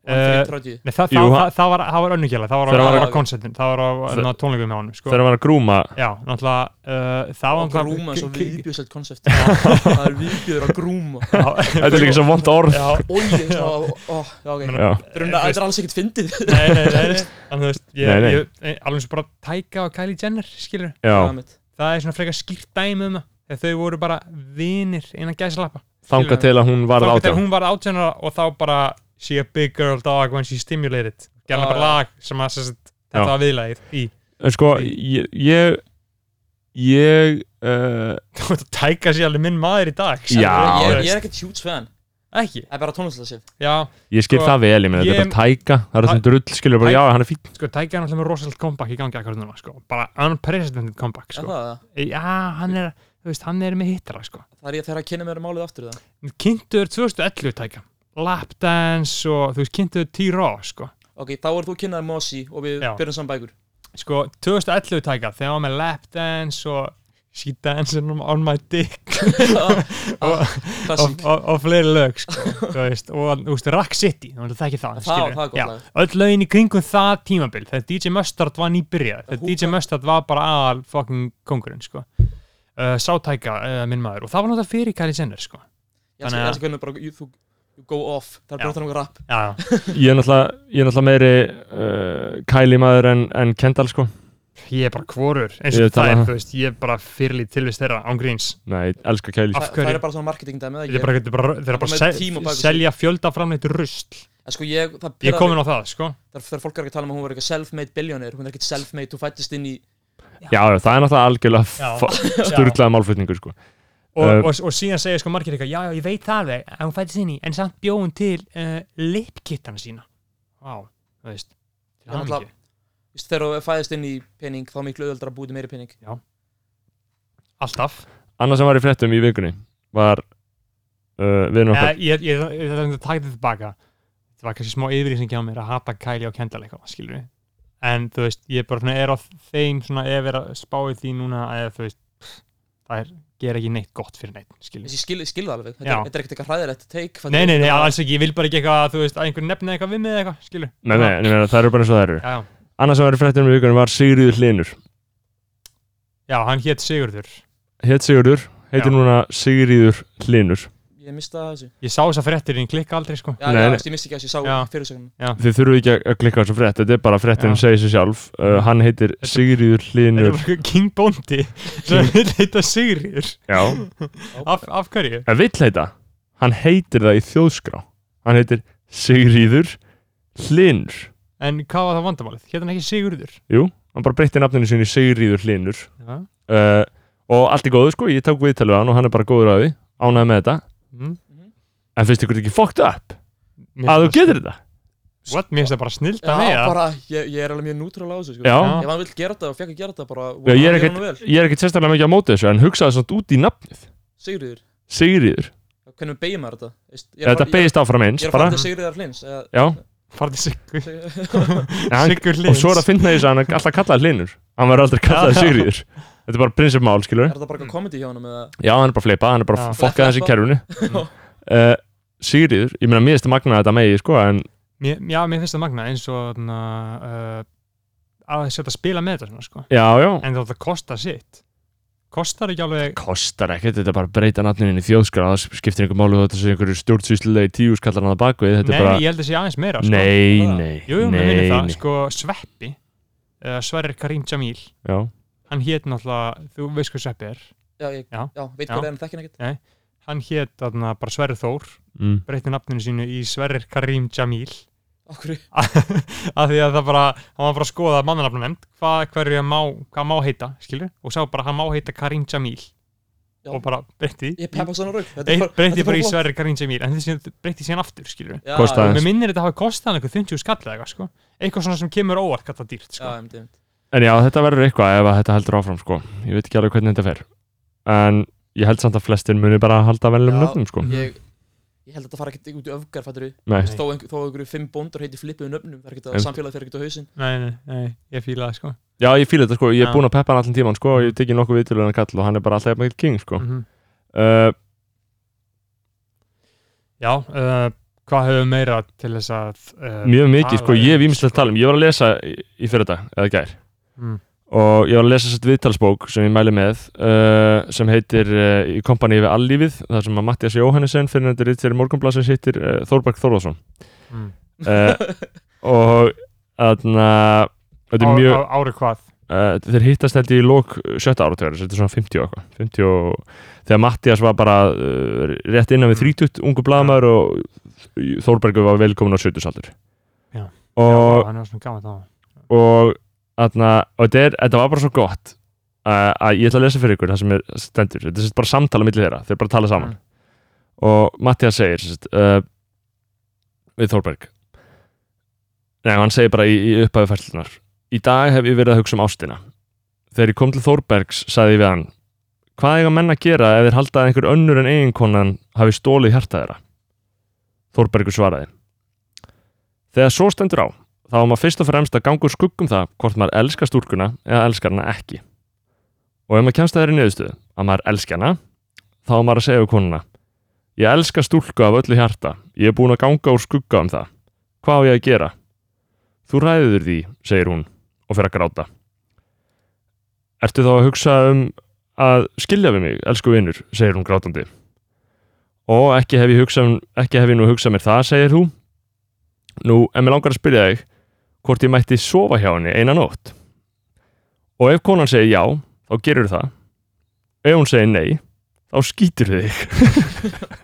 D: og hann
C: Eh,
D: fyrir 30
C: Nei, það,
A: Jú,
C: það,
A: hann-
C: það, það var, það var önnugjöla, það var,
A: Þegar
C: það
A: hann
D: var-
C: var á koncertin, það var á
A: Þe-
C: na, tónleikum hjá honum, sko.
A: þegar hann var að grúma
C: Já, náttúrulega, uh, það var
D: og
C: náttúrulega-
D: grúma er svo
C: k- k-
D: viðbjöðsett konsept það er viðbjöður að grúma
C: Já,
A: þetta er líka svo vond orð
C: Já,
D: Ói, svona, ó, já, ok.
A: já,
D: Brunna, þetta er alls ekkert fyndið
C: nei, nei, nei, nei, þannig þú veist, ég,
A: Nei, nei.
C: ég, alveg eins og bara Tæka og Kylie Jenner, skilur,
A: já,
D: Það er mitt.
C: það er svona frekar skýrt dæmi um það, þegar þau voru bara vinir innan gæslappa.
A: þanga til að hún varð
C: Þangað til
A: átján
C: Hún var átjánara og þá bara she a big girl dog when she stimulated, gerna
D: Já,
C: bara
D: já.
C: lag sem að, sem sagt,
A: Já.
C: þetta var viðlagið í.
A: en sko, ég ég, ég uh,
C: Tæka sér alveg minn maður í dag, skilurðu.
A: Já.
D: Ég
C: Þú
D: er- ég
C: veist,
D: er ekkert huge fan
C: Ekki,
D: Það er bara tónlislega sér
C: já,
A: ég skil
C: Sko,
A: það vel, ég meina þetta er
C: ég-
A: bara tæka það er
C: Tæ-
A: öllum drull, skilur bara,
C: Tæ-
A: já, hann er fín
C: sko Tækja er náttúrulega með rosalegt comeback í gangi akkur núna sko. bara unprecedented comeback
D: sko.
C: sko.
D: það,
C: já, hann er, þú veist, hann er með hittara sko.
D: það er ég þegar að kynna mér málið aftur það
C: kynntur 2011 Tækja lapdance og þú veist, kynntur T-Raw sko.
D: Ok, þá er þú kynnaður Mosi og við
C: Já.
D: byrjum saman bækur
C: sko, 2011 Tækja þegar hann var með lapdance og she dancing on my dick
D: Ah,
C: og,
D: Klassík
C: og, og fleiri lög sko. þú veist, og þú veist, Rack City þú veist, það ekki það,
D: Það
C: skilurðu.
D: það er
C: Já.
D: gott lag
C: öll lögin í kringum það tímabil þegar DJ Mustard var nýbyrjað þegar
D: Húka.
C: DJ Mustard var bara aðal fucking kongurinn sko. uh, sátæka uh, minn maður og það var náttúrulega fyrir Kylie Jenner sko.
D: Ég
C: Þannig að-
D: elskar hvernig bara you, þú you go off Það er
C: Já.
D: bara þannig rap
C: já,
A: ég er náttúrulega, ég er náttúrulega meiri uh, Kylie maður en, en Kendall, sko
C: ég er bara kvorur eins
A: Ég
C: og það
A: tala
C: er,
A: það.
C: þú veist, ég er bara fyrirlít tilvist þeirra án gríns
A: nei, elska Kylie
D: Þa,
C: Af hverju?
D: Það er bara svona marketing dæmi
C: þeir bara, þeir bara, þeir
D: Bara
C: bara
D: með
C: sel,
D: tíma á bak við sig.
C: selja fjölda framleitt rusl
D: En sko ég
C: ég
D: Það
C: er
D: pirrar
C: komin
D: mig
C: á það sko.
D: Þegar þegar fólk er ekki að tala um að hún verður eitthvað self-made billionaire Hún er ekkert self-made Þú fættist inn í
A: já, já, það er náttúrulega
C: Já.
A: algjörlega sturglaða málflutningur, sko
C: og,
A: Uh,
C: og, og síðan segja sko margir eitthvað já, já, ég veit það alveg, að hún fættist inn í en samt bjóðum til uh, lipkittana sína vá, þú veist til
D: Það er
C: hamingju.
D: náttúrulega- þú veist, Þegar þú fæðist inn í pening Þá er miklu öðuldar að búið meiri pening
C: alltaf
A: annað sem var í fréttum í vikunni var uh, viðnum
C: Eða,
A: okkar
C: ég, ég, ég, ég þarf að taka þetta tilbaka þetta var kannski smá yfirlýsing hjá mér að hata Kylie og Kendall eitthvað, skilur við en þú veist, ég bara svona er á þeim svona ef er að spáði því núna að þú veist, það er, ger ekki neitt gott fyrir neitt, skilur
D: Þess
C: við
D: ég skil, skil það alveg Þetta
C: Já.
D: er- þetta er ekkert eitthvað hræðilegt take
C: Nei, nei, nei, alls ekki, ég vil bara ekki eitthvað, þú veist, að einhver nefna eitthvað við mig eða eitthvað, skilur
A: nei, nei, en ég meina, það eru bara eins og það eru
C: Já, já,
A: annað sem var í fréttum í vikunni var Sigriður Hlinur
C: já, hann hétt Sigurður
A: hétt Sigurður, heitir
C: Já.
A: núna Sigriður Hlinur
D: Ég mista þessu
C: Ég sá þess að fréttir, ég klikka aldrei, sko
D: Já,
A: Nei,
D: já,
A: nei.
D: veist, ég misti ekki þessu, ég
C: Já.
D: sá fyrirsögnum
A: þið þurfu ekki að- að klikka á þessu frétt þetta er bara fréttin
C: Já.
A: segir sér sjálf uh, hann heitir
C: Þetta-
A: Sigriður
C: Þetta er
A: Hlinur
C: bara einhver King Bondi sem vil heita Sigurður
A: já,
C: af, af hverju?
A: en vill heita hann heitir það í þjóðskrá hann heitir Sigriður Hlinur
C: En hvað var það vandamálið? Hétt hann ekki Sigurður?
A: jú, hann bara breytti nafninu sinni í Sigriður Hlinur
C: Já
A: uh, og allt er góður sko, ég tók viðtalið á hann og hann er bara góður að því ánæði með þetta
C: mm.
A: en finnst ykkur þetta ekki fucked up
C: Mér
A: að þú
C: finnst
A: getur þetta
C: What? Mér finnst það bara snilt
D: Já,
C: að með það
D: bara, ég, ég er alveg mjög nútrál á þessu sko.
A: Já.
D: Ef hann vil gera þetta og fekk að gera þetta bara
A: Já, ég er
D: hann honum vel.
A: Ég er ekkert sérstaklega mikið á móti þessu en hugsaði svona út í nafnið
D: Sigriður,
A: Sigriður
D: hvernig beigir maður þetta? Veist, Ég er að
A: Þetta
D: fara- ég-
A: beigist áfram eins
D: ég er að
A: bara
D: fara til Sigriðar Hlins eða-
A: Já,
C: Farði Siggur
A: en hann,
C: Siggur
A: og
C: Lins
A: svo er að finna þess að hann er alltaf kallaði Hlinur Hann verður aldrei kallaði
C: Já.
A: Sigriður Þetta er bara prinsipmál skilur
D: Er þetta
C: Mm.
D: bara komedi hjá honum eða
A: Já, hann er bara fleipað, hann er bara
C: Já.
A: fokkað þessi í kerfinu
D: Já.
A: uh, Sigriður, ég meina miðist að magna þetta megi sko en
C: mér, Já, mér finnst það magna eins og na, uh, að þess að spila með þetta svona, sko.
A: já, já
C: en þá það kostar sitt Kostar ekki alveg
A: kostar ekkert, þetta er bara að breyta nafninu í þjóðskráð, það skiptir einhver málu þetta sé einhverju stjórnsýslulegi tíu skallar hann að bakvið þetta
C: Nei,
A: er bara,
C: ég held að sé aðeins meira sko.
A: nei,
D: bara-
A: nei
C: Jú, jú,
A: nei,
C: mér finnir það,
A: nei.
C: sko, Sveppi uh, Sverrir Karim Jamil
A: já,
C: hann hét náttúrulega, þú veist hvað Sveppi er
D: Já, ég,
C: Já.
D: já, veit
C: Já.
D: hvað er en þekkin ekkert
C: hann hét þarna bara Sverrir Þór
A: mm,
C: breytti nafninu sínu í Sverrir Karim Jamil
D: Okkur,
C: af því að það bara, hann var bara að skoða mannanafnum nefnd, hvað hverju hann má hvað hann má heita, skilur, og sá bara að hann má heita Karim Jamil
D: Já.
C: og bara breytti
D: ég peppa svona rauk Þetta er
C: Eitt
D: bara- þetta
C: breytti
D: er
C: bara í
D: flott.
C: Sverrir Karim Jamil en þessi breytti síðan aftur, skilur
D: Já,
A: Kostaði
D: já,
A: aðeins.
C: Mér minnir þetta hafi kostið hann eitthvað 50 skall eða eitthvað, sko eitthvað svona sem kemur óvart kallað dýrt,
D: Já,
C: sko
D: einmitt, einmitt.
A: en já, þetta verður eitthvað ef að þetta heldur áfram, sko ég veit ekki alveg hvernig þetta fer en ég held samt að flestir muni bara að halda velum
D: Já.
A: nöfnum, sko
D: Ég, ég held að þetta fara ekkert út í öfgar fattur við
A: nei,
D: þó, einhver- þó einhverju fimm bóndur heiti flippuðu nöfnum það er ekkert að
A: Einmitt.
D: samfélagið fer ekkert á hausinn
C: Nei, nei, nei, ég fíla það, sko
A: já, ég fíla þetta, sko, ég
C: Já. Mm.
A: er búin að peppa hann allan tíman, sko og ég tekið nokkuð viðtölu hann kall og hann er bara alltaf jafnvel king, sko
C: Mhm.
A: uh,
C: Já, uh, hvað höfum meira til þess að uh,
A: mjög mikið, sko,
C: tala
A: ég hef
C: um,
A: ímslegt talum ég var að lesa í, í fyrir eða gær
C: mm,
A: og ég var að lesa sett viðtalsbók sem ég mæli með uh, sem heitir uh, í kompani við allífið þar sem að Mattias Jóhannesson fyrir þetta ritt fyrir morgunblasins heitir uh, Þórberg Þórðarsson
C: mm.
A: uh, og þarna þetta er mjög
C: á, á, ári hvað
A: uh, þeir hittast held ég í lók sjötta áratöður þetta er svona 50 og eitthvað 50 og, þegar Mattias var bara uh, rétt innan við 30 ungu blaðmaður og Þórbergur var velkomin á 70 saldur
C: Já.
A: og
C: Já, hann var svona gaman þá
A: og, atna, og þetta, er, þetta var bara svo gott uh, að ég ætla að lesa fyrir ykkur það sem er stendur, þetta er sem sagt bara samtala millir þeirra, þeir bara tala saman
C: Mm.
A: og Mattias segir sem sagt, uh, við Þórberg Nei, hann segir bara í, í upphæðu færslunar Í dag hef ég verið að hugsa um ástina Þegar ég kom til Þórbergs sagði ég við hann Hvað eiga menn að gera ef þeir halda að einhver önnur en eiginkonan hafi stólið hjarta þeirra? Þórbergur svaraði Þegar svo stendur á þá var maður fyrst og fremst að ganga úr skuggum það hvort maður elskar stúrkuna eða elskar hana ekki. Og ef maður kemst að þeirri niðurstöðu að maður elskar hana, þá var maður að segja við konuna Ég elska stúlku af öllu hjarta, ég er búin að ganga úr skugga um það. Hvað á ég að gera? Þú ræður því, segir hún og fer að gráta. Ertu þá að hugsa um að skilja við mig, elsku vinur, segir hún grátandi. Og ekki hef ég, hugsa, ekki hef ég nú hugsað mér það, segir hún. Nú, en mér langar að spyrja þig, hvort ég mætti sofa hjá henni eina nótt og ef konan segir já þá gerur það ef hún segir nei þá skýtur þig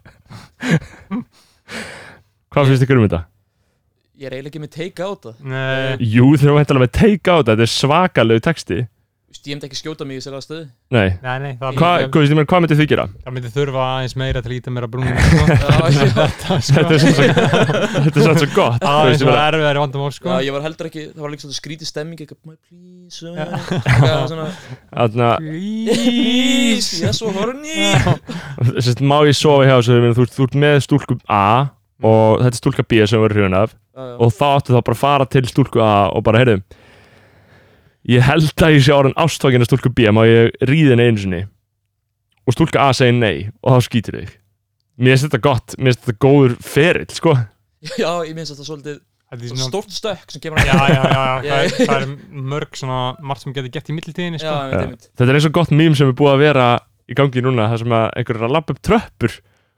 A: hvað finnst ykkur um þetta?
D: ég er eiginlega ekki með teika á þetta
C: Nei,
A: Jú þeir eru væntanlega með take out þetta er svakalegu texti
D: Þú veist, ég myndi ekki skjóta mig í þessari stöðu
A: nei
C: nei, nei það,
A: Hva,
C: myndi,
A: hvað, hvað myndið þið gera?
C: það myndi þurfa aðeins meira til að líta meira brúnum sko. Þetta,
A: Þetta
C: sko
A: er svo, þetta er svo, svo gott Þú
C: Það
A: veist,
C: er
A: ég
C: svona
A: bara-
C: erfiðari vandamál, sko
D: Já, ég var heldur ekki, það var líka svona skrítið stemming eitthvað, my please, uh, eitthvað svona,
A: þarna,
D: please, ég er svo horny
A: sérst, má ég sofa hjá þessu þú, þú, þú ert með stúlku A og þetta er stúlka B sem við erum hrjón af og þá áttu þá bara að fara til stúlku A og bara, heyrðu ég held að ég sé orðin ástfangin að stúlku B má ég ríði henni einu sinni og stúlka A segir nei og þá skýtur þig mér finnst þetta gott, mér finnst þetta góður ferill sko,
D: Já, ég minnst þetta svolítið
C: Þetta er
D: svona
C: svona
D: stórt stökk sem kemur að
C: Já, já, já, já, það
D: Ég-
C: er- það er mörg svona margt sem getur gert í millitíðinni,
D: Já,
C: sko
D: einmitt, einmitt.
A: þetta er eins og gott mím sem er búið að vera í gangi núna, það sem að einhver er að lappa upp tröppur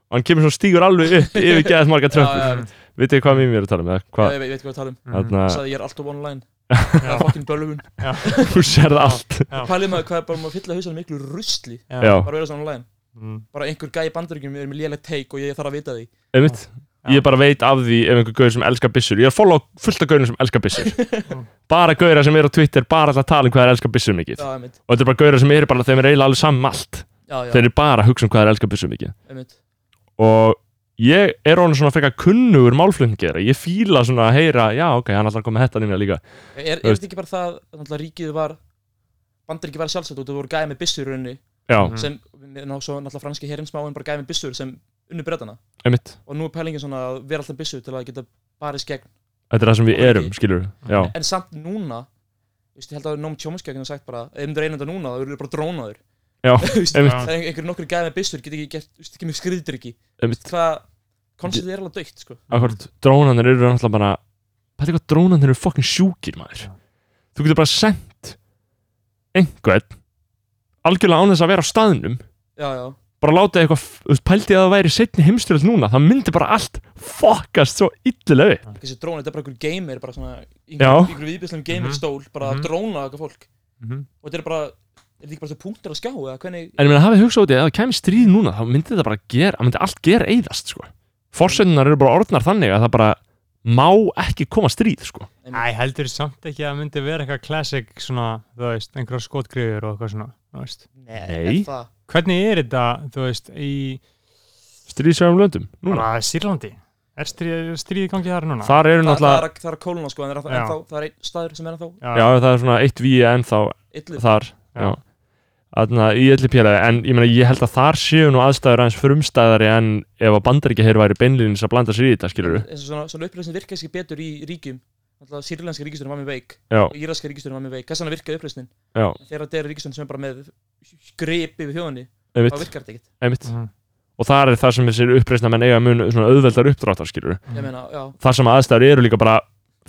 A: og hann kemur svo stígur alveg upp yfir geðað marga
D: já,
A: tröppur
D: já,
C: Mm.
A: vitið þið hvað mím ég er að tala með,
D: já,
A: hvað
D: ég veit, ég veit hvað við tala um
A: þarna,
D: Sæði ég er alltaf online,
C: Já,
D: það er fokkin bölvun
A: þú sér það allt
C: Já.
D: Pælið maður hvað er bara maður að fylla hausanum miklu rusli
C: já,
A: já,
D: bara að vera svona online,
C: Mm.
D: bara einhver gæi bandaríkjum er með lélega teik og ég þarf að vita því
A: einmitt ég bara veit af því ef einhver gauður sem elskar byssur ég er að follow fullt af gauður sem elskar byssur bara gauður sem eru á Twitter bara alltaf að tala um hvað þeir elskar byssur mikið
D: Já,
A: og
D: einmitt,
A: þetta er bara gauður sem eru bara þeim er eiginlega alveg saman allt
D: já, já,
A: þeir eru bara að hugsa um hvað þeir elskar byssur mikið
D: einmitt
A: og ég er honum svona frekar kunnugur málflutningi ég fíla svona að heyra, já ok, hann ætlar að koma með þetta nýna líka
D: Er, er
A: veist.
D: þetta ekki bara það að náttúrulega ríkið var Bandaríki var sjálfsagt og það voru gæði með byssur í rauninni
A: já,
C: Mhm.
D: sem, ná, svo náttúrulega franski herinn smáinn bara gæði með byssur sem unnu bretana
A: einmitt,
D: og nú er pælingin svona að vera alltaf byssur til að geta barist gegn,
A: þetta er það sem við erum skilur, já,
D: en samt núna þú veist, ég held að Noam Chomsky hafi sagt bara, ef þú reynir þetta núna þá eru þau bara drónaður
A: Já,
D: Þú veist,
A: einmitt.
D: það er einhver nokkur gæði með byssur get ekki gert, þú veist, ekki með skriðdryggi
A: einmitt
D: hvað, konceptið er alveg dögt sko.
A: akkurat, drónanir eru náttúrulega bara pæli hvað drónanir eru fucking sjúkir maður þú getur bara sendt einhvern algjörlega án þess að vera á staðnum
D: já, já,
A: bara láta eitthvað, þú veist, pældi að það væri setni heimstyrjöld núna, það myndi bara allt fuckast svo illilega við.
D: þessi drón, þetta er bara einhver gamer bara svona,
A: Já.
D: einhver, einhver viðbjörslega gamer
C: Mhm.
D: stól bara
C: Mhm.
D: að dróna eitthvað fólk
C: Mhm.
D: og þetta er bara, er þetta ekki bara svo punktur að skjá eða hvernig,
A: en ég meina, hafið hugsað út í að ef það kæmi stríð núna þá myndi þetta bara gera, það myndi allt gera eyðast sko. forsöndunar eru bara orðnar þannig að það bara má ekki koma stríð sko.
C: Æ, heldur samt ekki að það myndi vera eitthvað classic svona, þú veist, einhverja skotgriður og eitthvað svona, þú veist.
A: Nei.
D: er það
C: Hvernig er þetta, þú veist, í
A: stríðsjöfum löndum, núna
C: bara Sýrlandi? Er stríð, stríði gangið þar núna?
A: þar eru
D: Þa, það, er,
A: náttúrulega,
D: að- það er að kóluna sko, en það er,
C: Já.
D: ennþá, það er einn staður sem er ennþá
A: já, það er svona eitt víi ennþá
D: illið.
A: þar,
C: Já.
A: já Þannig að í öllu pjælega, en ég meina ég held að þar séu nú aðstæður aðeins frumstæðari en ef að bandaríkja hér væri beinlíðins að blanda sér í þetta, skilur
D: Eins og svona, svona uppreisnin virkaði ekki betur í ríkjum. Alltaf sýrlenska ríkistunum var með veik
A: Já,
D: og íraska ríkistunum var með veik. Þess vegna virkaði uppreisnin.
A: já,
D: En Þegar þetta er ríkistun sem er bara með grip yfir þjóðinni, þá
A: einmitt,
D: virkar þetta ekkert.
A: einmitt.
C: Mhm.
A: og það er það sem þessir uppreisna menn eiga mun svona auðveldar uppdráttar skilur
D: Ég meina, já,
A: þar sem aðstæður eru líka bara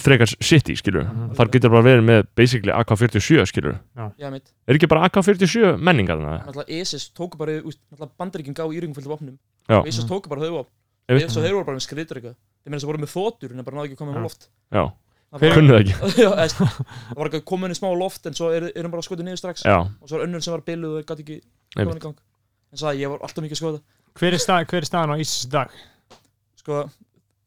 A: frekar shitty skilur
C: Mhm.
A: þar getur bara verið með basically AK-47 skilur
D: já mitt.
A: er ekki bara AK-47 menningar þarna
D: Alltaf ISIS tóku bara, úst, alltaf bandaríkinn gá íringum fullt af opnum.
A: Já.
D: Og ISIS tóku bara höfum op.
A: Einmitt.
D: Svo þeir voru bara með skriður eitthvað. Þeir meina þess að voru með þotur en bara náðu ekki að koma
C: Já.
D: með loft.
A: já,
D: Það
C: Hver-
D: var-
A: kunnuð ekki
D: Já, eða, það var ekki komin í smá loft en svo eru er bara skotið niður strax
A: já,
D: og svo er önnur sem var biluð og gæti ekki komin
A: einmitt
D: í gang en svo að ég var alltaf mikið að skoða
C: Hver er, stað, hver er staðan á Ísis dag?
D: sko,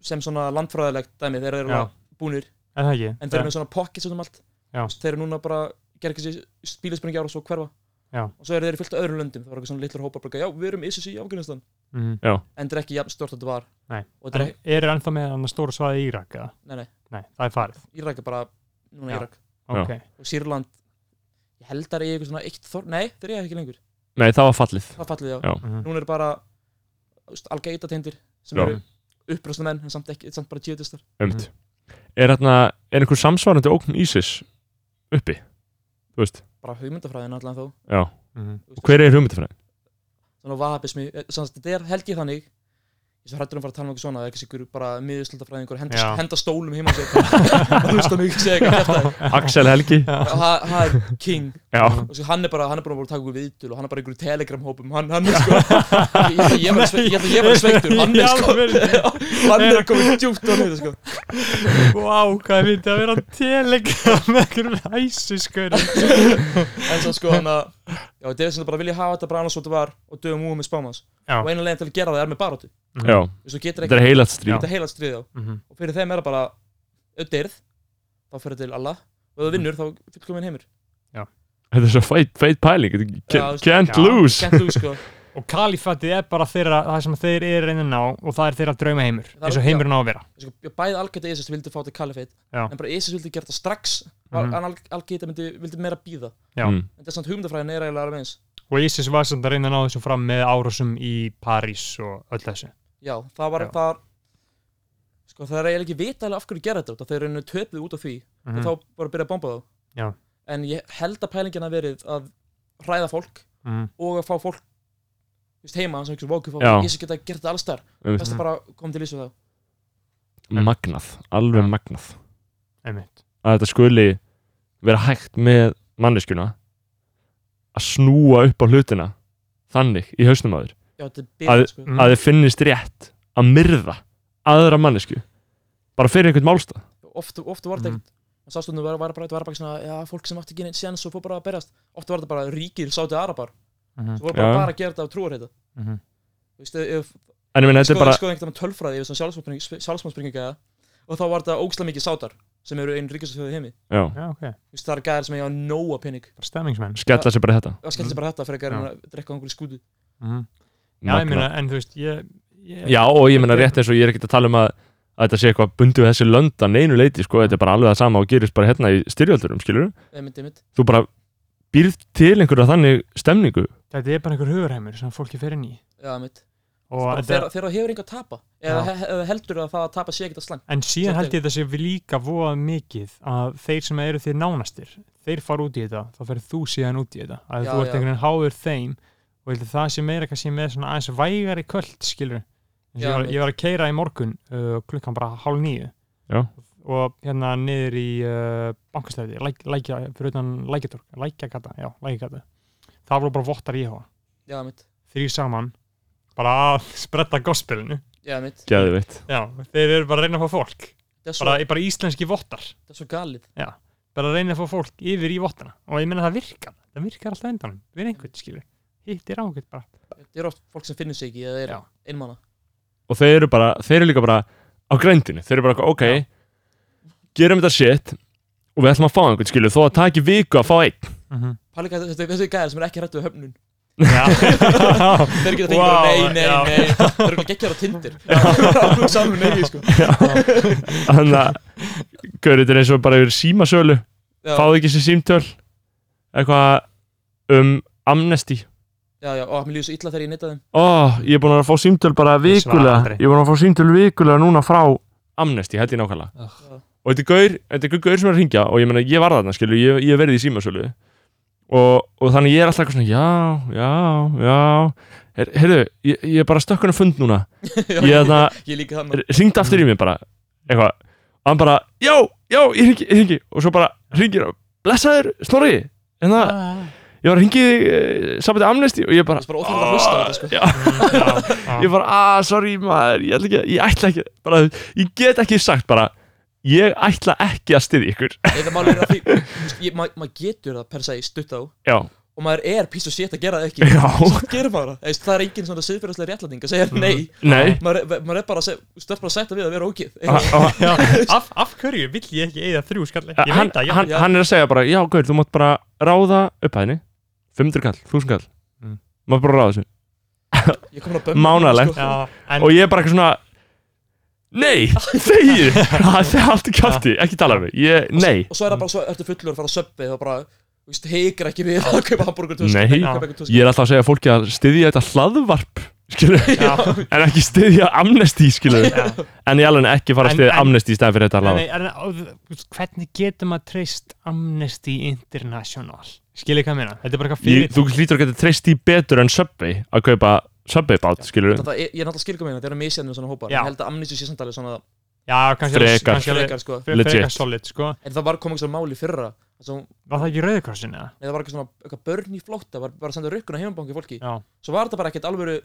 D: sem svona landfræðilegt dæmi þeir eru
C: Já.
D: alveg búnir
C: Er það ekki?
D: en þeir eru með svona pockets út um allt
C: Já.
D: Þú veist, þeir eru núna bara gera ekki spílisbringi ára og svo hverfa
C: Já.
D: og svo eru þeir í fullt af öðrum löndum það var eitthvað svona litlar hópar bara, já við erum ISIS í Afganistan
C: Mhm.
D: en þetta er ekki jafn stort að þetta var
C: Nei.
D: og
C: Er,
D: þetta er,
C: er ennþá með hann stóra svaði í Írak? eða?
D: nei nei,
C: Nei, það er farið.
D: Írak er bara núna
C: Já.
D: Írak
A: Já.
C: Ok.
D: og Sýrland ég held að það er eitthvað svona eitt þor nei þeir eru ekki lengur
A: nei, það var fallið
D: það fallið já,
A: Já.
C: Mhm.
D: núna eru bara algeita tendir sem
A: Já.
D: eru uppröðsna menn en samt, ekki, samt bara djöðistar
A: einmitt er þarna, er einhver samsvarandi ógn ISIS uppi þú veist,
D: bara hugmyndafræðin allan þó
A: já,
C: Mhm.
A: og hver er hugmyndafræðin?
D: svona vahabismi, sanns þetta er helgið þannig ég svo hrættur um að fara að tala um eitthvað svona það er ekki sigur bara miðurslöldafræðingur henda,
C: Já.
D: henda stólum heima á sér og hlusta mig segja eitthvað kjafta
A: Axel Helgi,
D: og ha- það er king
A: já,
D: og svo hann er bara, hann er bara búin að taka ykkur viðtul og hann er bara í ykkur telegram hópum hann, hann er sko ég held að ég var, ég held að ég var sveittur hann er sko hann er komið djúpt á neyta sko
C: Vá, hvað er myndið að vera á telegram með einhverjum ISIS skoður.
D: en svo sko hann að já, þetta er sem bara vilja hafa þetta bara annars og þetta var og dögum úr með spámans
C: Já.
D: og eina leginn til að gera það er með baróttu
A: já,
D: þú
A: þetta
D: getur ekki
A: er heilat stríð
D: þetta heila stríð á
C: Mhm.
D: og fyrir þeim er það bara auðdeyrð, þá fyrir til alla og ef þú vinnur þá fullkominn heimur
A: þetta er svo feit, feit pæling þetta- can't,
D: Já,
A: can't
C: já.
A: lose
D: Kent þú sko,
C: Og kalifatið er bara þeirra, það sem þeir eru reyna að ná og það er þeirra draumaheimur,
D: Það er-
C: eins og heimurinn á að vera.
D: sko bæði Al-Qaida ISIS vildi fá til kalifeit
C: Já.
D: en bara ISIS vildi gera það strax
C: Mhm.
D: mm. en Al- Al-Qaida myndi, vildi meira býða
C: Já.
A: Mm.
D: en þess að hugmyndafræðin er eiginlega alveg eins
C: Og ISIS var samt að reyna að ná þessu fram með árásum í París og öll þessu.
D: já, það var,
C: Já.
D: það var sko það er eiginlega ekki vitaðlega af hverju gera þetta það er einu töpuð út af því og
C: Mhm.
D: þá bara byrja að bomba þá
C: Já.
D: en ég held að pælingin að verið að hræða fólk
C: Mhm.
D: og að fá fólk þú veist, heima, sem ekki svo vóku
A: Já.
D: ISIS geta gert það allstar
A: Einmitt.
D: best að bara koma til ISIS þá
A: magnað, alveg
C: Já.
A: magnað
C: Einmitt.
A: að þetta skuli vera hægt með manneskjuna að snúa upp á hlutina þannig í hausnum á þér
D: Já, þetta er
A: Að-
D: byrjað sko
C: Mm.
A: að þið finnist rétt að myrða aðra mannesku bara fyrir einhvern málstað
D: Oft, oft var þetta
C: Mhm.
D: ekkert og sástundum var, var, bara- þetta var bara svona já, fólk sem átti ekki neinn séns og fór bara að berjast oft var þetta bara ríkir sáti arabar
C: Mhm.
D: svo voru bara,
A: Já.
D: bara að gera þetta af trúarheita
C: Mhm.
D: þú veist, ef,
A: en ég meina þetta
C: Sko,
D: skoði,
A: er bara
D: skoði einhvern veginn tölfræði yfir svona sjálfsmannspringinga og þá var þetta ógsla mikið sátar sem eru einn ríkistöðu heimi
A: já,
C: Já, ok.
D: Þú veist, það er gæðar sem eiga nóa pening
C: Bara stemmingsmenn.
A: skella sér bara í þetta
D: og skemmt sér bara þetta fyrir
C: Mhm. Já.
D: að drekka á einhverju skútu
C: Mhm. Já, ég
A: Magnað.
C: meina, en þú veist, ég, ég,
A: Já, og ég meina rétt eins og ég er ekkert að tala um að, að þetta sé eitthvað bundið við þessi lönda neinu leiti, sko, þetta er bara alveg það sama og gerist bara hérna í styrjaldurum, skilur
D: einmitt, einmitt
A: þú bara býrð til einhverja þannig stemningu
C: þetta er bara einhver hugurheimur sem fólki fer inn í
D: Já, einmitt
C: og þetta,
D: Bara Sko, Þegar þegar það hefur enga að tapa eða he- eða heldur að það að tapa sé ekkert að slæmt
C: en síðan held ég þetta sé við líka voða mikið að þeir sem eru þér nánastir þeir fara út í þetta, þá ferð þú síðan út í þetta að
D: Já,
C: þú ert
D: já.
C: einhvern veginn háður þeim og ég held að það sé meira kannski með svona aðeins vægari kvöld skilur ég
D: Já,
C: var,
D: einmitt.
C: ég var að keira í morgun uh, klukkan bara hálf nýju
A: Já.
C: og hérna niður í uh, bankastæði, læk, lækja, fyrir utan lækjatorg, lækjagata, já, lækjagata það voru bara vottar í hóa,
D: Já, einmitt
C: þrý saman bara að spretta gospelinu
D: Já, einmitt
A: Geðveitt
C: já, þeir eru bara að reyna að fá fólk
D: Það er svo,
C: bara, bara íslenski vottar,
D: það er svo galið
C: bara að reyna að fá fólk yfir í vottana og ég meina það virkar, það virkar alltaf endanum við erum einhvern skilur, hitt er ákveld bara
D: Það eru oft fólk sem finnur sig ekki eða er
C: Já.
D: einmana
A: og þeir eru bara, þeir eru líka bara á grændinu, þeir eru bara, ok
C: Já.
A: gerum þetta shit og við ætlum að fá einhvern, skilur, þó að taki viku að fá einn
C: mm -hmm.
D: Pælika, þetta þetta er gæðar sem er ekki hrættu við höfnun
C: já,
D: Þeir geta fengið
C: Wow,
D: bara nei, nei,
C: já.
D: nei Þeir eru ekki á tindir Alveg saman nei, sko
A: þannig að, gaur, þetta er eins og bara yfir símasölu,
D: Já,
A: fáðu ekki sér símtöl eitthvað um amnesti
D: já, já, og mér líður svo illa þegar ég neyta þeim
A: Ó, ég er búin að fá símtöl bara
C: Ég svara
A: vikulega
C: aldrei.
A: Ég er búin að fá símtöl vikulega núna frá Amnesty, held ég nákvæmlega
D: Já.
A: Og þetta er gaur, þetta er gaur- gaur sem er að ringja Og ég meina, ég var þarna, skilur, ég, ég hef verið í símasölu og, og þannig ég er alltaf eitthvað svona Já, já, já Her, Heyrðu, ég, ég er bara stökkunum fund núna Ég hérna- er þarna,
D: Ég er líka þannig
A: ringd aftur í mig bara Eitthvað Og hann bara, já, já, ég ringi, ég ringi Og svo bara ringir hann, blessaður, snorri En það, ég var að ringi þig Samvætti Amnesty og ég bara
D: Það er bara óþarf að hlusta á þetta, sko
A: Já, ég bara, aaa, sorry maður ég ætla ekki, ég ætla ekki bara, ég get ekki sagt bara ég ætla ekki að styðja ykkur
D: Eða maður er að því þú veist, ég- ma- Maður getur það per se í stutt á og
A: já,
D: maður er pís og sétt að gera það ekki
A: já, Mm.
D: Svo gerir maður það Þú veist, Það er engin svona siðferðislega réttlæting að segja nei
A: nei Ah.
D: Maður er- maður er bara að segja- þú stöðst bara að setja við að vera ógið
A: Ha- ha-
C: Já, af, af hverju vill ég ekki eigða þrjú skalli? Ég
A: hann,
C: veit það, já.
A: hann,
D: já.
A: hann er að segja bara, já, gaur, þú mátt bara ráða upphæðinni 500 kall, 1000 kall
C: Mm.
A: maður bara ráða þessu,
D: Ég er komin að bömmu
A: Mánaðarlegt.
C: já, en,
A: og ég er bara eitthvað svona nei, þegið það er allt í kjátti, ekki tala um mig ég, nei,
D: Og svo er það bara svo Ertu fullur að fara að söppi Það bara þú veist, heikir ekki við að kaupa hambúrgur tusk
A: Nei.
D: Kaupa eitthvað tusk
A: ég er alltaf að segja fólki að styðja þetta hlaðvarp skilur,
C: já,
A: en ekki styðja amnesti, skilur
C: já.
A: en ég alveg ekki fara að
C: En-
A: styðja
C: en-
A: amnesti í stæðan fyrir þetta
C: En,
A: hlaðvarp
C: en, og, þú veist, hvernig getur maður treyst Amnesty International? Skilir hvað ég meina? Þetta er bara
A: ég,
C: eitthvað fyrir
A: þú hlýtur að geta treyst í betur en Subway að kaupa Subway bát, skilur
D: Þetta- Ég ég er náttúrulega skilgum meina Þeir eru misjæðnir svona hópar
C: Já.
D: Ég held að amnissi sé samtalið svona
C: Já, kannski
A: Frekar.
C: kannski alveg-
D: Frekar sko
C: frekar
A: Legit.
C: solid, sko
D: En það var komið svona máli fyrra þar sem-
C: Var það ekki rauðkrossin eða?
D: Nei það var eitthvað svona Eitthvað börn í flótta Var bara að senda rökkuna heimabangi fólki
C: Já,
D: Svo var þetta bara ekkert alvöru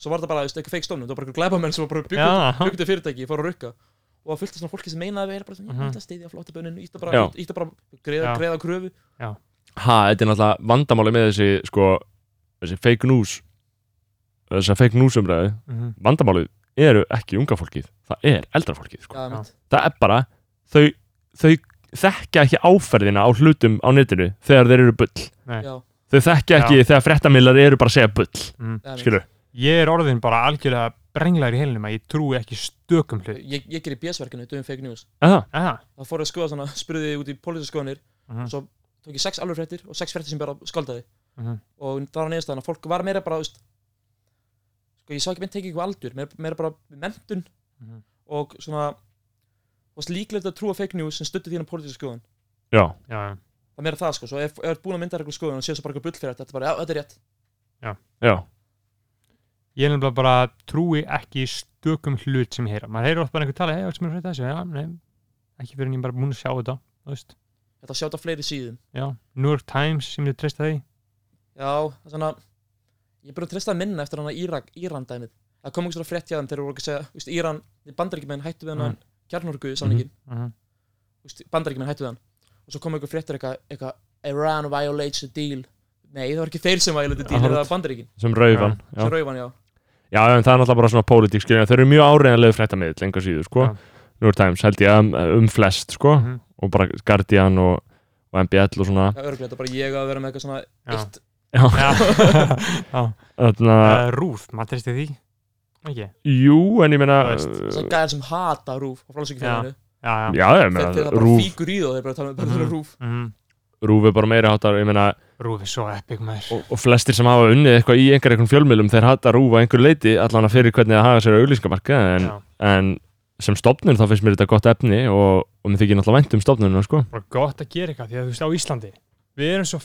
D: Svo var þetta bara þú veist, eitthvað feik stónum Það var bara eitthvað glæbamenn sem var bara byggt
C: já,
D: hugmyndu fyrirtæki, fór að rukka og það fullt af svona fólki sem meinaði að vera bara svona, ég
C: Mhm.
D: ætla að stiðja flóttaböninu, ítta
A: Já.
D: bara, ítta bara greiða,
C: Já.
D: greiða kröfu
A: ha, þetta er náttúrulega vandamáli með þessi sko, þessi fake news þessa fake news umræðu
C: mhm,
A: vandamálið eru ekki unga fólkið það er eldra fólkið, sko
D: Já, einmitt.
A: það er bara, þau, þau þekka ekki áferðina á hlutum á netinu þegar þeir eru bull
C: nei,
D: já,
A: þau þekka ekki þegar frettamillar eru bara að segja bull,
C: mhm.
D: já, einmitt.
A: skilur
C: Ég er orðin bara algjörlega brenglar í heilinum að ég trúi ekki stökum hlut
D: ég, ég gerir bjösverkinu, döfum fake news
A: eða,
C: Aha,
D: þá fór ég að skoða svona, spurði ég út í pólitískoðanir
C: Mhm.
D: svo tók ég sex alveg fréttir og sex fréttir sem bara skaldaði
C: mhm,
D: og það var neyðast að fólk var meira bara, þú veist sko, ég sá ekki mynd tekið ykkur aldur meira, meira bara mentun
C: Mhm.
D: og svona og líklegt að trúa fake news sem stuttu þína pólitískoðan
A: já,
C: já, já,
D: það er meira það sko, svo ef, ef er búin að mynda eitthvað skoðun og sé svo bara eitthvað bullfrétt, þetta er bara, já, þetta er rétt
A: já,
C: Ég er nefnilega bara trúi ekki stökum hlut sem ég heyra. Maður heyrir oft bara einhver tala, hei, sem er fyrir þessu, já, nei, ekki fyrir en ég er bara múin að sjá þetta, þú veist,
D: þetta sjá þetta á fleiri síðum
C: já, New York Times sem ég treysta því,
D: Já, það er svona Ég er búin að treysta að minna eftir hana Írak, Íran dæmið Það kom ekki svona frétt hjá þeim þegar voru ekki að segja Vist, Íran, bandaríkjumenn hættu við
C: Mhm.
D: hann mm. Kjarnorku samningin, mm
C: uh -huh.
D: -hmm. hættu við hann Og svo kom eitthvað fréttir eitthvað eitthva, Iran violates the deal Nei, það var ekki þeir sem violated the deal Það
A: Akkurat.
D: var bandaríkin,
A: sem rauðan já.
D: sem rauðan, já
A: Já, en það er náttúrulega bara svona pólitík, skiljum, þeir eru mjög áreðanlega fréttamiðl, lengar síður, sko.
C: Já.
A: New York Times held ég um, um flest, sko,
C: Mhm.
A: og bara Guardian og, og MBL og svona.
D: Já, örgulega, þetta er bara ég að vera með eitthvað svona
C: Já.
D: eitt
A: Já,
C: já,
A: þarna,
C: uh, rúf, maður treysti því, ekki
A: Jú, en ég meina
C: Þú veist,
A: uh,
D: Svona gæðar sem hata rúf á fránsökjafélaginu
C: já, já,
A: Já, ég
D: Þeir
A: meina
D: þeir það bara
A: Rúf,
D: fíkur í þá, þeir bara tala um bara
C: Mhm.
D: þeirra rúf
C: Mm.
A: rúf er bara meira hátar Ég meina,
C: Rúf er svo epic maður
A: og, og flestir sem hafa unnið eitthvað í einhverjum fjölmiðlum Þeir hata rúf að einhver leiti Allan að fyrir hvernig það haga sér á auglýsingamarka en,
C: Já,
A: en sem stofnun þá finnst mér þetta gott efni Og, og mér þykir náttúrulega vænt um stofnunum sko.
C: bara gott að gera eitthvað því að þú veist á Íslandi við erum svo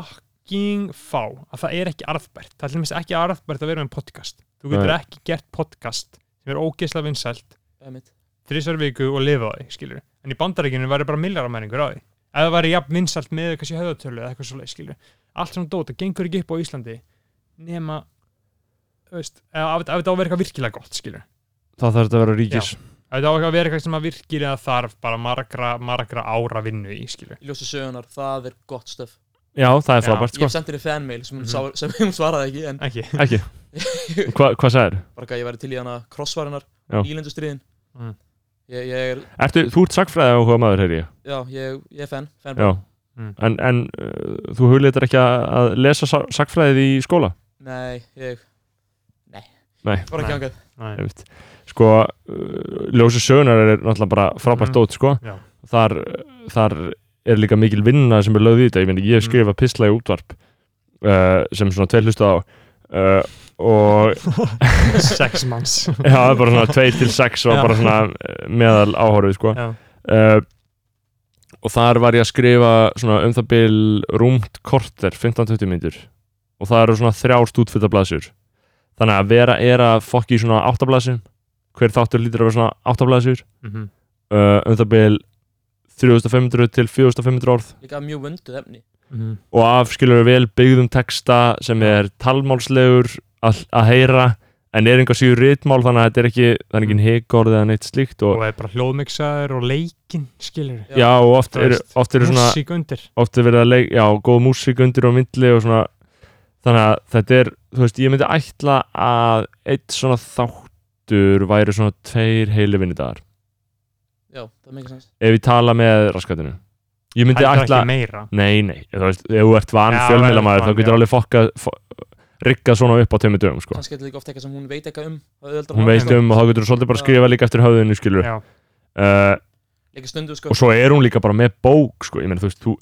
C: fucking fá að það er ekki arðbært það er til dæmis ekki arðbært að vera með podcast þú getur
A: Nei.
C: ekki gert podcast sem er ógeðslega vinsælt
D: Einmitt.
C: þrísvar viku og lifa á því, skilur en í bandaríkinu væri bara millaramæningur á því ef það væri jafn vinsælt með kannski höfðatölu eða eitthvað svoleið, skilur allt svona dóta, gengur ekki upp á Íslandi nema, þú veist ef ef þetta á að vera eitthvað virkilega gott, skilur
A: Þá þarf þetta að vera ríkis
C: Ef Þetta á ekki að vera eitthvað sem að virkir eða þarf bara margra, margra ára vinnu í, skilu.
D: Í ljósi sögunar, það er gott stöf
A: Já, það er
C: Já.
A: frábært
D: Ég
A: sko
D: hef sendt henni fanmail sem hún,
C: Mhm.
D: sá, sem hún svaraði ekki En
C: Ekki.
A: Ekki Hva, Hvað sagðir?
D: bara hvað ég væri til í hana krossvarinnar
A: Já.
D: Ílendustriðin
C: Mm.
D: ég, ég er,
A: Ertu, þú ert sagfræði áhuga maður, heyri ég
D: já, ég, ég er fan, fan
A: Já
C: Mm.
A: En, en uh, þú hugleitir ekki að, að lesa sa- sagfræðið í skóla?
D: Nei, ég Nei,
A: Nei.
D: Bara ekki angað
C: Nei.
A: einmitt. sko, uh, ljósi sögunar er náttúrulega bara frábært
C: Mhm.
A: dót sko.
C: Já.
A: þar, þar er líka mikil vinna sem er lögð í þetta, ég meina ég hef
C: Mhm.
A: skrifað pistla í útvarp uh, sem svona tveir hlusta á uh, og
C: Sex manns.
A: já, það er bara svona tveir til sex og
C: Já.
A: bara svona uh, meðal áhorfið sko.
C: Já.
A: uh, og þar var ég að skrifa svona um það bil rúmt korter 15-20 myndir og það eru svona þrjár stútfytta blaðsjur þannig að vera er að fokki í svona áttablaðsjum hver þáttur lítur að vera svona áttablaðsjur
C: Mhm.
A: uh, um það bil 3500 til 4500 orð
D: Líka mjög vönduð efni
C: Mhm.
A: og afskilur vel byggðum texta sem er talmálslegur að, að heyra en er einhver síður ritmál þannig að þetta er ekki það er ekki heikorð eða neitt slíkt og,
C: Mm. Og er bara hljóðmiksaður og leikinn, skilur.
A: já, og oft
C: Þú
A: eru
C: veist,
A: oft eru svona
C: Músík undir.
A: oft er verið að leik, já, góð músík undir og myndli og svona þannig að þetta er, þú veist, ég myndi ætla að eitt svona þáttur væri svona tveir heili vinnudagar
D: Já, það er mikið sens
A: ef ég tala með raskatinu ég myndi
C: Heldur
A: ætla,
C: ekki meira.
A: nei, nei, þú veist ef þú ert van
C: Já,
A: fjölmiðlamaður
C: van,
A: þá getur
C: já.
A: alveg fokka riggað svona upp á tömmu dögum, sko
D: Kannski er þetta líka oft eitthvað sem hún veit eitthvað um það
A: hún
D: auðveldar honum
A: veit
D: það.
A: um og þá getur þú svolítið bara að skrifa líka eftir höfðinu, skilur
C: Já.
A: uh,
D: Líka stundu, sko
A: og svo er hún líka bara með bók, sko ég meina, þú veist, þú,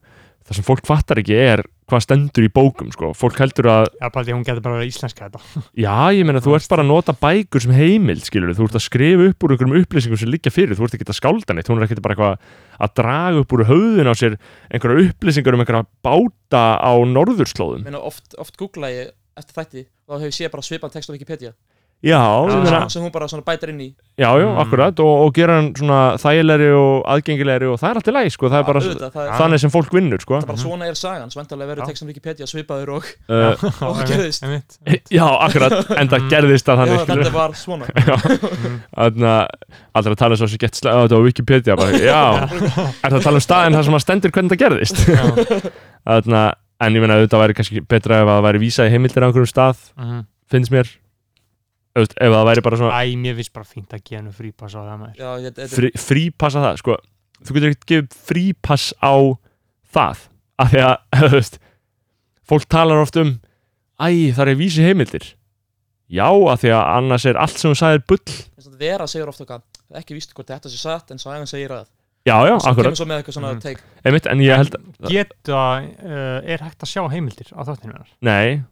A: það sem fólk fattar ekki er hvað stendur í bókum, sko fólk heldur að
C: Já, bara því að hún getur bara verið íslenska þetta.
A: Já, ég meina, þú ert bara að nota bækur sem heimild, skilur þú ert að skrifa upp úr einhverjum upplýsingum sem liggja fyrir, þú ert ekki að skálda neitt, hún er ekki bara eitthvað að draga upp úr höfðun á sér einhverjar upplýsingar um einhverja báta á norðurslóðum.
D: Meina, oft, oft googla ég eftir þætti og þá hef ég séð bara svipan text á Wikipedia
A: Já, ég meina,
D: sem, sem hún bara svona bætir inn í
A: já, já,
C: Mm.
A: akkurat, og, og gera hann svona þægilegri og aðgengilegri og það er allt í lagi, sko, það er bara
D: auðvitað, það, er,
A: þannig sem fólk vinnur, sko.
D: það er bara svona er sagan Svendalega
C: Já.
D: verður textum Wikipedia svipaður og
A: Uh,
D: og
C: Já,
D: gerðist.
C: einmitt, einmitt.
A: já, akkurat, en það gerðist að
D: Já,
A: þannig, skilur
D: þetta var svona
A: Þannig að allra að tala svo sem gett slæða þetta á Wikipedia bara, já, er það að tala um staðin þar sem að stendur hvernig það gerðist
C: Já.
A: Þarna, en ég meina auðvitað væri kannski betra ef að það væri vísað í heimildir á einhverjum stað,
C: Mhm.
A: finnst mér Öfst, ef það væri bara svona
C: Æ, mér finnst bara fínt að gefa hennu frípass á það maður.
D: Já, þetta, þetta,
A: frí, frípassa það, sko þú getur ekkert gefið frípass á það, af því að þú veist, fólk talar oft um æ, það er vísi heimildir já, af því að annars er allt sem þú sagðir bull,
D: þetta vera segir ofta okkar ekki víst hvort þetta sé satt en sagan segir að
A: já, já,
D: Svo
A: akkurat
D: kemur svo með eitthvað svona
C: Mhm.
D: take
A: einmitt, en ég held,
C: Geta, uh, er hægt að sjá heimildir á þáttinu hennar?
A: nei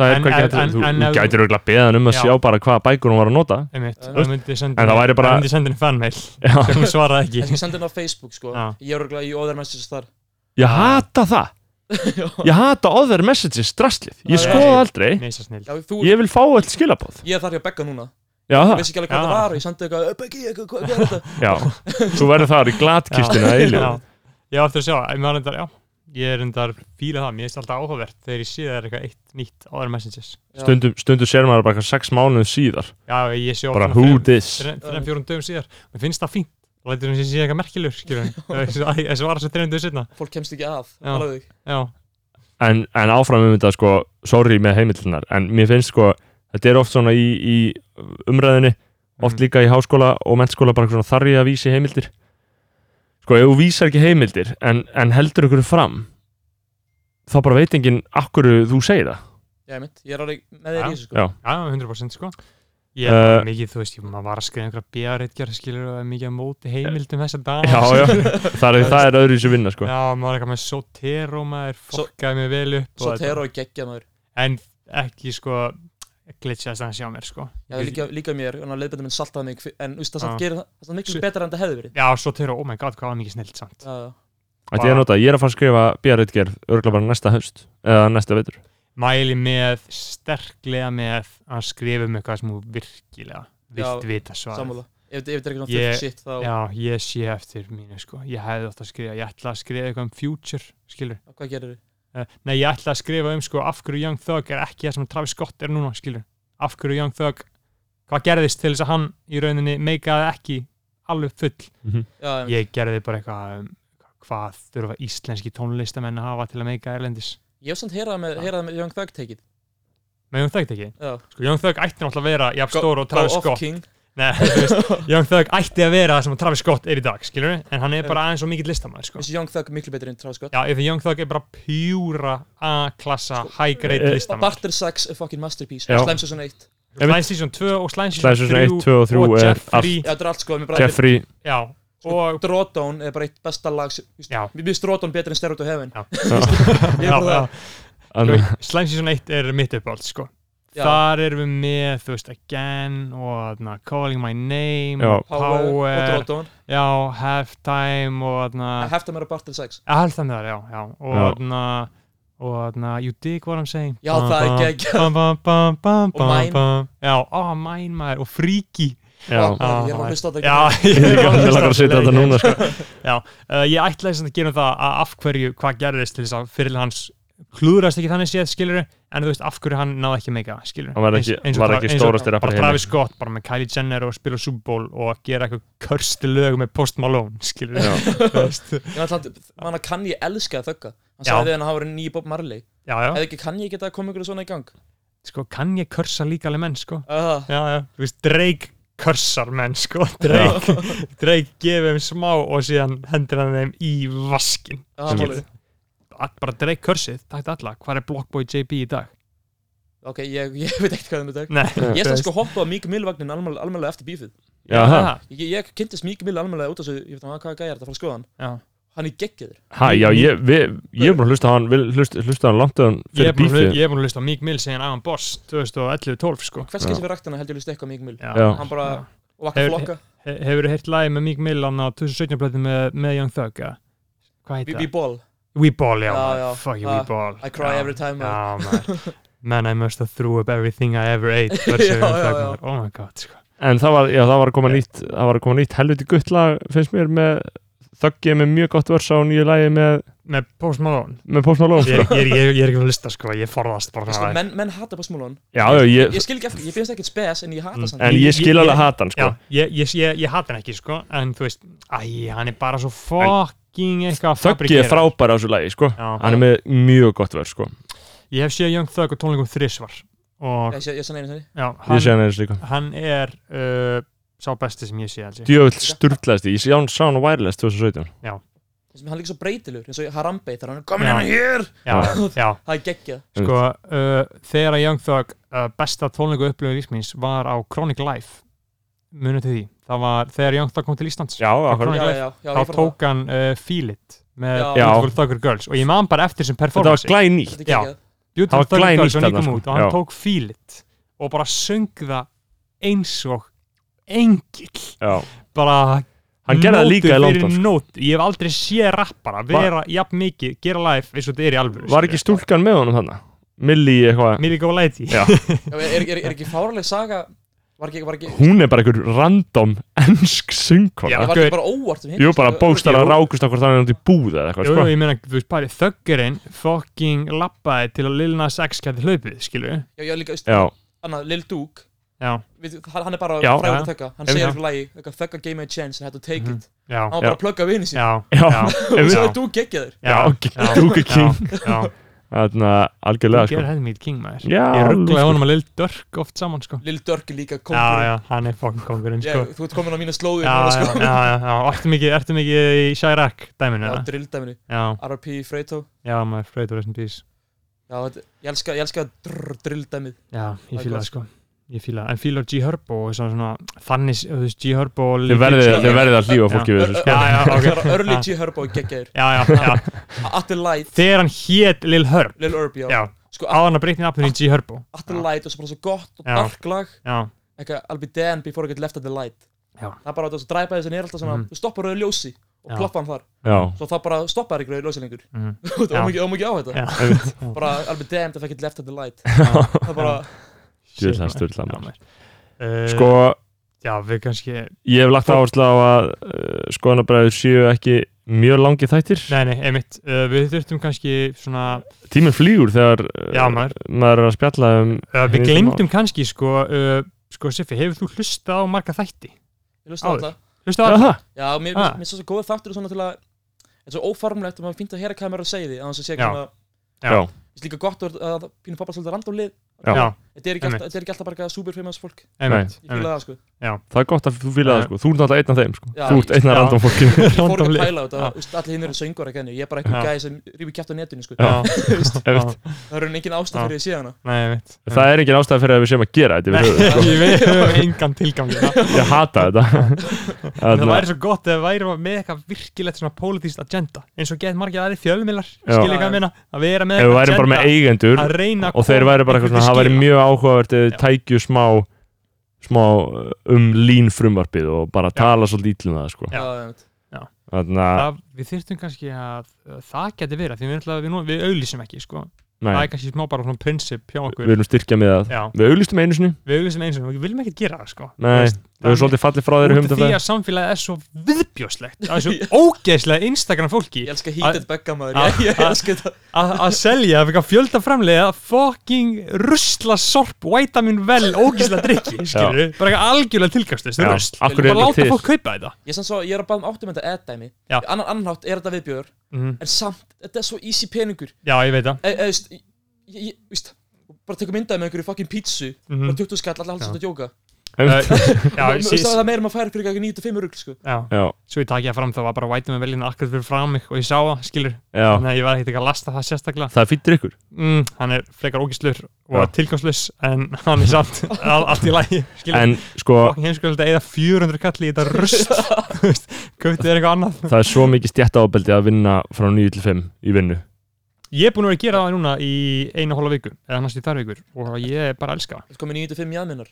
A: það er
C: En-
A: hvað
C: en-
A: getur,
C: en-
A: þú,
C: en
A: þú
C: ef-
A: gætir auðvitað beðan um að
C: Já.
A: sjá bara hvaða bækur hún var að nota
C: Einmitt,
D: Já.
C: það myndi senda
A: En það væri bara-
C: það myndi senda henni fanmail
A: já,
C: sem hún svaraði
D: En
C: ekki
D: ég sendi henni á Facebook sko
C: Já.
D: Ég er örgulega í other messages þar
A: ég hata það
D: Já,
A: Ég hata other messages drastlið Ég
D: Já,
A: skoða
C: já.
A: aldrei
C: Neisa snill
D: Já, þú,
A: Ég vil fá öll skilabóð
D: ég er þar hjá Begga núna
A: Já,
D: Ég
A: það,
D: vissi ekki alveg hvað
C: Já.
D: það var og ég sendi eitthvað Beggi, eitthvað, hvað hvað er þetta?
A: já Þú verður þar í glatkistuna eilig
C: Já. Ég á eftir að sjá, ég maður reyndar, já Ég er reyndar fíla það, mér finnst alltaf áhugavert þegar ég sé það er eitthvað eitt nýtt á þeirra messages
D: Já.
A: Stundum, stundum sér maður bara eitthvað sex mánuð síðar
C: Já, ég sé
A: Bara who this
C: Þrenn fjórum dögum síðar, mér finnst það fínt og lætur hún sé sé eitthvað merkilur, skilur Það svara svo þrenn dögum síðna
D: Fólk kemst ekki að
C: Já.
D: talaðu þig
C: Já,
A: En, en áfram um þetta sko Sorry með heimildunar En mér finnst sko Þetta er oft svona í, í umræðinni Oft
C: Mm.
A: líka í háskóla og mentskóla Bara eitthvað svona þarri að vísi heimildir Sko ef þú vísar ekki heimildir En, en heldur ykkur fram Þá bara veit enginn akkur þú segir það
D: Já, ég mitt, ég er alveg með þér í
C: Já.
D: þessu
A: Já.
D: sko
C: já, 100% sko Ég er
A: Eh,
C: uh, mikið, þú veist, ég maður var að skrifa einhverja bíaritgerð, skilur, og er mikið að móti heimildum þessa dag.
A: já, já, það er, það er öðru sem vinna sko.
C: Já, maður er eitthvað með Sotero, maður
D: So-
C: fokkaði mig vel upp. og
D: Sotero er geggja maður
C: þetta. En ekki, sko, glitchaðist hans hjá mér, sko.
D: Já, líka, líka mér, hann að leiðbenda minn saltaði mig hvi- En úst, það samt
C: Já.
D: gerir það, það er miklu
C: Svi-
D: betra en það hefði verið
C: Já, Sotero, oh my god, hvað var mikið snilt samt.
D: Já, já.
A: Ætti ég að nota, ég er að fara að skrifa bíaritgerð örgulega bara næsta höst, eða næsta veitur
C: Mæli með, sterklega með að skrifa um eitthvað sem þú virkilega vilt
D: Já,
C: vita svarið.
D: sammála Ef ef þetta er eitthvað
C: Ég-
D: fullt shit þá,
C: Já, ég sé eftir mínu, sko. Ég hefði þátt að skrifa, ég ætla að skrifa eitthvað um future, skilur.
D: hvað gerir þið?
C: Eh, Nei, ég ætla að skrifa um sko af hverju Young Thug er ekki það sem Travis Scott er núna, skilur. Af hverju Young Thug, hvað gerðist til þess að hann í rauninni meikaði ekki alveg full.
D: Já, em,
C: Ég gerði bara eitthvað um hvað þurfa íslenski tónlistamenn að hafa til að meika erlendis.
D: ég hef samt heyraði með,
C: Já.
D: heyraði með Young Thug tekið
C: Með Young Thug þetta ekki?
D: Já,
C: Sko, Young Thug ætti náttúrulega að vera jafn
D: Go-
C: stór og
D: Go
C: Travis
D: Off
C: Scott.
D: King
C: Nei, þú veist, Young Thug ætti að vera það sem Travis Scott er í dag, skilur. En hann er bara aðeins og mikill listamæður, sko.
D: Þessi Young Thug er miklu betur en Travis Scott
C: Já, ef Young Thug er bara pjúra A-klassa, high-grade
A: eh,
C: listamæður.
D: Barter Sax er fucking masterpiece
A: Já.
D: Slæm Season 1
C: Slime Season 2 og Slime Season
A: Slime Season 1,
C: 3
A: 2 og 3 er
C: Jeffrey,
D: Já, þetta er allt sko mér bara-
A: Jeffrey,
C: já, og
D: Drawdown er bara eitt besta lag sem- þú veist,
C: Já.
D: Mér finnst Drawdown betur en Stairway to Heaven
C: Já.
D: Þú veist, Ég er
C: já,
D: bara
C: já,
D: það
A: annar
C: Slime Season 1 er mitt uppáld sko.
D: Já.
C: þar erum við með þú veist, Again og na, Calling My Name
A: Já.
C: og Power, Ah.
D: og Drawdown
C: já, Halftime og na,
D: Að hefta mér að Barter Sax
C: Halftime þar, já, já
A: Já.
C: og na, og na, You Dig What I'm Saying
D: Já, það er geggjað.
C: bam, bam, bam, bam,
D: Og Mine.
C: bam, bam. já, ó, Mine maður og Freaky
A: Já,
D: Ó, Ég er bara að hlusta á þetta
C: Ah, Já,
A: ég er ekki
C: að
A: að laga að setja þetta núna sko.
C: Já, uh, ég ætlaði sem að gera það að af hverju, hvað gerðist til þess að fyrir hans klúðrast ekki þannig séð, skilur en þú veist af hverju hann náði ekki meika, skilur
A: Hann var ekki, var ekki stórastir
C: bara Travis Scott, bara með Kylie Jenner og spila Super Bowl og gera eitthvað körsti lög með Post Malone, skilur
A: Já.
C: þú veist.
D: Ég ætla Man að kann ég elska að þögga Hann
C: Já.
D: sagði hann að hann var nýj Bob Marley
C: Já, já,
D: Eða ekki kann ég geta að koma ykkur svona í gang
C: sko kann ég körsa líka alveg menn, sko
D: Ah,
C: Já, já, þú veist, Drake körsar menn, sko Drake, Drake gefið þeim smá og síðan hendur hann þeim í vaskin
D: ah, málið.
C: Að- bara Drake körsið, takk til alla hvað er Blockboy JB í dag?
D: Ok, ég, ég veit ekkert hvað það er með dag
C: Nei,
D: Ég stann sko hoppa á Mík Millvagnin almennilega eftir bífið
A: Já, ha,
D: Ég, ég kynntist Mík Mill almennilega út af þessu Ég veit að hvað gæjar þetta að fara að skoða hann
C: Já.
D: Hann er geggiður
A: ha, já ég, við, ég er búin að hlusta á hann vil- hlusta, hlusta á hann langt öðan fyrir
C: Ég er búin að hlu-
A: bífið
C: ég er búin að hlusta á Meek Mill segja Avan Boss 2011-12 sko
D: Hvers
A: Já.
D: getur við ræktina held ég list eitthvað Mík Mill
C: Já.
A: Já.
D: Hann bara,
C: Já.
D: og vakka
C: Hefur-
D: flokka
C: He, Hefur þú heyrt lagi með Meek Mill hann á 2017 plötu með, með Young Thug eða? Hvað heit
D: Bí-
C: það?
D: B-ball
C: We Ball, já,
D: Já,
C: já,
D: já.
C: fuck you,
D: Ah,
C: We Ball
D: I cry
C: já.
D: every time,
C: Já, maður Man, I must have threw up everything I ever ate Versus
D: Já,
C: Young
D: já,
C: Thug,
D: já.
C: maður. Oh my god, sko
A: En það var, já, það var að
C: Eh.
A: koma nýtt það var að koma nýtt helviti gutt lag finnst mér með þöggið með mjög gott vörsa og nýju lagi með,
C: Með Post Malone
A: með Post Malone
C: Ég,
A: sko.
C: ég, ég, ég er ekki að lista sko, ég forðast bara
D: Sko,
C: svona
D: menn, menn hata bara smúlan
A: Já, já, ég,
D: Ég skil ekki eftir, ég finnst ekkert spes en ég
C: Mm,
D: hata samt
A: en ég skil
C: ég-
A: alveg hata hann sko.
C: Já, ég, ég, ég, ég hata hann ekki sko En þú veist, æ, hann er bara svo fucking eitthvað að
A: Þöggið
C: fabrikera.
A: er frábæri á þessu lagi sko.
C: Já.
A: Hann er með mjög gott vörð sko.
C: Ég hef séð Young Thug og tónleikum þrisvar og
D: Ég, ég, ég sann einu sinni
A: Ég sé
C: já, hann,
A: hann eins líka
C: hann er uh, sá besti sem ég sé alls
A: Djöfull sturglaðist Ég sé hann sá hann á Wireless 2017
D: Þess vegna Hann er líka svo breytilur, eins og Harambe þar hann er komin
C: Já.
D: hérna hér
C: já, já,
D: Það er geggjað
C: sko uh, þegar að Young Thug uh, besta tónleiku upplöðu lífsmins var á Chronic Life munið til því, það var þegar Young Thug kom til Íslands
A: Já, akkur
D: Já,
C: Chronic
D: já,
C: Life.
D: já, já,
C: þá
D: ég fara það.
C: tók hann uh, Feel It með
D: Já.
C: Beautiful Thugger Girls og ég man bara eftir sem
A: Þetta var
C: performance
A: glæð
D: Þetta
A: nýtt
D: er geggjað
A: það
C: Beautiful
A: var
C: Thugger
A: glænýtt
C: Girls og
A: þarna,
C: nýgum
A: sko.
C: út og hann
A: Já.
C: tók Feel It og bara söng það eins og engill bara
A: Hann gerði það líka í London sko.
C: fyrir nót ég hef aldrei séð rappara vera jafn mikið, gera live eins og þetta er í alvöru
A: Var ekki stúlkan með honum þannig? Millie eitthvað
C: Millie Golighty
A: Já.
D: Já, er, er, er ekki fáraleg saga Var ekki, var ekki
A: Hún er bara einhver random ensk
C: Já.
A: syngkona
D: Var ekki bara óvart um hitt
A: Jú, bara bókstar
C: Jú.
A: að rákust okkur þannig út í búð eða eitthvað
C: Jú, jú,
A: sko.
C: ég meina, þú veist, bæri þöggerinn fucking lappaði til að Lil Nas X gæti hlaupið, skilur við?
D: Já, já, líka, veist,
A: Já,
D: annað, Lil Duke
C: Já,
D: við, hann hann er bara
A: Já.
D: frægur
C: Já.
D: að þögga hann
A: Einmitt.
D: segir fyrir lagi, eitthvað, þögga game a chance and had to take
C: Mhm.
D: it
C: já,
D: hann var
A: Já.
D: bara að plugga vinni sín
C: já,
A: já,
D: og
A: einmitt.
D: svo
C: Já.
D: þú geggja þér
A: Já, Duke King.
C: Já,
A: Þannig að
C: já,
A: algjörlega
C: Ger
A: sko.
C: helmið King maður
A: Já, sko.
C: Ég rugglaði
A: alveg,
C: honum að Lil Durk oft saman, sko
D: Lil Durk er líka
C: Já,
D: kongur
C: já, hann er fucking kongurinn, sko
D: þú ert komin á mína slóði
C: Já, já,
D: sko.
C: já, já, já, ertu mikið, ertu mikið í Chirac dæminu,
D: já,
C: eða?
D: drilldæminu
C: Já,
D: R.P. Freito
C: já, maður, Freytur, rest in peace
D: já, þetta- ég elska, ég elska drr, drilldæmið
C: Já,
D: Það
C: ég
D: er
C: fýla
D: gott.
C: það sko ég fíla, það. en fíla G Herbo og svona, svona þannig, þú veist, G Herbo og Lil
A: Þið verðið
C: Dicky.
A: þið verðið að hlífa fólki við þessu sko.
C: Já, já, ok.
D: Það er early
C: Já.
D: G Herbo og geggjæður
C: já, já, já,
D: Atten Light,
C: þegar hann hét Lil Herb
D: Lil Urb, já
C: já,
D: Sko,
C: áðan að breytni nafnir í G Herbo
D: Atten Light og svo bara svo gott og
C: Já.
D: dark lag
C: já,
D: Eitthvað, I'll be damned before I get left at the light
C: Já.
D: Það er bara þess að dræpa þess að nýra alltaf svona
C: Mhm.
D: Þú stoppar rauðu ljósi og
C: Já.
D: ploppa hann þar
A: Já,
D: Svo það bara stoppar ekki rauðu ljósi lengur
C: mhm,
D: Það
C: Já.
D: var mikið- það var mikið á þetta
C: já
D: Bara, I'll be damned if I get left at the light
C: Já.
D: Það er bara,
A: Djöfull, það er
C: Shit,
A: sturlað,
C: maður.
A: maður.
C: Já, maður.
A: sko
C: Eh, já, við kannski,
A: Ég hef lagt áherslu á að uh, skoðanabræður séu ekki mjög langi þættir
C: nei, nei, einmitt uh, við þurftum kannski svona
A: Tíminn flýgur þegar uh,
C: já, maður,
A: maður er að spjalla um
C: uh, við
A: Heyrðu,
C: glemdum kannski sko, uh, sko Siffi, hefur þú hlustað á marga þætti?
D: ég lusta
C: Áður.
D: alltaf
C: Hlustað á
A: Aha,
D: Já, mér
C: Ah.
D: finnst svo góð þáttur svona til að Þetta er svo óformlegt og maður finnst að heyra hvað maður er að segja því að þess að sé ekki
C: Já.
D: svona
C: Já.
A: Já.
D: Þetta er líka gott að að pínu pappa svolítið randólið
A: Já.
C: já,
D: Þetta er ekki alltaf-
C: Einmitt.
D: þetta er ekki alltaf bara eitthvað superfamous fólk
C: einmitt,
D: Ég fíla það sko
A: það er gott að þú fýla það
C: Já.
A: sko Þú ert náttúrulega einn af þeim sko
D: Já.
A: Þú ert einn af
C: Eh. Já.
A: random fólkinu
C: einmitt.
D: Ég
C: Random
D: fór ekki að pæla á þetta, þú veist, allir hinn eru söngur ekki henni Ég er bara
C: Já.
D: eitthvað gæði sem rýfur kjæft á netinu sko
C: Já, já,
D: Það eru engin ástæð
C: Já.
D: fyrir því síðan
C: nei, einmitt
A: Það er engin ástæð fyrir að við séum að gera þetta
C: Nei,
A: yfir höfuð,
C: ég veit, við höfum engan tilgang í það.
A: sko. Ég hata þetta
C: En það
A: Þarna-
C: væri svo gott ef við værum með eitthvað virkilegt svona politíst agenda eins og gett margir aðri fjölmiðlar
A: Já.
C: skilja hvað að minna, að vera með
A: Ef við værum bara með eigendur
C: að reyna
A: og þeir væri bara eitthvað svona, það væri mjög áhugavert eða
C: Já.
A: tækju smá smá uh, um lín frumvarpið og bara
C: Já.
A: tala svolítið ítlum það sko.
C: Já.
D: einmitt.
A: Þannig að,
C: það, við þyrftum kannski að uh, það geti verið, því við, ætla, við, nú, við auðlýsum ekki sko.
A: nei,
C: það er kannski smá bara svona prinsip hjá okkur
A: við erum styrkja með það
C: Já,
A: Við auðlistum einu sinni,
C: við auðlýsum eins og við viljum ekki gera það sko.
A: Nei,
C: Veist,
A: við erum
C: það-
A: svolítið fallið frá þeirri
C: út af
A: humdafæð
C: því að samfélagið er svo viðbjóslegt að þessu ógeðslega Instagram fólki
D: Ég elska
C: Að-
D: hítið begga maður
C: að-
D: Ég- Ég
C: að-
D: elska þetta
C: að að selja fyrir fjölda framlega fucking rusla sorp vitamin vel ógeðslega drikki skilur bara eitthvað algjörlega tilgangslust
A: Já,
C: rusl
A: af hverju er
C: bara
A: þetta
C: láta
A: til?
C: fólk kaupa þetta
D: Ég er samt svo, ég er að báða um áttum þetta eddæmi
C: Já.
D: Annan annan hátt er þetta viðbjör
A: Mhm.
C: mm.
D: En samt, þetta er svo easy peningur
C: já ég veit það
D: E- eða, Þú veist, ég- ég- ég- þú veist, bara tekum myndaði með einhverju fucking pítsu Bara
C: Mhm.
D: 20 skall, allar haldur þetta að jóka
C: Uh,
D: Já,
C: já,
D: ég
C: sí,
D: veist að það er meira maður færi fyrir eitthvað 95 rugl, sko
C: já,
A: Já,
C: svo ég takk ég það fram þá var bara vitamin velin akkurat fyrir fram mig og ég sá það skilur
A: já,
C: þannig að ég var ekkert ekki að lasta það sérstaklega
A: það er fýttir ykkur
C: mm, hann er frekar ógeðslur
A: Já.
C: og tilgangslus en hann er samt all, allt í lagi skilur
A: En sko,
C: fucking heimskulega að eða 400 kall í þetta rust þú veist, kauptið er eitthvað annað
A: það er svo mikið stjættaofbeldi að vinna frá 9 til 5 í vinnu
C: Ég er búin að vera að gera það núna í eina hóla viku eða næstu tvær vikur og ég er bara að elska það
D: Það komið 95 jaðminnar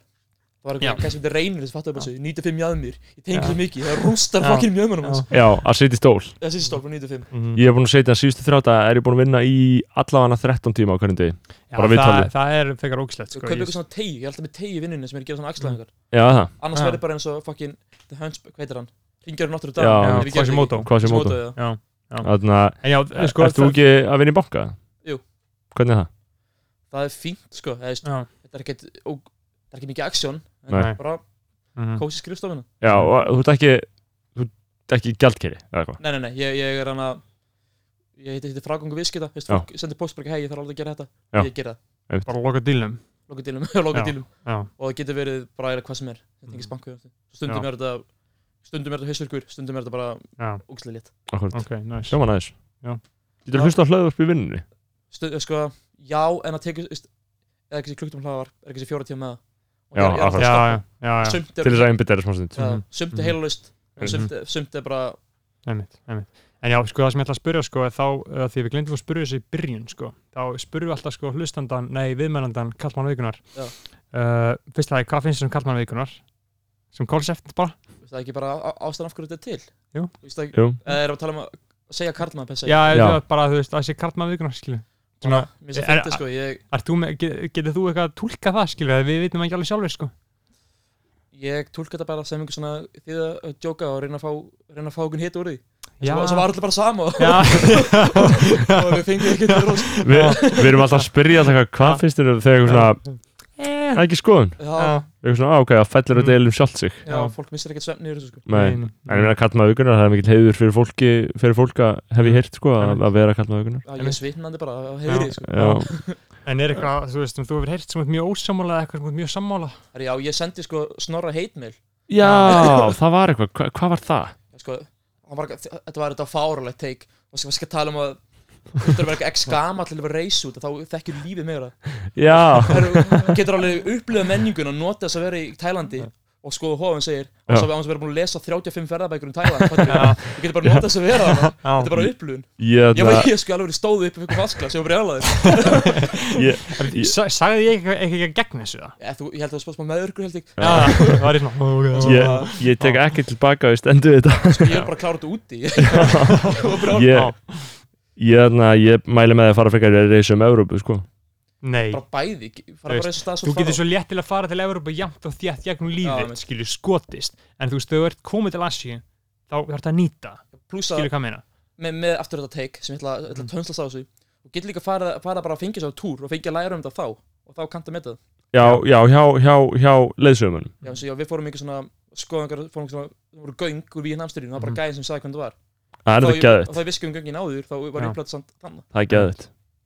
D: Það var
C: Já.
D: eitthvað, kannski þetta reynir þess að fatta upp þessu 95 jaðmir, ég tengi
C: Já.
D: svo mikið Það rústar
C: Já.
D: fokkin mjöðmunum hans
A: Já, að setja í stól
D: Það sýst stólf á 95
C: mm.
A: Ég hef búin að setja síðustu þrjáta, er ég búin að vinna í allavega 13 tíma á hverjum degi bara
C: Já, það,
A: viðtalið.
C: það er frekar ógislegt
D: Þú
C: sko,
D: kaupir
C: ég- Mm.
D: eitthvað svona teig, ég er alltaf með teig í vinnunni sem er að gera svona axlaðingar
A: Já, það,
D: Annars
C: Já.
D: verður bara eins og fokkin The Hunchback, hvað heitir hann? Ringjörn Notre
A: Já.
D: Dame
C: Já,
D: ef ég geri það
C: Quasimodo
A: hvað
D: ekki.
A: sem mótum
D: Quasimodo, já.
C: Já.
A: Þannig að,
C: En já, sko
A: ert þú
C: það-
A: ekki að vinna í banka?
D: Jú.
A: Hvernig er það?
D: Það er fínt sko, það er,
C: Já,
D: þetta er ekkert og, Það er ekki mikið aksjón, en
A: Nei.
D: það er bara
C: mhm.
D: kósi skrifstofuna
A: Já, og þú ert ekki þú ert ekki gjaldkeri eða eitthvað
D: Nei, nei, nei, ég, ég er hann að Ég heiti, heiti frágangu viðskita, veist,
A: Já.
D: fólk sendir postbrekka, hei, ég þarf alveg að gera þetta,
A: Já.
D: ég gera það,
C: bara loka dílum
D: loka dílum, loka
C: Já.
D: dílum
C: Já, Mm.
D: og það getur verið bara eða hvað sem er þetta er ekki spanku stundum
C: Já.
D: er þetta stundum er þetta hausverkur stundum er þetta bara
C: já,
D: ógæslega létt
A: Akkurat,
C: ok, næs
A: sjóma næðis
C: Já.
A: Getur þú hlusta á hlöðvarp í vinnunni?
D: Stund, eh, sko já en að teka veist, eða ekki sér klukktum hlaðar er ekki sér fjóra tíma með það
A: Já,
D: og ég er-
A: akkurat.
C: Já,
D: ég
C: já,
D: er
C: já,
D: alltaf
C: já,
D: sumt
A: Til
D: er
A: þess að einbytta þér smá stund
D: já,
C: Mhm.
D: sumt
C: Mhm.
D: er heilulist
A: Mhm.
D: en sumt er- sumt er bara
C: einmitt, einmitt En já, sko það sem ég ætla að spyrja sko er þá, uh, því við glemdum að spyrja þessu í byrjun sko þá spyrjum við alltaf sko hlustandan, nei viðmælandan kallmann vikunar
D: Já.
C: uh, Fyrst að hvað finnst þér um kallmann vikunar? Sem konsept bara?
D: veist, það er ekki bara á- ástæðan af hverju þetta er til
C: Jú.
D: Þú veist það
A: Jú,
D: eða erum við að tala um að segja karlmann pessa
A: Já.
C: Já, já. bara þú veist, að sé kallmann vikunar skilu Svona,
D: mér sem
C: Er-
D: þetta sko ég
C: Ert þú með, get, getur þú eitthvað að tólka það skilur við, við vitum ekki alveg sjálfur sko
D: ég tólka þetta bara sem einhver svona því að djóka og reyna að fá reyna að fá okkur hitt úr því
C: Já,
D: svo, svo var allir bara sama og,
C: já,
D: og við fengið ekki til rosa
A: við, við erum alltaf að spyrja alltaf hvað- hvað
C: Já.
A: finnst þér um þegar eitthvað svona,
C: já,
A: það er ekki skoðun
D: já,
A: eitthvað svona, á, ok, það fellur að
C: Mm.
A: deilum sjálft sig
D: já,
C: Já.
D: fólk missir ekkert svefni yfir þessu sko
A: Nei, en ég meina að kalla maður aukunar það er mikill heiður fyrir fólki, fyrir fólk að hef ég heyrt sko, að, að vera að kalla maður aukunar
D: Já, ég
C: Einmitt.
D: er svitnandi bara á heyri sko.
A: Já,
C: En er eitthvað, þú veist, um, þú hefur heyrt sem þú ert mjög ósammála eða eitthvað sem þú ert mjög sammála
D: Herri, Já, ég sendi sko snorra heitmil
A: Já það var eitthvað, Hva, hvað var það?
D: sko, hann var, Þetta var þetta fáralegt teik og sko, var ekki að tala um að þetta er bara eitthvað ex-gama til að vera reysu út þá þekkir lífið meira
A: já,
D: Herru, getur alveg upplifað menningun og nota þess að vera í Tælandi og sko hófum segir og
A: Já.
D: svo án þess að vera búin að lesa 35 ferðabækur um Tæland þú getur bara nota þess að vera þarna þetta er bara upplifun
A: ég,
D: ég, var,
A: þarna-
D: ég sko alveg verið stóð upp um ykkur faskla sem var brjálaður
A: ég,
C: Sa- Sagði ég eitthvað- eitthvað ekki gegn þessu það?
D: ég, þú- ég held að það var spátt með örgur held ég
C: Já, það var í svona "Oh, ó, ok, ó,
A: ég, ég tek ekki tilbaka og ég stendu við þetta
D: sko ég er bara að klára þetta úti Ég var brjálaður.
A: ég, ég, þarna, ég mæli með því að fara frekar að reysa um Evrópu sko.
C: Nei,
D: bara bæði fara
C: Þú
D: bara þessu stað
C: þú
D: svo
C: getur svo létt til að fara til Evrópa jæmt og þétt gegnum
D: Já,
C: lífið,
D: einmitt.
C: skilur skotist en þú veist, þegar þú ert komið til Asíu þá þarf þetta að nýta,
D: pluss að
C: skilur hvað ég meina
D: með, með aftur þetta take sem ég ætla, ég ætla að tönslast á þessu og getur líka að fara, fara bara að fengja sér á túr og fengja að læra um þetta þá og þá kannta með það
A: já, já, hjá, hjá, hjá leðsögumunum
D: já, eins og já, við fórum einhver svona skoðangar fórum einhver svona, það voru göng úr Víðin Amsturín og það var
A: Mhm.
D: bara gæðin sem sagði hvernig það var
A: það er
D: Þá
A: þetta
D: ég-
A: geðvitt,
D: og það vissi um göngin áður þá var
C: Já.
D: ég plötsand þannig
A: það er geðvitt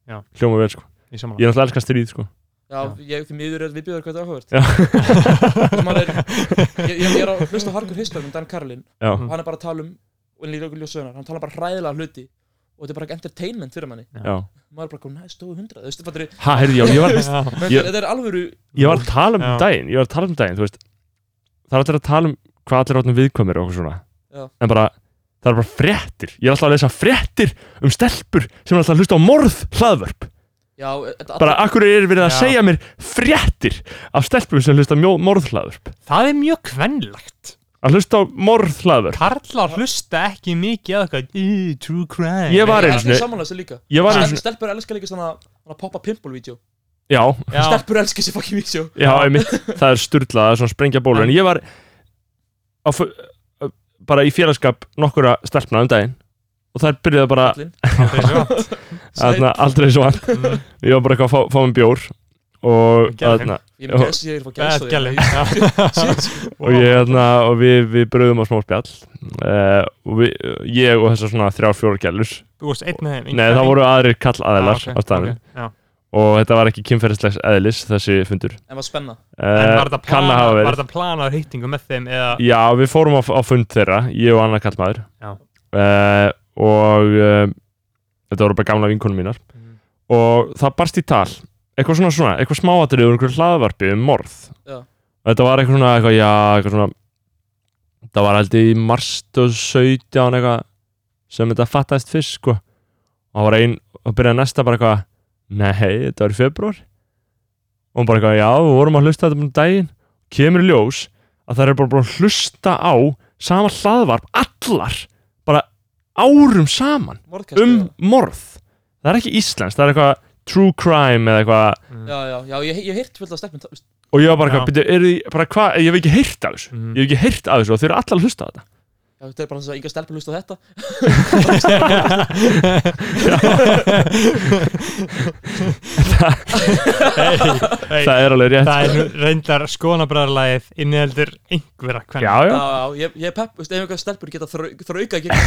C: Já.
A: hljóma vel sko,
C: í samanlega
A: ég er náttúrulega elskar stríð sko
D: já, ég því miður er viðbjöður hvað þetta áhugavert
A: Já.
D: Þú maður er- ég, ég, ég er að hlusta á Harkur Histor um Dan Karlin
A: já,
D: og hann er bara að tala um og hann líka okkur ljósöðunar hann tala bara hræðilega hluti og þetta er bara ekki entertainment fyrir manni
A: já,
D: maður er bara komið næst og hundrað þú veist, fattarðu?
A: ha, heyrðu, já, ég var
C: Já,
D: Þetta
A: Ég-
D: er- þetta er alvöru
A: ég var að tala um
C: Já.
A: daginn ég var að tala um daginn, þú veist það er allir að tala um hvað allir átnum viðkvæmir og okkur svona
D: Já.
A: en bara, það er bara fréttir ég er alltaf að lesa fréttir um stelpur sem er alltaf að hlusta á morð hlaðvörp
D: já, þetta
A: bara, akkur er verið að
C: Já.
A: segja mér fréttir af stelpur sem hlusta á mjó- morð hlaðvörp
C: það er mjög kvenlagt
A: að hlusta á morð hlaðvörp
C: Karlar hlusta ekki mikið að eitthvað, "Ú, true crime
A: Ég var einu sinni-
D: samanlega þessu líka
A: ég var
D: Stelpur,
A: eins og,
D: stelpur elskar líka svona svona poppa pimple-vídeó
A: já,
C: Já,
D: Stelpur elskar þessi fucking vídeó
A: já, einmitt það er sturlað, það er svona sprengja bólur en ég var á, fu- bara í félagskap nokkura stelpna um daginn og þær byrjuðu bara
D: Allir.
C: það er svo
A: Þarna, aldrei svo hann
C: Mm.
A: Ég var bara eitthvað að fá, fá mér bjór Og,
C: Gerðu
A: þarna,
D: Ég er gæst, ég er að fá gæst
C: Bad gæli
A: og, ég, þarna, og við, við bröðum á smá spjall uh, og við, Ég og þessar svona þrjár fjórar gælur
C: Þú varst einn með þeim Ah,
A: Nei það voru aðrir kall aðilar á staðnum Og þetta var ekki kynferðislegs eðlis þessi fundur
D: En var spenna
C: En
A: uh,
C: var þetta
A: Kann að
C: planað-
A: hafa
C: var
A: verið
C: þetta planað hýttingu með þeim eða
A: Já við fórum á, á fund þeirra Ég og annar kallmaður
C: Já.
A: uh, Og uh, Þetta voru bara gamla vinkonum mínar
C: Mhm.
A: Og það barst í tal Eitthvað svona svona, eitthvað smáatrið um einhverju hlaðvarpi um morð
D: Já.
A: Og Þetta var eitthvað svona, eitthvað, já, eitthvað svona Það var held í mars 2017 eitthvað sem þetta fattaðist fyrst sko og það var ein, og byrjaði næsta bara eitthvað Nei, þetta var í februar og hún bara eitthvað, já, við vorum að hlusta á þetta um daginn kemur í ljós að það er bara búin að hlusta á sama hlaðvarp allar bara árum saman
D: Mordkast
A: um morð það er ekki íslenskt, það er eitthvað true crime eða eitthvað
D: Já, já, já, ég ég hef heyrt fullt af stelpum ta-
A: og ég var bara
C: Já.
A: eitthvað, byrju, er þið, bara hvað ég hef ekki heyrt af þessu,
C: Mhm.
A: ég hef ekki heyrt af þessu og þau eru allar að hlusta á þetta
D: Já, Þetta er bara þess að yngar stelpur hlusta á þetta
C: Hey,
A: það er alveg rétt
C: Það er nú reyndar skonabræðarlægið inniheldur einhverja
A: já,
C: hvernig
A: já,
D: Já, já, ég- ég er pepp Þú veist, ef einhver stelpur geta þrau- þrauka ekki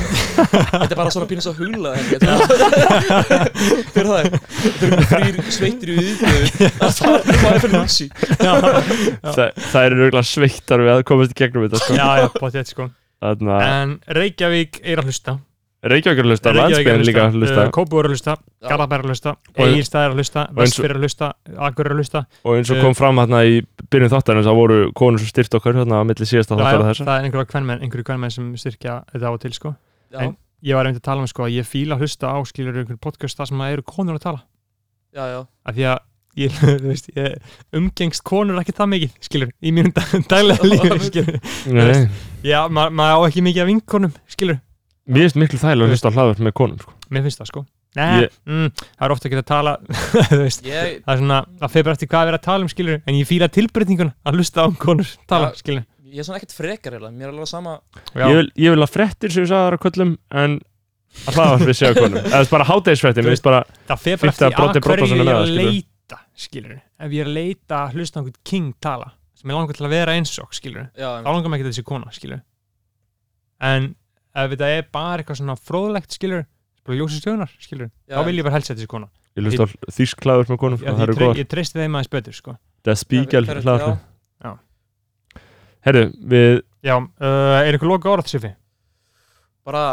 D: Þetta er bara svona pínus að hugla Fyrir það Þetta eru þrýr sveittir í viðbjöðu Það er bara fyrir lúsi
A: það, það eru auðvitað sveittar við að komast í gegnum þetta sko.
C: Já, já, bótt ég sko
A: þannig að
C: En Reykjavík er að hlusta
A: Reykjavík er að hlusta,
C: Reykjavík er
A: landsbyrðin líka að hlusta
C: uh, Kópúr er að hlusta, Garðabær er að hlusta
A: Og-
C: Egilstað er að hlusta,
A: og eins-
C: Vestfyr er að hlusta Akur er að hlusta
A: og eins og kom fram hérna í byrjun þáttarins það voru konur sem styrt okkar hérna á milli síðasta
C: Já,
A: þáttar og
C: já,
A: þessar
C: Það er einhverja kvenmenn, einhverju kvenmenn sem styrkja þetta á og til sko
D: Já,
C: Ég var einmitt að tala um sko að ég fíla að hlusta á skilur einhverju podcast þar sem það eru konur að tala
D: já, já
C: af því að ég, þú veist, ég umgengst konur ekki það mikið skilur, í mínum dag- daglega lífi skilur.
A: Nei.
C: já, ma maður á ekki mikið af vinkonum skilur,
A: mér finnst miklu þægilega að hlusta á hlaðvörp með konum sko.
C: mér finnst það sko Nei,
A: Ég-
C: mm, það er ofta ekki að tala þú veist,
D: Ég,
C: það er svona, það fer bara eftir hvað við erum að tala um skilur, en ég fíla tilbreytinguna að hlusta á konur tala,
D: Já.
C: skilur
D: ég er svona ekkert frekar eiginlega. Mér er alveg sama
C: já,
A: ég, vil, ég vil að frettir séu sagðar á köllum en að hlaðvörp séu á konum eða þú veist, bara hátegisfrettir, mér finnst bara
C: það fer
A: fínt
C: bara eftir
A: að broti
C: að hverju
A: brotasönnum
C: ég
A: með
C: er
A: það,
C: að
A: skilur.
C: leita skilur, ef ég er að leita að hlusta á einhvern king tala, sem ég langar til að vera eins og skilur,
D: Já,
C: þá langar maður ekki til þessi kona, skilur en ef þetta er bara eitthvað svona fróðlegt, skilur bara ljósa stjónar, skilur,
D: já,
C: þá vil ég bara helst þessi kona
A: ég hlusta á þýsk hlaðvörp með konum
C: ég,
A: sko. það
C: ég,
A: eru
C: tre,
A: góðar,
C: ég treysti þeim aðeins betur, sko
A: það er spíkjál
D: Já, já.
C: Já.
A: hlaðvörp herru, við
C: já, uh, er eitthvað loka orð, Sifi?
D: bara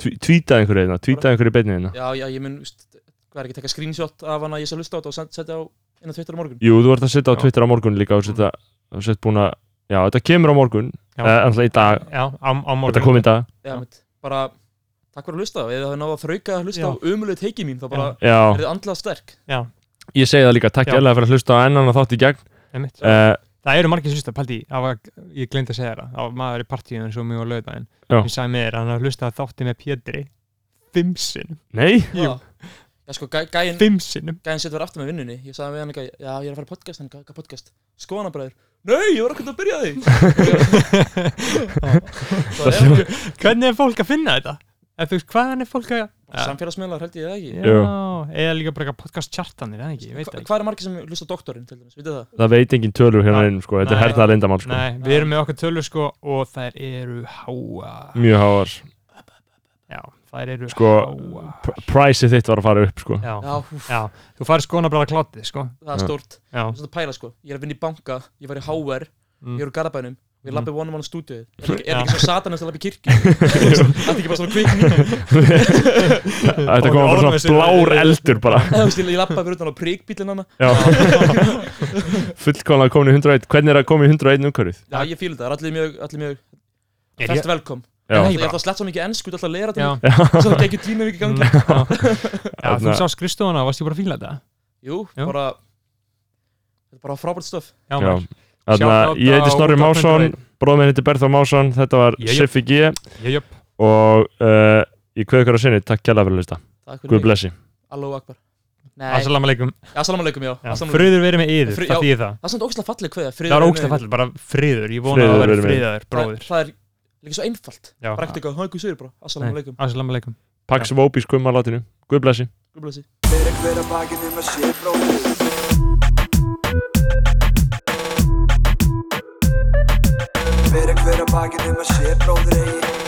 A: tvítað einhverju einna, tvítað einhverju beinni hérna. einna
D: Já, já, ég mun, veist, hvað er ekki að taka screenshot af hana, ég sé að hlusta á þetta og send- setja á inn á Twitter á morgun
A: Jú, þú ert að setja á
C: Já.
A: Twitter á morgun líka og setja, og setja búin að Já, þetta kemur á morgun,
C: Já.
A: eða alltaf í dag
C: Já, á, á morgun
A: Eh, Þetta kom í dag
D: Já,
C: Já.
D: mitt, bara, takk fyrir að hlusta Ef það er náða að þrauka að hlusta
C: Já.
D: á umulegu teiki mín, þá bara
A: Já,
D: er þið andlað sterk
C: Já,
A: ég segi það líka, takk
C: Já.
A: eða fyrir að hlusta á ennan að þátt í gegn
C: einmitt
A: uh,
C: Það eru margir sem hlusta, paldi, á, ég gleymdi að segja það á maður í partíunum svo mjög á laugdæðin
A: Já.
C: ég sagði mér að hann hlusta að þátti með Pétri fimm sinnum,
A: Nei,
C: Jú.
D: Já. Já, sko, gæ- gæinn
C: fimm sinnum
D: gæðin setur verið aftur með vinnunni ég sagði við hann eitthvað, já ég er að fara í podcast hann eitthvað, hvað podcast, skoðanabræður nei, ég var ekkert að byrja á því Svo er
A: hljómar-
D: ekki-
C: Hvernig er fólk að finna þetta? Ef þú veist, hvaðan er fólk að
D: bara samfélagsmiðlar held ég það ekki
C: Já,
A: Jú.
C: eða líka bara eitthvað podcast chartanir, eða ekki, ég veit
D: Hva-
C: það ekki
D: hvað er margir sem hlusta á doktorinn til dæmis, vitið það
A: það veit engin tölur hérna
C: Nei.
A: einum sko, þetta er
C: Nei.
A: herðað lindamál sko
C: Nei, við erum með okkur tölur sko og þær eru háa
A: Mjög háar,
C: Já, þær eru
A: sko,
C: háa
A: pr- priceið þitt var að fara upp sko
C: Já,
D: já, húf,
C: já, þú farið skona bara klátið sko
D: það er
A: Já.
D: stórt
C: Já,
D: Ég er að pæla sko, ég er að vinna í banka, ég var í HR,
C: Mm.
D: ég er úr Garabænum og ég lappi vonum á stúdíu. Er það ekki- er
C: Já.
D: það ekki svo satanast að lappi kirkju? Það er ekki bara svona kvikn mínu.
A: Þetta kom bara
C: Orðum
A: svona
C: við sér-
A: blár eldur bara
D: Þú veist, ég lappa fyrir utan á príkbílinn hana.
A: Já Fullkomlega komin í 101 Hvernig er að koma í 101 umhverfið?
D: Já, ég fíla það, það er allir mjög, allir mjög,
C: Er
D: fæst velkom.
A: Já.
D: Ég
C: Nei,
D: ætla að slett svo mikið ennsku, alltaf að lera
C: já, Mm.
D: þetta. Svo það gekk í tíma mikið
A: Mm.
D: gangi.
C: já, já þú
A: Þarna-
C: sá skristofana, varst ég bara að fíla þetta?
D: Jú,
C: Já.
D: bara, þetta er bara frábært stöf.
C: Já,
A: Já.
C: maður.
A: Þannig
C: Shoutout
A: að ég heiti
C: á
A: Snorri
C: útvarp
A: Másson
C: 101.
A: Bróðminn heiti Berþá Másson Þetta var
C: Jæja.
A: Siffi G
C: Jöp, jöp.
A: Og uh, ég kveð ykkur á sinni Takk kjærlega fyrir að hlusta
D: Takk
A: Guð
D: fyrir mig.
A: blessi
D: Allahu akbar. Nei,
C: Assalamu alaikum
D: assalamu alaikum, já.
C: Já,
D: Assalamu alaikum.
C: Friður verið með yður,
D: Fri-
C: það þýðir það
D: Það er svona ógæslega falleg kveða.
C: Það var ógstæð fallið, bara friður Ég vona að
A: Friður
C: það verið
A: veri með yður.
C: friðaður, bróður
D: Það er líka svo einfalt.
C: Já.
D: Bara ekkert eitthvað, hæ, hvað segir bara? Assalamu alaikum.
C: Assalamu alaikum
A: Pax Vóbis kummalátinu Guð blessi
D: Guð blessi.
B: Hver er hver að bakið þeim að sé bróðir Hver er hver að bakið þeim að sé bróðir eigi